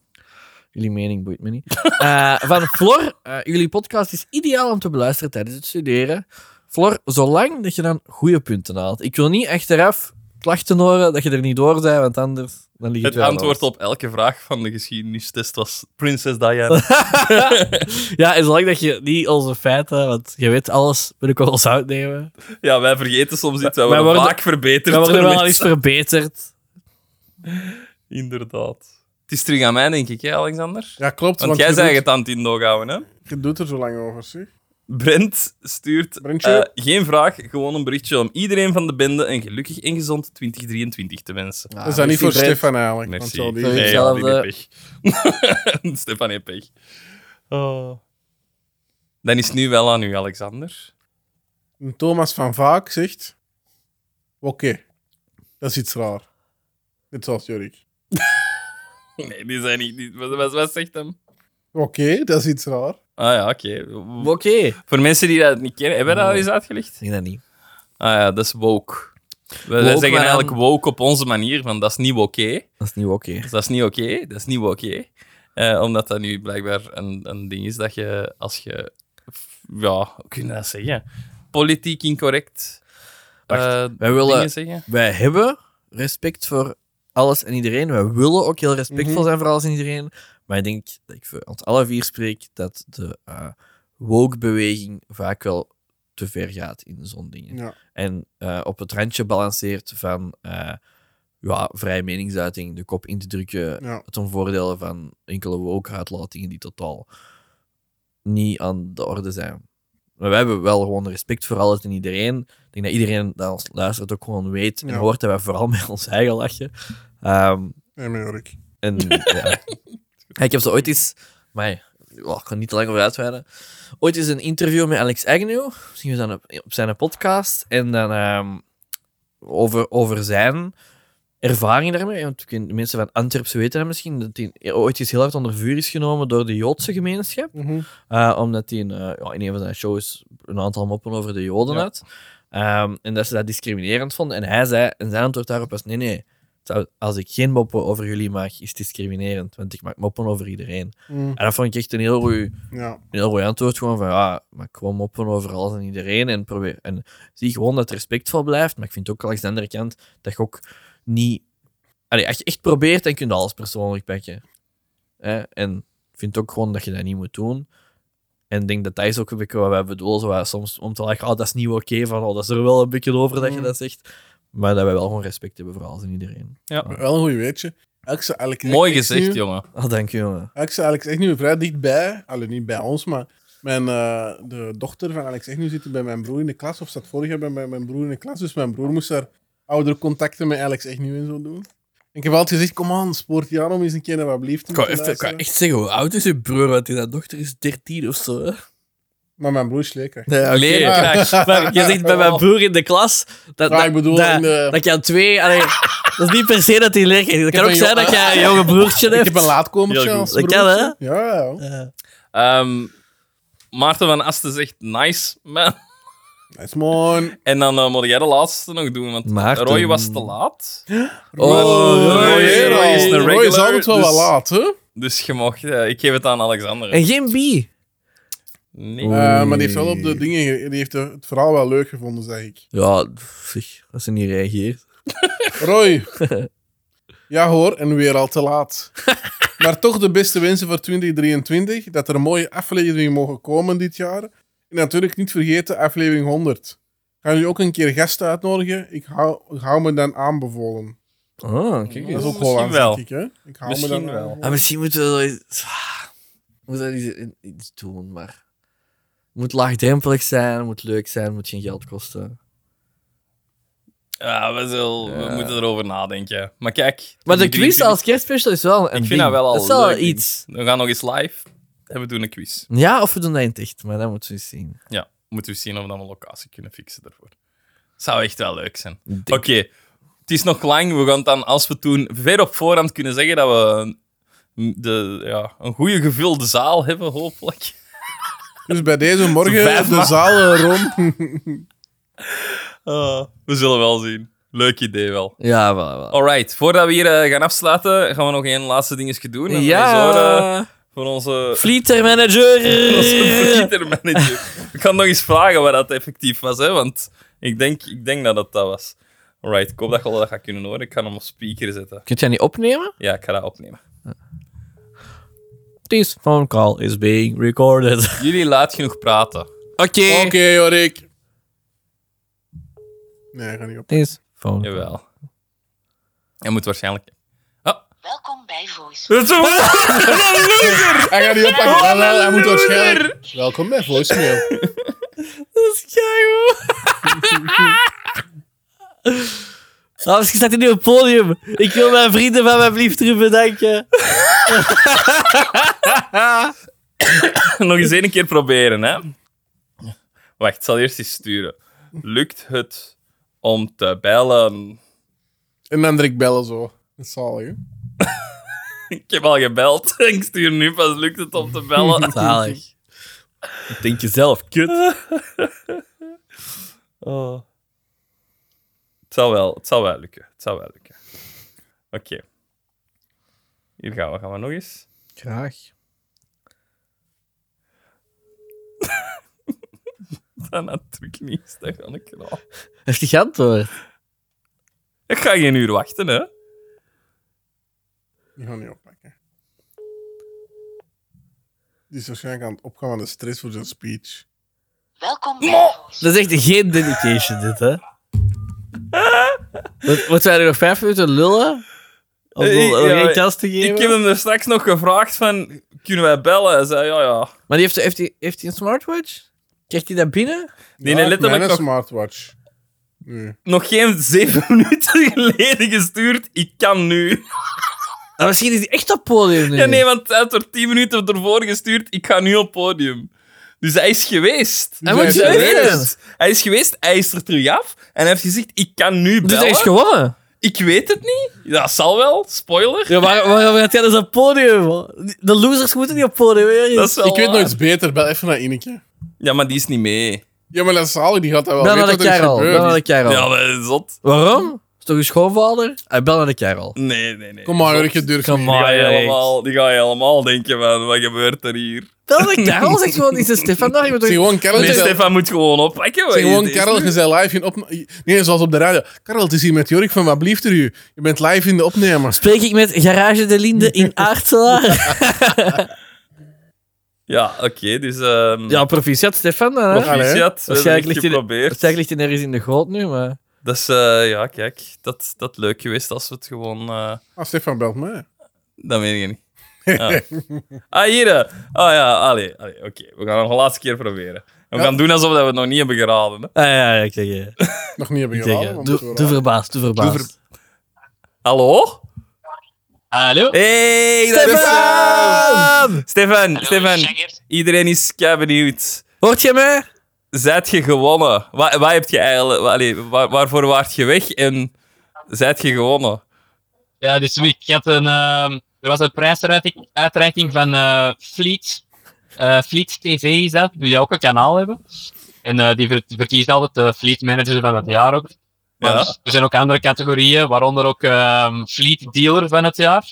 Speaker 3: Jullie mening boeit me niet. *laughs* Eh, van Flor, eh, jullie podcast is ideaal om te beluisteren tijdens het studeren. Flor, zolang dat je dan goede punten haalt. Ik wil niet achteraf klachten horen dat je er niet door bent, want anders dan ligt het
Speaker 1: Het
Speaker 3: wel
Speaker 1: antwoord op elke vraag van de geschiedenistest was Prinses Diana. *laughs*
Speaker 3: anders. *laughs* Ja, en zolang dat je niet onze feiten, want je weet alles, wil ik wel eens
Speaker 1: *laughs*
Speaker 3: uitnemen.
Speaker 1: ja, wij vergeten soms iets. Wij
Speaker 3: Wij
Speaker 1: worden,
Speaker 3: worden-
Speaker 1: vaak verbeterd.
Speaker 3: Dan wordt er
Speaker 1: door
Speaker 3: wel al iets
Speaker 1: mensen.
Speaker 3: verbeterd.
Speaker 1: Inderdaad. Het is terug aan mij, denk ik, hè, Alexander?
Speaker 2: Ja, klopt.
Speaker 1: Want
Speaker 2: Want,
Speaker 1: jij
Speaker 2: je,
Speaker 1: zei
Speaker 2: doet,
Speaker 1: het aan het indooghouden, hè?
Speaker 2: je doet er zo lang over, zeg.
Speaker 1: Brent stuurt
Speaker 2: Brentje?
Speaker 1: eh, geen vraag, gewoon een berichtje om iedereen van de bende een gelukkig en gezond 2023 te wensen.
Speaker 2: dat is dat niet voor Stefan eigenlijk. Want
Speaker 1: dus Merci.
Speaker 2: zo die-
Speaker 3: Sorry.
Speaker 1: Nee, ja, die
Speaker 3: Hetzelfde.
Speaker 1: heeft pech. *laughs* Stefan heeft pech.
Speaker 3: Oh.
Speaker 1: Dan is het nu wel aan u, Alexander.
Speaker 2: Een Thomas van Vaak zegt... Oké, dat is iets raar. Net zoals Jorik.
Speaker 1: Nee, die zijn niet... die- wat- wat- wat zegt hem?
Speaker 2: Oké, dat is iets raar.
Speaker 1: Ah ja, oké.
Speaker 3: Oké.
Speaker 1: Voor mensen die dat niet kennen, hebben we dat al
Speaker 3: Oh.
Speaker 1: eens uitgelegd?
Speaker 3: Zeg dat niet.
Speaker 1: Ah ja, dat is woke. We wij
Speaker 3: Woke,
Speaker 1: zeggen
Speaker 3: maar dan-
Speaker 1: eigenlijk woke op onze manier, van dat is niet oké.
Speaker 3: Dat is niet oké.
Speaker 1: Dus dat is niet oké, dat is niet oké. Eh, omdat dat nu blijkbaar een, een ding is dat je, als je... f- Ja, hoe kun je dat zeggen? Politiek incorrect eh,
Speaker 3: Wij willen
Speaker 1: dingen zeggen.
Speaker 3: wij hebben respect voor alles en iedereen. Wij willen ook heel respectvol
Speaker 2: Mhm.
Speaker 3: zijn voor alles en iedereen. Maar ik denk dat ik voor ons alle vier spreek dat de eh woke-beweging vaak wel te ver gaat in zo'n dingen.
Speaker 2: Ja.
Speaker 3: En eh, op het randje balanceert van eh, ja, vrije meningsuiting, de kop in te drukken,
Speaker 2: Ja.
Speaker 3: ten voordele van enkele woke-uitlatingen die totaal niet aan de orde zijn. Maar wij hebben wel gewoon respect voor alles en iedereen. Ik denk dat iedereen dat ons luistert ook gewoon weet en
Speaker 2: Ja.
Speaker 3: hoort dat wij vooral *laughs* met ons eigen lachen. Ehm,
Speaker 2: Nee, maar Jorik.
Speaker 3: en ja. Ik heb zo ooit eens... Maar ik kan niet te lang over uitweiden. Ooit eens een interview met Alex Agnew. Misschien was dat op, op zijn podcast. En dan ehm, over, over zijn ervaring daarmee. Want ik weet- de mensen van Antwerpen weten dat misschien. Dat hij ooit eens heel hard onder vuur is genomen door de Joodse gemeenschap.
Speaker 2: Mhm.
Speaker 3: Eh, omdat hij in, eh, ja, in een van zijn shows een aantal moppen over de Joden
Speaker 1: Ja.
Speaker 3: had. Ehm, en dat ze dat discriminerend vonden. En hij zei, en zijn antwoord daarop was: nee, nee. het zou- Als ik geen moppen over jullie maak, is het discriminerend. Want ik maak moppen over iedereen.
Speaker 2: Mhm.
Speaker 3: En dat vond ik echt een heel goed
Speaker 2: Ja.
Speaker 3: een heel goed antwoord. Gewoon van ja, maar gewoon moppen over alles en iedereen. En, probeer, en zie gewoon dat het respectvol blijft. Maar ik vind ook langs de andere kant dat je ook niet. Allee, als je echt probeert, dan kun je alles persoonlijk pakken. Hè? En ik vind ook gewoon dat je dat niet moet doen. En ik denk dat dat is ook een beetje wat wij bedoelen. Zo, wat soms om te lachen, oh, dat is niet oké. van, oh, dat is er wel een beetje over dat je
Speaker 2: Mm.
Speaker 3: dat zegt. Maar dat wij wel gewoon respect hebben voor alles en iedereen.
Speaker 2: Wel een goed weetje. Alex, Alex,
Speaker 1: Mooi
Speaker 2: Alex
Speaker 1: gezegd,
Speaker 2: nu-
Speaker 1: jongen.
Speaker 3: Oh, dank je, jongen.
Speaker 2: Alex, Alex echt nu vrij dichtbij. Allee, niet bij ons, maar mijn, eh, de dochter van Alex echt nu zit bij mijn broer in de klas. Of zat vorig jaar bij mijn- mijn broer in de klas. Dus mijn broer moest daar oudere contacten met Alex echt nu en zo doen. En ik heb altijd gezegd, kom aan, spoort je aan om eens een keer naar wat blieft te luisteren."
Speaker 3: zeggen, hoe oud is je broer? Want die dochter is 13 of zo.
Speaker 2: Maar mijn broer is lekker.
Speaker 3: Nee, oké.
Speaker 1: Leer,
Speaker 2: Ja.
Speaker 1: kijk.
Speaker 3: Maar je zegt bij mijn broer in de klas dat,
Speaker 2: Maar
Speaker 3: dat,
Speaker 2: ik bedoel,
Speaker 3: dat,
Speaker 2: in de-
Speaker 3: dat je aan twee... allee, dat is niet per se dat hij leeg is. Het
Speaker 2: heb
Speaker 3: kan ook
Speaker 2: een
Speaker 3: zijn
Speaker 2: jongen-
Speaker 3: dat jij een jonge broertje
Speaker 2: Ik
Speaker 3: hebt.
Speaker 2: heb een laatkomertje
Speaker 1: Heel goed.
Speaker 2: als
Speaker 3: Dat kan,
Speaker 2: broertje.
Speaker 3: hè?
Speaker 2: Ja, ja.
Speaker 3: Eh,
Speaker 1: Ehm, Maarten van Asten zegt nice, man.
Speaker 2: Dat is mooi.
Speaker 1: En dan eh, moet jij de laatste nog doen, want
Speaker 3: Maarten.
Speaker 1: Roy was te laat.
Speaker 3: Oh,
Speaker 1: Roy,
Speaker 2: Roy,
Speaker 1: Roy is een
Speaker 2: Roy is
Speaker 1: regular,
Speaker 2: altijd wel
Speaker 1: dus-
Speaker 2: wat laat, hè?
Speaker 1: Dus je mag, eh, ik geef het aan Alexander.
Speaker 3: en geen B.
Speaker 1: Nee.
Speaker 3: Oeh.
Speaker 2: Eh, maar die heeft wel op de dingen... ge- Die heeft het verhaal wel leuk gevonden, zeg ik.
Speaker 3: Ja, pff, als ze niet reageert.
Speaker 1: *laughs*
Speaker 2: Roy. Ja hoor, en weer al te laat. Maar toch de beste wensen voor 2023. Dat er mooie afleveringen mogen komen dit jaar. En natuurlijk niet vergeten aflevering 100. Gaan jullie ook een keer gasten uitnodigen? Ik hou, ik hou me dan aanbevolen.
Speaker 3: Oh, kijk
Speaker 2: Dat
Speaker 3: eens.
Speaker 2: is ook
Speaker 1: Misschien
Speaker 2: Hollands,
Speaker 1: wel.
Speaker 2: denk ik. Hè? Ik hou
Speaker 1: Misschien
Speaker 2: me dan
Speaker 1: wel.
Speaker 2: aanbevolen.
Speaker 3: Ah, misschien moeten we Ah, wel iets, moet er iets, iets doen, maar het moet laagdrempelig zijn, het moet leuk zijn, het moet geen geld kosten.
Speaker 1: Ja, we, zullen, we
Speaker 3: Ja.
Speaker 1: moeten erover nadenken. Maar kijk.
Speaker 3: Maar de
Speaker 1: die drie
Speaker 3: quiz als kerstspecial is wel een
Speaker 1: Ik
Speaker 3: ding.
Speaker 1: vind dat wel al
Speaker 3: Dat is wel
Speaker 1: leuk.
Speaker 3: iets.
Speaker 1: We gaan nog eens live. En we doen een quiz.
Speaker 3: Ja, of we doen dat in het echt, maar dat moeten we eens zien.
Speaker 1: Ja, moeten we zien of we dan een locatie kunnen fixen daarvoor. Zou echt wel leuk zijn.
Speaker 3: denk-
Speaker 1: Oké, het is nog lang. We gaan het dan, als we toen ver op voorhand kunnen zeggen dat we een, de, ja, een goede gevulde zaal hebben, hopelijk.
Speaker 2: Dus bij deze morgen
Speaker 1: Vijf
Speaker 2: op de
Speaker 1: ma-
Speaker 2: zaal eh,
Speaker 1: *laughs*
Speaker 2: rond.
Speaker 1: Ah, we zullen wel zien. Leuk idee wel.
Speaker 3: Ja, wel, wel.
Speaker 1: Alright, voordat we hier eh, gaan afsluiten, gaan we nog één laatste dingetje doen. En dan is er, eh,
Speaker 3: Ja,
Speaker 1: voor onze
Speaker 3: Fleeter
Speaker 1: *laughs*
Speaker 3: manager.
Speaker 1: manager. Ik kan nog eens vragen wat dat effectief was, hè, want ik denk, ik denk dat het dat was. Alright, ik hoop dat je al dat gaat kunnen horen. Ik ga hem op speaker zetten.
Speaker 3: Kunt jij niet opnemen?
Speaker 1: Ja, ik ga dat opnemen.
Speaker 3: This phone call is being recorded. *laughs*
Speaker 1: Jullie laat genoeg praten.
Speaker 3: Oké.
Speaker 2: Oké, hoor ik. Nee, ga niet op.
Speaker 3: This phone.
Speaker 1: Jawel. Hij moet waarschijnlijk... *laughs*
Speaker 4: Welkom bij Voice.
Speaker 1: Dat is
Speaker 2: Hij gaat niet
Speaker 1: *laughs*
Speaker 2: op.
Speaker 1: Oh,
Speaker 2: Hij, hij- hij- hij moet waarschijnlijk. Welkom bij voicemail.
Speaker 3: Dat is keigoed. Ah, misschien staat hij nu op het podium. Ik wil mijn vrienden van mijn liefde bedanken.
Speaker 1: Nog eens één keer proberen, hè. Wacht, ik zal eerst eens sturen. Lukt het om te bellen?
Speaker 2: En dan druk bellen zo. Dat is zalig, hè?
Speaker 1: Ik heb al gebeld. *laughs* Ik stuur nu pas, lukt het om te bellen?
Speaker 3: Zalig. Denk jezelf, kut.
Speaker 1: Oh. Het, zal wel, het zal wel lukken. Het zal wel lukken. Oké. Hier gaan we. Gaan we nog eens? *laughs*
Speaker 3: Graag.
Speaker 1: Dat natuurlijk niet. Dat kan ik wel.
Speaker 3: Heeft hij geantwoord?
Speaker 1: Ik ga geen uur wachten, hè.
Speaker 2: Die gaan niet oppakken. Die is waarschijnlijk aan het opgaan van de stress voor zijn speech.
Speaker 4: Welkom bij Voice.
Speaker 3: Dat is echt geen dedication, dit, hè? Wat- Moeten wij er nog vijf minuten lullen? Om
Speaker 1: Eh, ik-
Speaker 3: om
Speaker 1: ja,
Speaker 3: één kans te geven?
Speaker 1: Ik heb hem er straks nog gevraagd van... Kunnen wij bellen? Hij zei, ja, ja.
Speaker 3: Maar die heeft, heeft, hij, heeft hij een smartwatch? Krijgt hij dat binnen?
Speaker 1: Nee,
Speaker 2: Ja,
Speaker 1: nee, letterlijk
Speaker 2: Mijn
Speaker 1: nog-
Speaker 2: smartwatch. Nee.
Speaker 1: Nog geen zeven *laughs* minuten geleden gestuurd. Ik kan nu.
Speaker 3: Ah, misschien is hij echt op het podium nu.
Speaker 1: Ja, nee, want hij had er tien minuten ervoor gestuurd. Ik ga nu op podium. Dus hij is geweest.
Speaker 3: Hij
Speaker 2: Zij
Speaker 3: moet
Speaker 2: zijn
Speaker 3: weten.
Speaker 1: geweest. Hij is geweest, hij is er terug af en hij heeft gezegd: Ik kan nu
Speaker 3: Dus hij
Speaker 1: bellen.
Speaker 3: is gewonnen.
Speaker 1: ik weet het niet. Dat zal wel, spoiler.
Speaker 3: Ja, waar, waarom gaat hij dus op het podium? De losers moeten niet op het podium. hè?
Speaker 1: Dat is wel eh,
Speaker 2: Ik weet
Speaker 1: waar.
Speaker 2: nooit beter. Bel even naar Ineke.
Speaker 1: Ja, maar die is niet mee.
Speaker 2: Ja, maar dat is zalig. Die gaat dat wel
Speaker 3: Bel naar de
Speaker 2: weten wat er is
Speaker 3: Karel.
Speaker 2: gebeurd.
Speaker 3: Bel naar de Karel.
Speaker 1: Ja, dat is zot.
Speaker 3: Waarom? Is toch een schoonvader? Hij bel naar de Karel.
Speaker 1: Nee, nee, nee.
Speaker 2: Kom maar,
Speaker 1: Zot.
Speaker 2: Jurk, je durft
Speaker 3: Kom
Speaker 2: niet.
Speaker 1: Die ga je
Speaker 3: maar, Jurk.
Speaker 1: helemaal, die ga je helemaal denken: van, Wat gebeurt er hier?
Speaker 3: Bel naar de Karel, zegt gewoon iets aan Stefan. daar, je moet
Speaker 2: *laughs* Zie
Speaker 3: toch-
Speaker 2: gewoon Karel.
Speaker 1: Nee,
Speaker 2: gezellig-
Speaker 1: Stefan moet gewoon oppakken. wat
Speaker 2: Zeg
Speaker 1: is
Speaker 2: gewoon,
Speaker 1: dit?
Speaker 2: Karel, je bent live in opname. Nee, zoals op de radio. Karel, het is hier met Jorik van Wat blieft er u? Je bent live in de opname.
Speaker 3: Spreek ik met Garage de Linde in Aartselaar?
Speaker 1: Ja, oké, dus. ehm
Speaker 3: ja, proficiat Stefan. dan, Hè?
Speaker 2: Proficiat.
Speaker 1: proficiat. We hebben
Speaker 3: Waarschijnlijk
Speaker 1: het
Speaker 3: ligt hij-
Speaker 1: geprobeerd.
Speaker 3: Zij ligt hij ergens in de goot nu, maar...
Speaker 1: Dat is, eh, ja, kijk, dat, dat leuk geweest als we het gewoon. eh,
Speaker 2: Ah, Stefan belt me.
Speaker 1: Dat weet ik niet. *laughs* Ah, ah hier. eh. Ah ja, allee. allee Oké, we gaan nog een laatste keer proberen. En we
Speaker 2: Ja.
Speaker 1: gaan doen alsof dat we het nog niet hebben geraden. Hè.
Speaker 3: Ah, ja, ja, ik zeg je.
Speaker 2: Nog niet hebben
Speaker 3: Ik zeg
Speaker 2: gehaald.
Speaker 1: eh,
Speaker 3: je.
Speaker 2: maar moeten
Speaker 3: Doe,
Speaker 2: we
Speaker 3: doe
Speaker 2: wel.
Speaker 3: verbaasd, doe verbaasd.
Speaker 1: Hallo?
Speaker 5: Hallo?
Speaker 1: Hey, dat is Stefan! Stefan, Stefan,
Speaker 5: Jaggers.
Speaker 1: iedereen is kei benieuwd.
Speaker 3: Hoort je mij?
Speaker 1: Zijt je gewonnen? Wat, wat heb je eigenlijk... wa- allee, waar, waarvoor waart je weg en zijt je gewonnen?
Speaker 5: Ja, dus ik had een, ehm, er was een prijsuitreiking uitreiking van eh, Fleet. eh, Fleet TV is dat, die ook een kanaal hebben. En eh, die ver- verkiezen altijd de Fleet Manager van het jaar ook. Maar
Speaker 1: Ja.
Speaker 5: er zijn ook andere categorieën, waaronder ook ehm, Fleet Dealer van het jaar.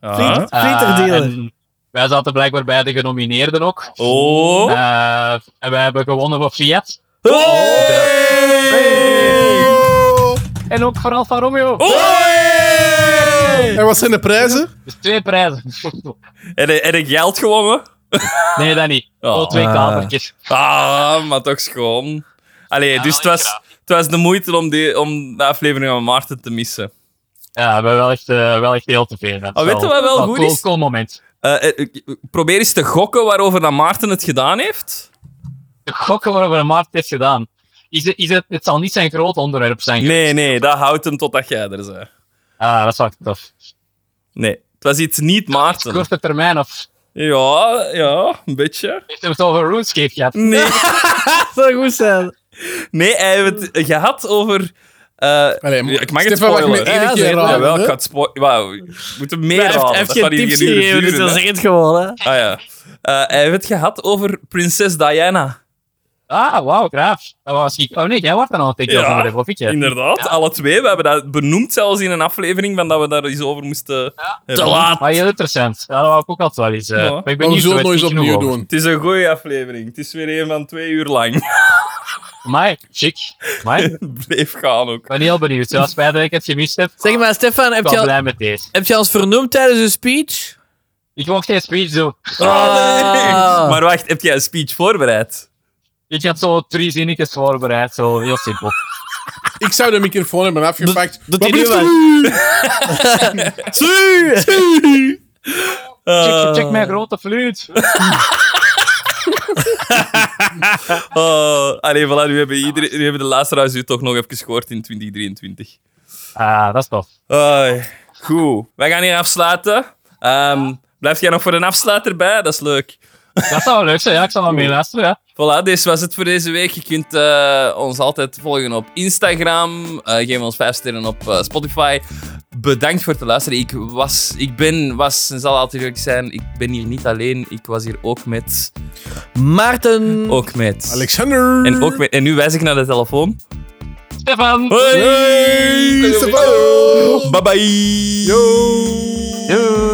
Speaker 1: Ah.
Speaker 5: Eh,
Speaker 3: Fleeterdealer.
Speaker 5: en wij zaten blijkbaar bij de genomineerden ook.
Speaker 1: Oh.
Speaker 5: Eh, en wij hebben gewonnen voor Fiat.
Speaker 1: Hey!
Speaker 5: En ook voor Alfa Romeo.
Speaker 1: Hey!
Speaker 2: En wat zijn de prijzen?
Speaker 5: Dus twee prijzen. *laughs*
Speaker 1: En, en een geld gewonnen?
Speaker 5: nee, dat niet.
Speaker 1: Oh.
Speaker 5: Wel twee
Speaker 3: Ah.
Speaker 5: kamertjes.
Speaker 1: Ah, maar toch schoon. Allee,
Speaker 5: Ja,
Speaker 1: dus
Speaker 5: wel
Speaker 1: het was,
Speaker 5: graag.
Speaker 1: het was de moeite om, die, om de aflevering van Maarten te missen.
Speaker 5: Ja, ik ben wel echt, eh, wel echt heel tevreden.
Speaker 1: Oh, weet je wat wel goed
Speaker 5: cool,
Speaker 1: is?
Speaker 5: Cool moment.
Speaker 1: Eh, eh, ik- ik probeer eens te gokken waarover dat Maarten het gedaan heeft.
Speaker 5: De gokken waarover Maarten heeft gedaan. Is, het- is het, het zal niet zijn groot onderwerp zijn.
Speaker 1: Nee, nee, dat houdt hem totdat jij er bent.
Speaker 5: Ah, dat is wel tof.
Speaker 1: Nee, het was iets niet Maarten.
Speaker 5: Korte termijn of...
Speaker 1: Ja, ja, een beetje.
Speaker 5: Heeft hem het over RuneScape gehad?
Speaker 1: Nee,
Speaker 3: Dat zou goed zijn.
Speaker 1: nee hij heeft het gehad over... eh,
Speaker 2: Allee,
Speaker 1: ja, ik mag het
Speaker 2: Stefan, mag ik
Speaker 1: spoilen.
Speaker 2: me één
Speaker 1: ja,
Speaker 2: keer
Speaker 1: zeker.
Speaker 2: raden,
Speaker 1: Jawel,
Speaker 2: hè?
Speaker 1: ik ga het spoilen. Wauw, we moeten meer
Speaker 3: Hij heeft,
Speaker 1: raden.
Speaker 3: hij heeft
Speaker 1: dat gaat
Speaker 3: geen
Speaker 1: hier
Speaker 3: tips
Speaker 1: een uur
Speaker 3: gegeven, dus
Speaker 1: duren,
Speaker 3: dan
Speaker 1: hè.
Speaker 3: zeg het gewoon. Hè.
Speaker 1: Ah ja. Eh, hij heeft het gehad over prinses Diana.
Speaker 5: Ah, wauw, graaf. Dat was ik. Oh nee, jij wordt dan al een tikje
Speaker 1: Ja,
Speaker 5: over de profitje.
Speaker 1: Inderdaad, alle twee. We hebben dat benoemd zelfs in een aflevering, van dat we daar iets over moesten... Te laat.
Speaker 5: Maar Ah, heel interessant. Ja, dat wou ik ook altijd wel eens. eh,
Speaker 1: Ja. Oh,
Speaker 5: maar ik ben
Speaker 2: Maar we
Speaker 5: niet
Speaker 2: zullen het nog eens opnieuw doen.
Speaker 1: Het is een goede aflevering. Het is weer een van twee uur lang. *laughs*
Speaker 5: Maar, chic. Maar, ik
Speaker 1: Bleef gaan ook.
Speaker 5: ben heel benieuwd.
Speaker 1: *laughs*
Speaker 5: Zoals spijt dat ik het gemist heb.
Speaker 3: Zeg maar, Stefan,
Speaker 5: ik
Speaker 3: heb
Speaker 5: ben
Speaker 3: je, al,
Speaker 5: blij met deze.
Speaker 3: heb je ons vernoemd tijdens een speech?
Speaker 5: Ik mocht geen speech doen.
Speaker 3: Ah.
Speaker 1: *laughs* Maar wacht, heb jij een speech voorbereid?
Speaker 5: Ik had zo drie zinnetjes voorbereid. Zo heel simpel.
Speaker 2: Ik zou de microfoon hebben afgepakt.
Speaker 3: doet
Speaker 2: Maar
Speaker 3: hij nu
Speaker 2: blijft
Speaker 3: wel?
Speaker 2: er-
Speaker 5: Check,
Speaker 1: Ah.
Speaker 5: check mijn grote fluit.
Speaker 1: Oh, allee, voilà, nu hebben, iedereen, nu hebben de luisteraars u toch nog even gehoord in 2023.
Speaker 5: Ah, dat is tof.
Speaker 1: Ai, goed, wij gaan hier afsluiten. Ehm blijf jij nog voor een afsluiter bij? Dat is leuk.
Speaker 5: Dat zou wel leuk zijn. Ja, ik zal wel mee luisteren. Ja.
Speaker 1: Voilà, dit was het voor deze week. Je kunt eh, ons altijd volgen op Instagram. Eh geef ons 5 sterren op eh, Spotify. Bedankt voor het luisteren. Ik, was, ik ben, was en zal altijd eerlijk zijn. Ik ben hier niet alleen. Ik was hier ook met.
Speaker 3: Maarten.
Speaker 5: Oh.
Speaker 1: Ook met.
Speaker 2: Alexander.
Speaker 1: En, ook met, en nu wijs ik naar de telefoon.
Speaker 5: Stefan!
Speaker 1: Hoi!
Speaker 2: Hey, Stefan.
Speaker 1: Bye bye!
Speaker 5: Doei!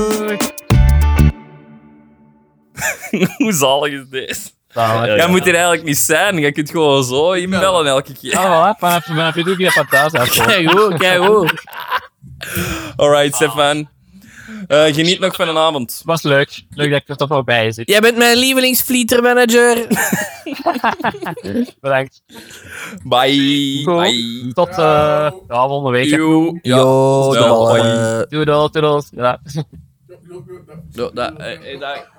Speaker 1: *laughs* Hoe zalig is dit?
Speaker 5: Nou,
Speaker 1: Jij moet er eigenlijk niet zijn. Jij kunt gewoon zo inbellen elke keer.
Speaker 5: Ah, voilà. Vanaf vanaf je doet je van thuis uitkomen.
Speaker 3: Kijk hoe, kijk hoe.
Speaker 1: Alright, Stefan. Eh, geniet nog van een avond.
Speaker 5: Het was leuk. Leuk dat ik er toch wel bij zit.
Speaker 3: Jij bent mijn lievelingsflietermanager.
Speaker 5: Bedankt.
Speaker 1: Bye.
Speaker 5: Cool.
Speaker 1: Bye.
Speaker 5: Tot eh ja, volgende week. hè.
Speaker 1: You. Ja.
Speaker 3: Yo, de
Speaker 1: Snel,
Speaker 3: ballen.
Speaker 1: hoi.
Speaker 5: Doedel, doedel. Ja.
Speaker 1: Ja, dat- eh, eh, dat-